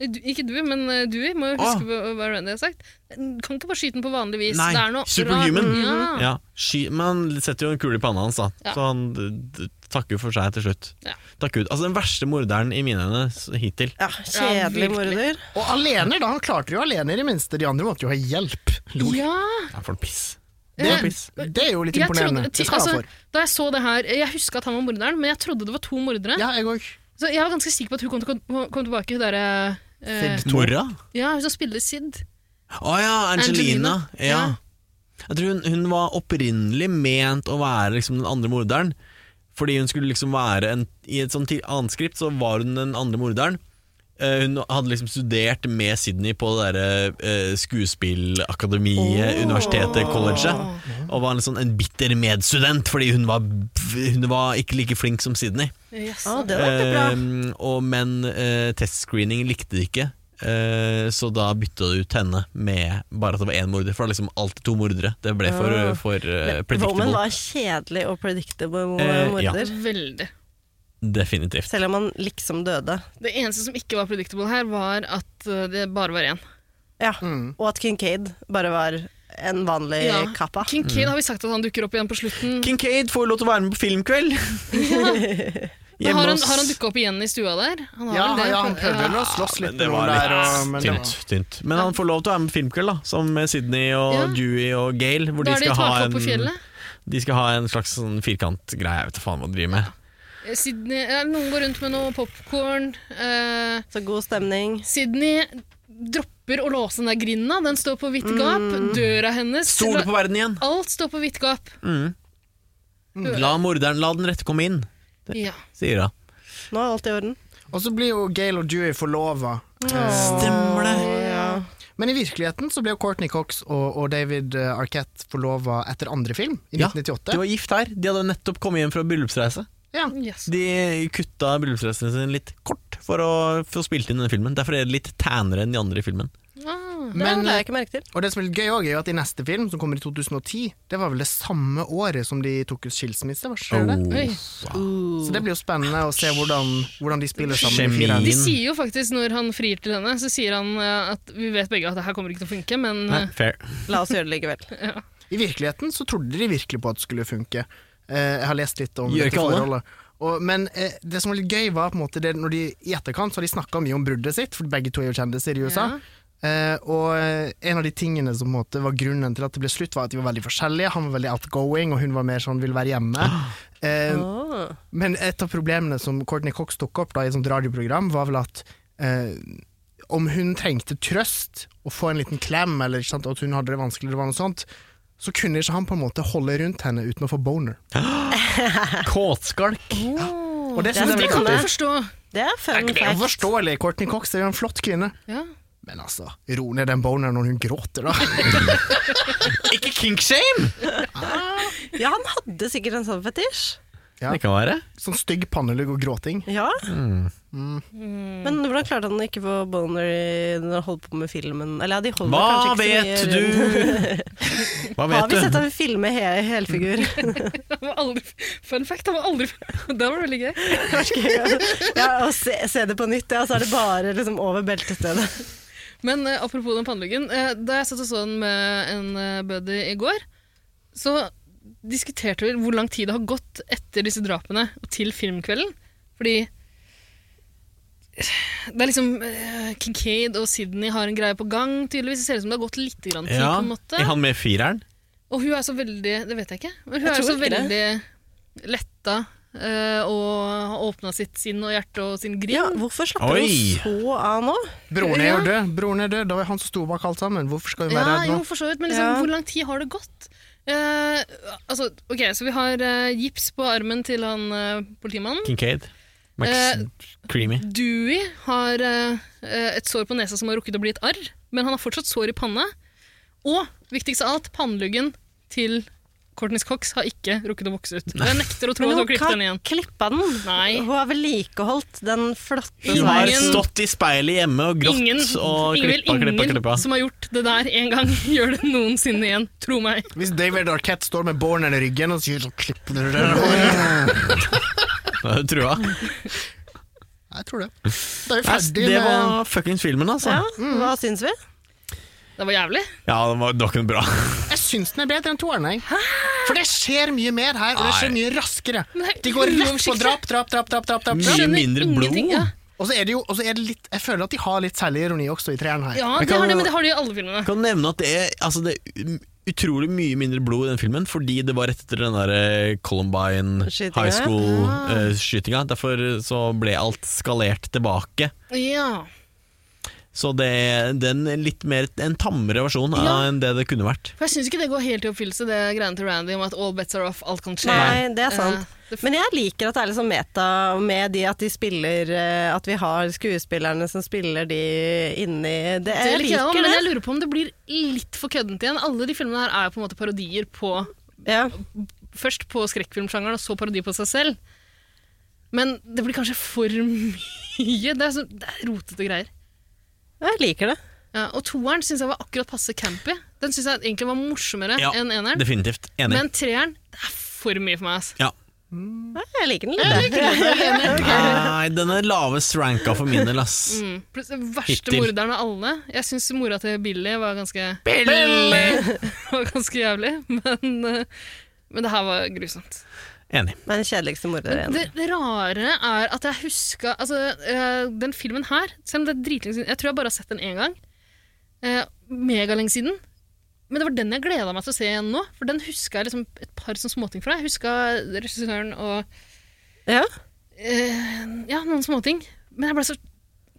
Du, ikke du, men eh, Dewey må jo huske på hva Randy har sagt. Kan ikke bare skyte den på vanlig vis. Nei, det er noe superhuman. rart. Ja. Ja, sky, Men han setter jo en kule i panna hans, da. Ah. Ja. Så han d- d- takker jo for seg til slutt. Ja. Takk Gud. Altså Den verste morderen i mine øyne s- hittil. Ja, kjedelig virkelig. morder. Og alener, da. Han klarte det jo alene, i det minste. De andre måtte jo ha hjelp. Lol. Ja. Ja, for en piss. Det, For en piss. det er jo litt Jeg imponerende. trodde- Det skal jeg ha altså, for. Da jeg så det her, jeg huska at han var morderen, men jeg trodde det var to mordere. Ja, jeg òg. Så jeg var ganske sikker på at hun kom, til, kom tilbake. Hun derre eh, Sid. Mora? Ja, hun som spiller Sid. Å ja, Angelina. Angelina. Ja. Ja. Jeg tror hun, hun var opprinnelig ment å være liksom den andre morderen. Fordi hun skulle liksom være en, I et sånt ti- annet skript så var hun den andre morderen. Eh, hun hadde liksom studert med Sydney på det derre eh, skuespillakademiet, universitetet, colleget. Og var en, sånn, en bitter medstudent fordi hun var, hun var ikke like flink som Sydney. Yes. Å, det var ikke bra. Eh, og, men eh, testscreening likte de ikke, eh, så da bytta de ut henne med bare at det var én morder. For det var liksom alltid to mordere. Det ble for, Ah. for eh, Roman predictable. var kjedelig og predictable Eh, ja. morder. Veldig. Definitivt. Selv om han liksom døde. Det eneste som ikke var predictable her, var at eh, det bare var én. Ja. Mm. Og at Kincaid bare var en vanlig Eh, kappa. Kincaid har vi sagt at han dukker opp igjen på slutten. Kincaid får jo lov til å være med på filmkveld! Men Hjemme har han, hos- har han dukka opp igjen i stua der? Han har Ja, vel det. ja, han prøvde vel å slåss Men litt det var med litt noen der, og- men det var- tynt, tynt. Men han får lov til å være med på filmkveld, da. Som med Sydney og Ja. Dewey og Gail. Hvor Da de er de skal, ha taket opp på en, fjellet. de skal ha en slags sånn firkantgreie. Jeg vet da faen hva de driver med. Eh, Sydney, ja, noen går rundt med noe popkorn. Eh, Så god stemning. Sydney dropper å låse den der grinda. Den står på vidt gap. Døra hennes Stole på verden igjen! Alt står på vidt gap. Mm. La morderen, la den rette komme inn, Ja. sier hun. Nå er alt i orden. Og så blir jo Gail og Dewey Eh, forlova. Stemmer det! Men i virkeligheten så ble jo Courtney Cox og, og David eh, Arquette forlova etter andre film, i Ja, De 1998. var gift her. De hadde nettopp kommet hjem fra bryllupsreise. Ja. Yes. De kutta bryllupsreisen sin litt kort for å få spilt inn denne filmen. Derfor er det litt tannere enn de andre i filmen. Ah. Men, det la jeg ikke merke til. og det som er litt gøy også er jo at i neste film, som kommer i 2010, det var vel det samme året som de tok ut skilsmisse. Var ikke det? Oi. Oh. Så det blir jo spennende å se hvordan, hvordan de spiller sammen. Kjemi. de fire. De sier jo faktisk, når han frir til henne, så sier han eh, at vi vet begge at det her kommer ikke til å funke, men Mm. Nei, eh, fair. La oss gjøre det likevel. I virkeligheten så trodde de virkelig på at det skulle funke. Eh, jeg har lest litt om Gjør dette ikke alle? forholdet. Og, men eh, det som var litt gøy, var på en måte det når de i etterkant så har de snakka mye om bruddet sitt, for begge to er jo kjendiser i USA. Eh, og eh, en av de tingene som på en måte var grunnen til at det ble slutt, var at de var veldig forskjellige. Han var veldig outgoing, og hun var mer sånn vil være hjemme. Ah. Eh, Åh. men et av problemene som Courtney Cox tok opp da, i et sånt radioprogram, var vel at eh, om hun trengte trøst og få en liten klem, eller ikke sant, at hun hadde det vanskelig, eller noe sånt, så kunne ikke han på en måte holde rundt henne uten å få boner. Kåtskalk. Og det, det synes er jeg Det er kan veldig jeg artig. forstå. Det er fun Det er jo fact. forståelig, Courtney Cox er jo en flott kvinne. Ja. Men altså, ro ned den boneren når hun gråter, da. Ikke kinkshame! Ja, han hadde sikkert en sånn fetisj. Ja. Mm. Det kan være. Sånn stygg pannelugg og gråting. Ja. Men hvordan klarte han å ikke få boner i- når han holdt på med filmen? Eller ja, de holder Hva kanskje ikke vet så mye rundt- du? Hva Har vi vet sett du? ham filme he helfigur? Det var aldri, fun fact, det var aldri Det var veldig gøy. ja, og se, se det på nytt, ja, så er det bare liksom over beltestedet. Men eh, apropos den panneluggen. eh, da jeg satt og så den med en eh, buddy i går, så diskuterte vi hvor lang tid det har gått etter disse drapene og til filmkvelden. Fordi det er liksom eh, Kincaid og Sydney har en greie på gang, tydeligvis. Det ser ut som det har gått litt grann tid, Ja, på en måte. Er han med i fireren? Og hun er så veldig Det vet jeg ikke. Men Jeg hun er tror så ikke veldig letta eh, og har åpna sitt sinn og hjerte og sin grind. Ja, hvorfor slapper Oi. han så av nå? Broren er jo Ja. død, broren er død, da var han som sto bak alt sammen. Hvorfor skal hun Ja, være redd jo, nå? for så vidt. Men liksom, Ja. hvor lang tid har det gått? Eh, altså, ok, Så vi har eh, gips på armen til han eh, politimannen. Kincaid? Max Eh, Creamy? Dewey har eh, eh, et sår på nesa som har rukket å bli et arr, men han har fortsatt sår i panna. Og viktigst av alt, panneluggen til Courtney Cox har ikke rukket å vokse ut. Og jeg nekter å tro Men hun at hun klippet den kan igjen. klippa den. Nei. Hun har vedlikeholdt den flotte Hun har ingen- stått i speilet hjemme og grått Ingen, og ingen, klippa, klippa, ingen klippa. som har gjort det der en gang, gjør det noensinne igjen. Tro meg. Hvis David Arquette står med borneren i ryggen sånn, og sier så klipper du det Nå er hun trua. Nei, jeg tror det. Da er vi Ass, ferdig det med var fuckings filmen, altså. Ja, Ja, hva syns vi? Det var jævlig. det var dokken bra. Jeg syns den er bedre enn toeren, jeg. For det skjer mye mer her, og det skjer mye raskere. Men det er De går rett på uoversiktlig. drap, drap, drap, drap, drap. drap, Mye drap. Skjønner mindre blod. ingenting, Ja, Og så er det jo og så er det litt Jeg føler at de har litt særlig ironi også i treeren her. ja Men det, kan- har de, men det har de i alle filmene. Kan nevne at det er, altså det er um, utrolig mye mindre blod i den filmen, fordi det var rett etter den der eh, Columbine Skytinga. high school-skytinga. Derfor så ble alt skalert tilbake. Ja. Så det er den er litt mer en tammere versjon av- Ja. enn det det kunne vært. For jeg syns ikke det går helt i oppfyllelse, det greiene til Randy om at all bets are off, alt kan skje. Nei, det er Eh, sant. det- Men jeg liker at det er liksom meta med de at de spiller eh, At vi har skuespillerne som spiller de inni det, Eh, Det Jeg liker jeg også, liker men det. jeg lurer på om det blir litt for køddent igjen. Alle de filmene her er jo på en måte parodier på Ja. Først på skrekkfilmsjangeren, og så parodi på seg selv. Men det blir kanskje for mye. Det er, så, det er rotete greier. Jeg liker det. Ja, og toeren syns jeg var akkurat passe campy. Den syns jeg egentlig var morsommere Ja, enn eneren. Definitivt. Enig. Men treeren det er for mye for meg. ass. ja. Jeg liker den litt. jeg. Nei, den er lavest ranka for min del, ass. Mm. Pluss den verste Hittil. morderen av alle. Jeg syns mora til Billy var ganske var ganske jævlig, men, eh, men det her var grusomt. Enig. Men kjedeligste morder igjen. Det, det rare er at jeg huska altså, eh, Den filmen her, selv om det er dritlenge siden Jeg tror jeg bare har sett den én gang. Uh, Megalenge siden. Men det var den jeg gleda meg til å se igjen nå, for den huska jeg liksom et par sånne småting fra. Jeg huska regissøren og Ja, eh, ja, noen småting. Men jeg ble så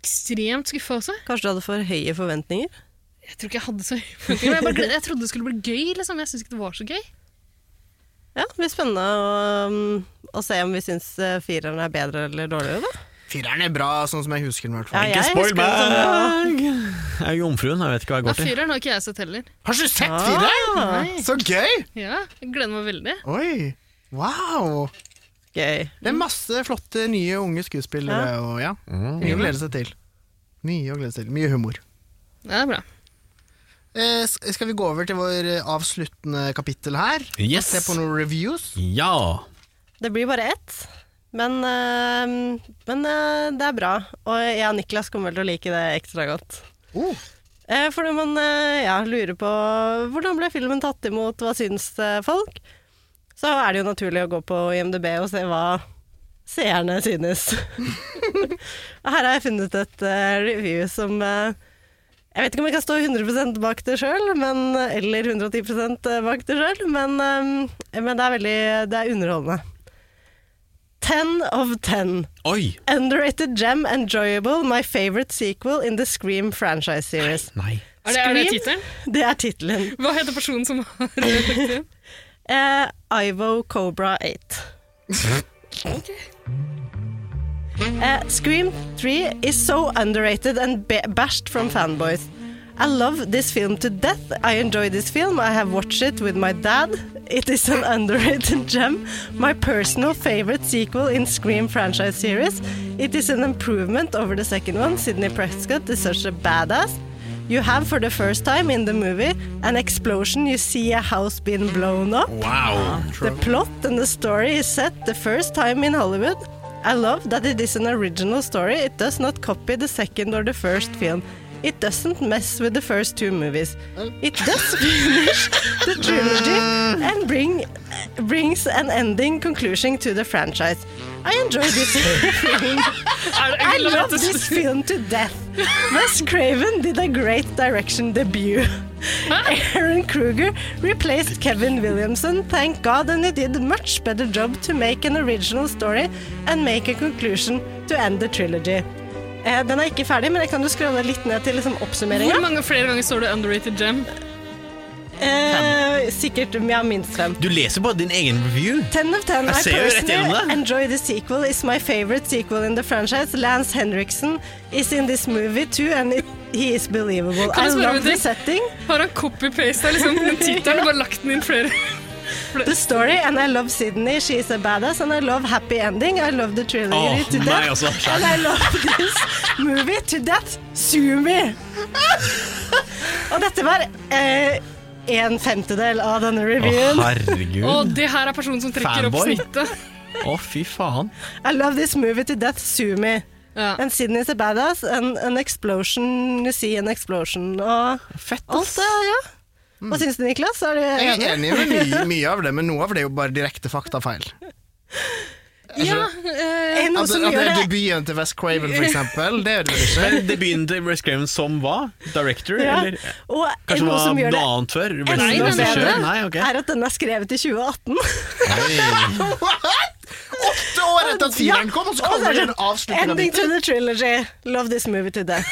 ekstremt skuffa også. kanskje du hadde for høye forventninger? Jeg tror ikke jeg hadde så høye forventninger. men Jeg, bare gled- jeg trodde det skulle bli gøy, liksom. Jeg syns ikke det var så gøy. Ja, Det blir spennende å, um, å se om vi syns eh, fireren er bedre eller dårligere, da. Fireren er bra, sånn som jeg husker den. i hvert Ja, fall. jeg husker det som bra. meg! Jeg er jomfruen, jeg vet ikke hva jeg Ja, går til. Fireren har ikke jeg sett heller. Har ikke du sett Ah. fireren? Nei. Så gøy! Ja, jeg gleder meg veldig. Oi. Wow. Gøy. Det er masse flotte nye unge skuespillere. Og, ja. Mhm. Mye å glede seg til. Mye å glede seg til. Mye humor. Ja, det er bra. Eh, s- skal vi gå over til vår eh, avsluttende kapittel her? Yes. Se på noen reviews. Ja! Det blir bare ett, men, eh, men eh, det er bra. Og jeg og Niklas kommer vel til å like det ekstra godt. Oh. Eh, Fordi man eh, ja, lurer på hvordan ble filmen tatt imot, hva syns eh, folk? Så er det jo naturlig å gå på IMDb og se hva seerne synes. Og Her har jeg funnet et eh, review som eh, Jeg vet ikke om jeg kan stå 100 bak det sjøl, eller 110 bak det sjøl, men, eh, men det er veldig det er underholdende. Ten of ten. Oi! Underrated gem, enjoyable, my favorite sequel in the Scream franchise series. Nei. Er det, er det Scream? tittelen? Det er tittelen. Hva heter personen som har reflektert? Eh, Ivo Cobra 8. Eh, Scream 3 is so underrated and ba- bashed from fanboys. I love this film to death. I enjoy this film. I have watched it with my dad. It is an underrated gem. My personal favorite sequel in Scream franchise series. It is an improvement over the second one. Sidney Prescott is such a badass. You have for the first time in the movie an explosion. You see a house being blown up. Wow! The plot and the story is set the first time in Hollywood. I love that it is an original story. It does not copy the second or the first film. It doesn't mess with the first two movies. It does finish the trilogy and bring brings an ending conclusion to the franchise. I enjoy this film. I love this film to death. Wes Craven did a great direction debut. Aaron Kruger replaced Kevin Williamson, thank God, and he did a much better job to make an original story and make a conclusion to end the trilogy. Eh, den er ikke ferdig, men jeg kan jo scrolle litt ned til liksom, Hvor oppsummeringa. mange flere ganger står det 'underrated gem'? Eh, sikkert ja, minst fem. Du leser bare din egen review. 10 of 10. Jeg I ser jo rett gjennom personally det. enjoy the sequel. It's my favorite sequel in the franchise. Lance Henriksen is in this movie too, and it, he is believable. Kan I jeg spørre love om en the ting? setting, Har han copy-pasta liksom, den tittelen og bare lagt den inn flere? the story, and I love Sydney. She is a badass, and I love happy ending. I love the trilogy Åh, altså, to meg death. også. And I love this movie to death. Sue me! Og dette var eh, en femtedel av denne Å, revyen. Og herregud. det her er personen som trekker Fanboy. opp snittet. Å, fy faen. I love this movie to death. Sue me. Ja, Ja. And Sydney's a badass, and an explosion You see an explosion, og Fett, alt det, ja. Hva syns du, Niklas? Er du Jeg enig? er enig med mye, mye av det, men noe av det er jo bare direkte faktafeil. Ja, eh, Er det noe Altså, At, som at det gjør er det? debuten til West Craven, for eksempel, det gjør det vel ikke? Men debuten til Wes Craven som hva? Director? Ja. Eller? Og er det Kanskje det noe var som gjør noe det annet før? Wes enda Craven selv? bedre, Nei, ok. er at den er skrevet i 2018. Nei. Åtte år etter at fireren kom, og så Og så kommer er det det en avslutning av Ending to biten. the trilogy. Love this movie to death.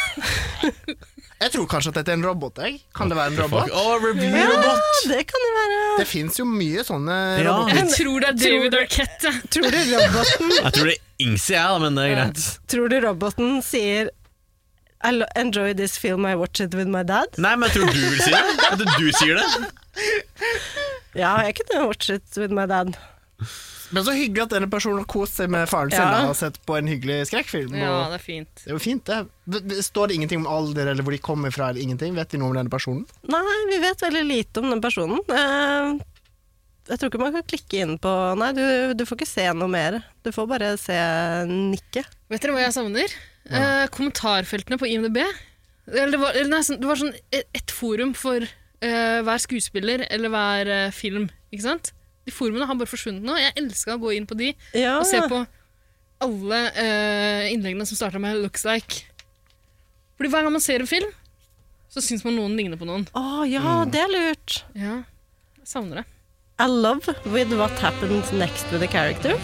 Jeg tror kanskje at dette er en robot, jeg. Kan det være en Fuck. robot? Å, revy-robot! Ja, det kan jo være. Det fins jo mye sånne Ja. roboter. jeg tror det er David Arquette. Tror du roboten, Jeg tror det er Ingsi, jeg, da, men det er greit. tror du roboten sier I lo- enjoy this film, I watch it with my dad? Nei, men jeg tror du vil si det. Jeg tror du sier det. Ja, jeg kunne watch it with my dad. Men så hyggelig at denne personen har kost seg med faren sin Ja. da, og sett på en hyggelig skrekkfilm. Ja, og- det er fint. Det er jo fint, det. V- v- Står det ingenting om alder eller hvor de kommer fra? eller ingenting? Vet vi noe om denne personen? Nei, vi vet veldig lite om den personen. Eh, Jeg tror ikke man kan klikke inn på Nei, du, du får ikke se noe mer. Du får bare se nikket. Vet dere hva jeg savner? Eh, kommentarfeltene på IMDb. Eller det, var, eller nei, sånn- det var sånn et- ett forum for eh, hver skuespiller eller hver eh, film. Ikke sant? De forumene har bare forsvunnet nå. Jeg elska å gå inn på de Ja. og se på alle eh, innleggene som starta med 'looks like'. Fordi hver gang man ser en film, så syns man noen ligner på noen. Å ja, det er lurt. Ja, jeg savner det. I love with what happens next with the characters.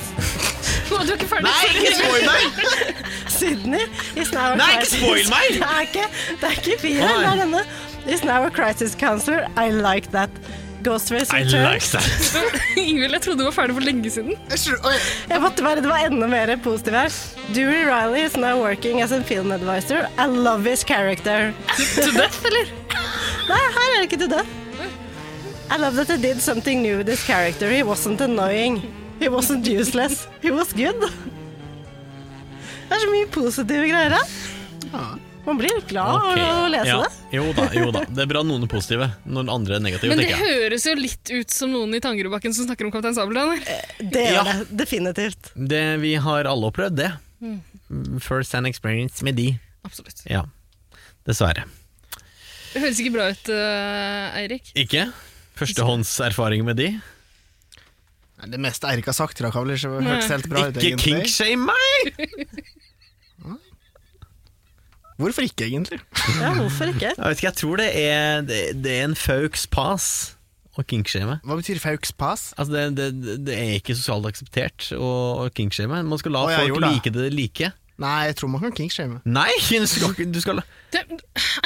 Å, du er ikke ferdig? Nei, ikke spoil meg! Sydney is now a Nei, ikke crisis- spoil meg! Det er ikke, det er ikke fire, Nei. det er denne. Is now a crisis counselor. I like that. Ghostface I like returns. that. Ingvild, jeg trodde du var ferdig for lenge siden. Jeg måtte være, det var enda mer positiv her. Dewey Riley is now working as a film advisor. I love his character. To death, eller? Nei, her er det ikke til det. I love that he did something new with his character. He wasn't annoying. He wasn't useless. He was good. Det er så mye positive greier her. Man blir helt glad av Ok. å lese Ja. det. Jo da, jo da. Det er bra noen er positive, når andre er negative, Men det tenker jeg. høres jo litt ut som noen i Tangerudbakken som snakker om Kaptein Sabeltann. eller? Det gjør Ja. det definitivt. Det, vi har alle opplevd det. First hand experience med de. Absolutt. Ja. Dessverre. Det høres ikke bra ut, eh, Eirik. Ikke? Førstehåndserfaring med de. Nei, Det meste Eirik har sagt i dag, har vel ikke hørtes helt bra ut, Ikke egentlig. kinkshame meg! Hvorfor ikke, egentlig? Ja, hvorfor ikke? Jeg vet ikke, jeg tror det er, det, det er en fauks pass å kinkshame. Hva betyr faux pass? Altså det, det, det er ikke sosialt akseptert å, å kinkshame. Man skal la Å, ja, folk jo da. like det like. Nei, jeg tror man kan kinkshame. Nei! Du skal, ikke- du skal Det,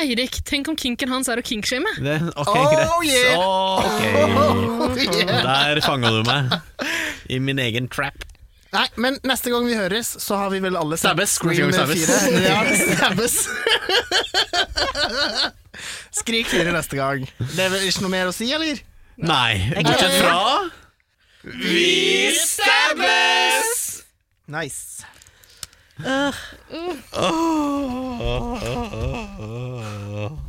Eirik, tenk om kinken hans er å kinkshame. det, Ok, Oh, greit. yeah. Å, ok. Yeah. Der fanga du meg. I min egen trap. Nei, men neste gang vi høres, så har vi vel alle sett Stabbes. Scream Neste gang 4. vi stabbes. Ja, stabbes. Skrik 4 neste gang. Det er vel ikke noe mer å si, eller? Nei. Bortsett fra Vi stabbes! Nice. Øh, 아, Åh, åh, åh, åh.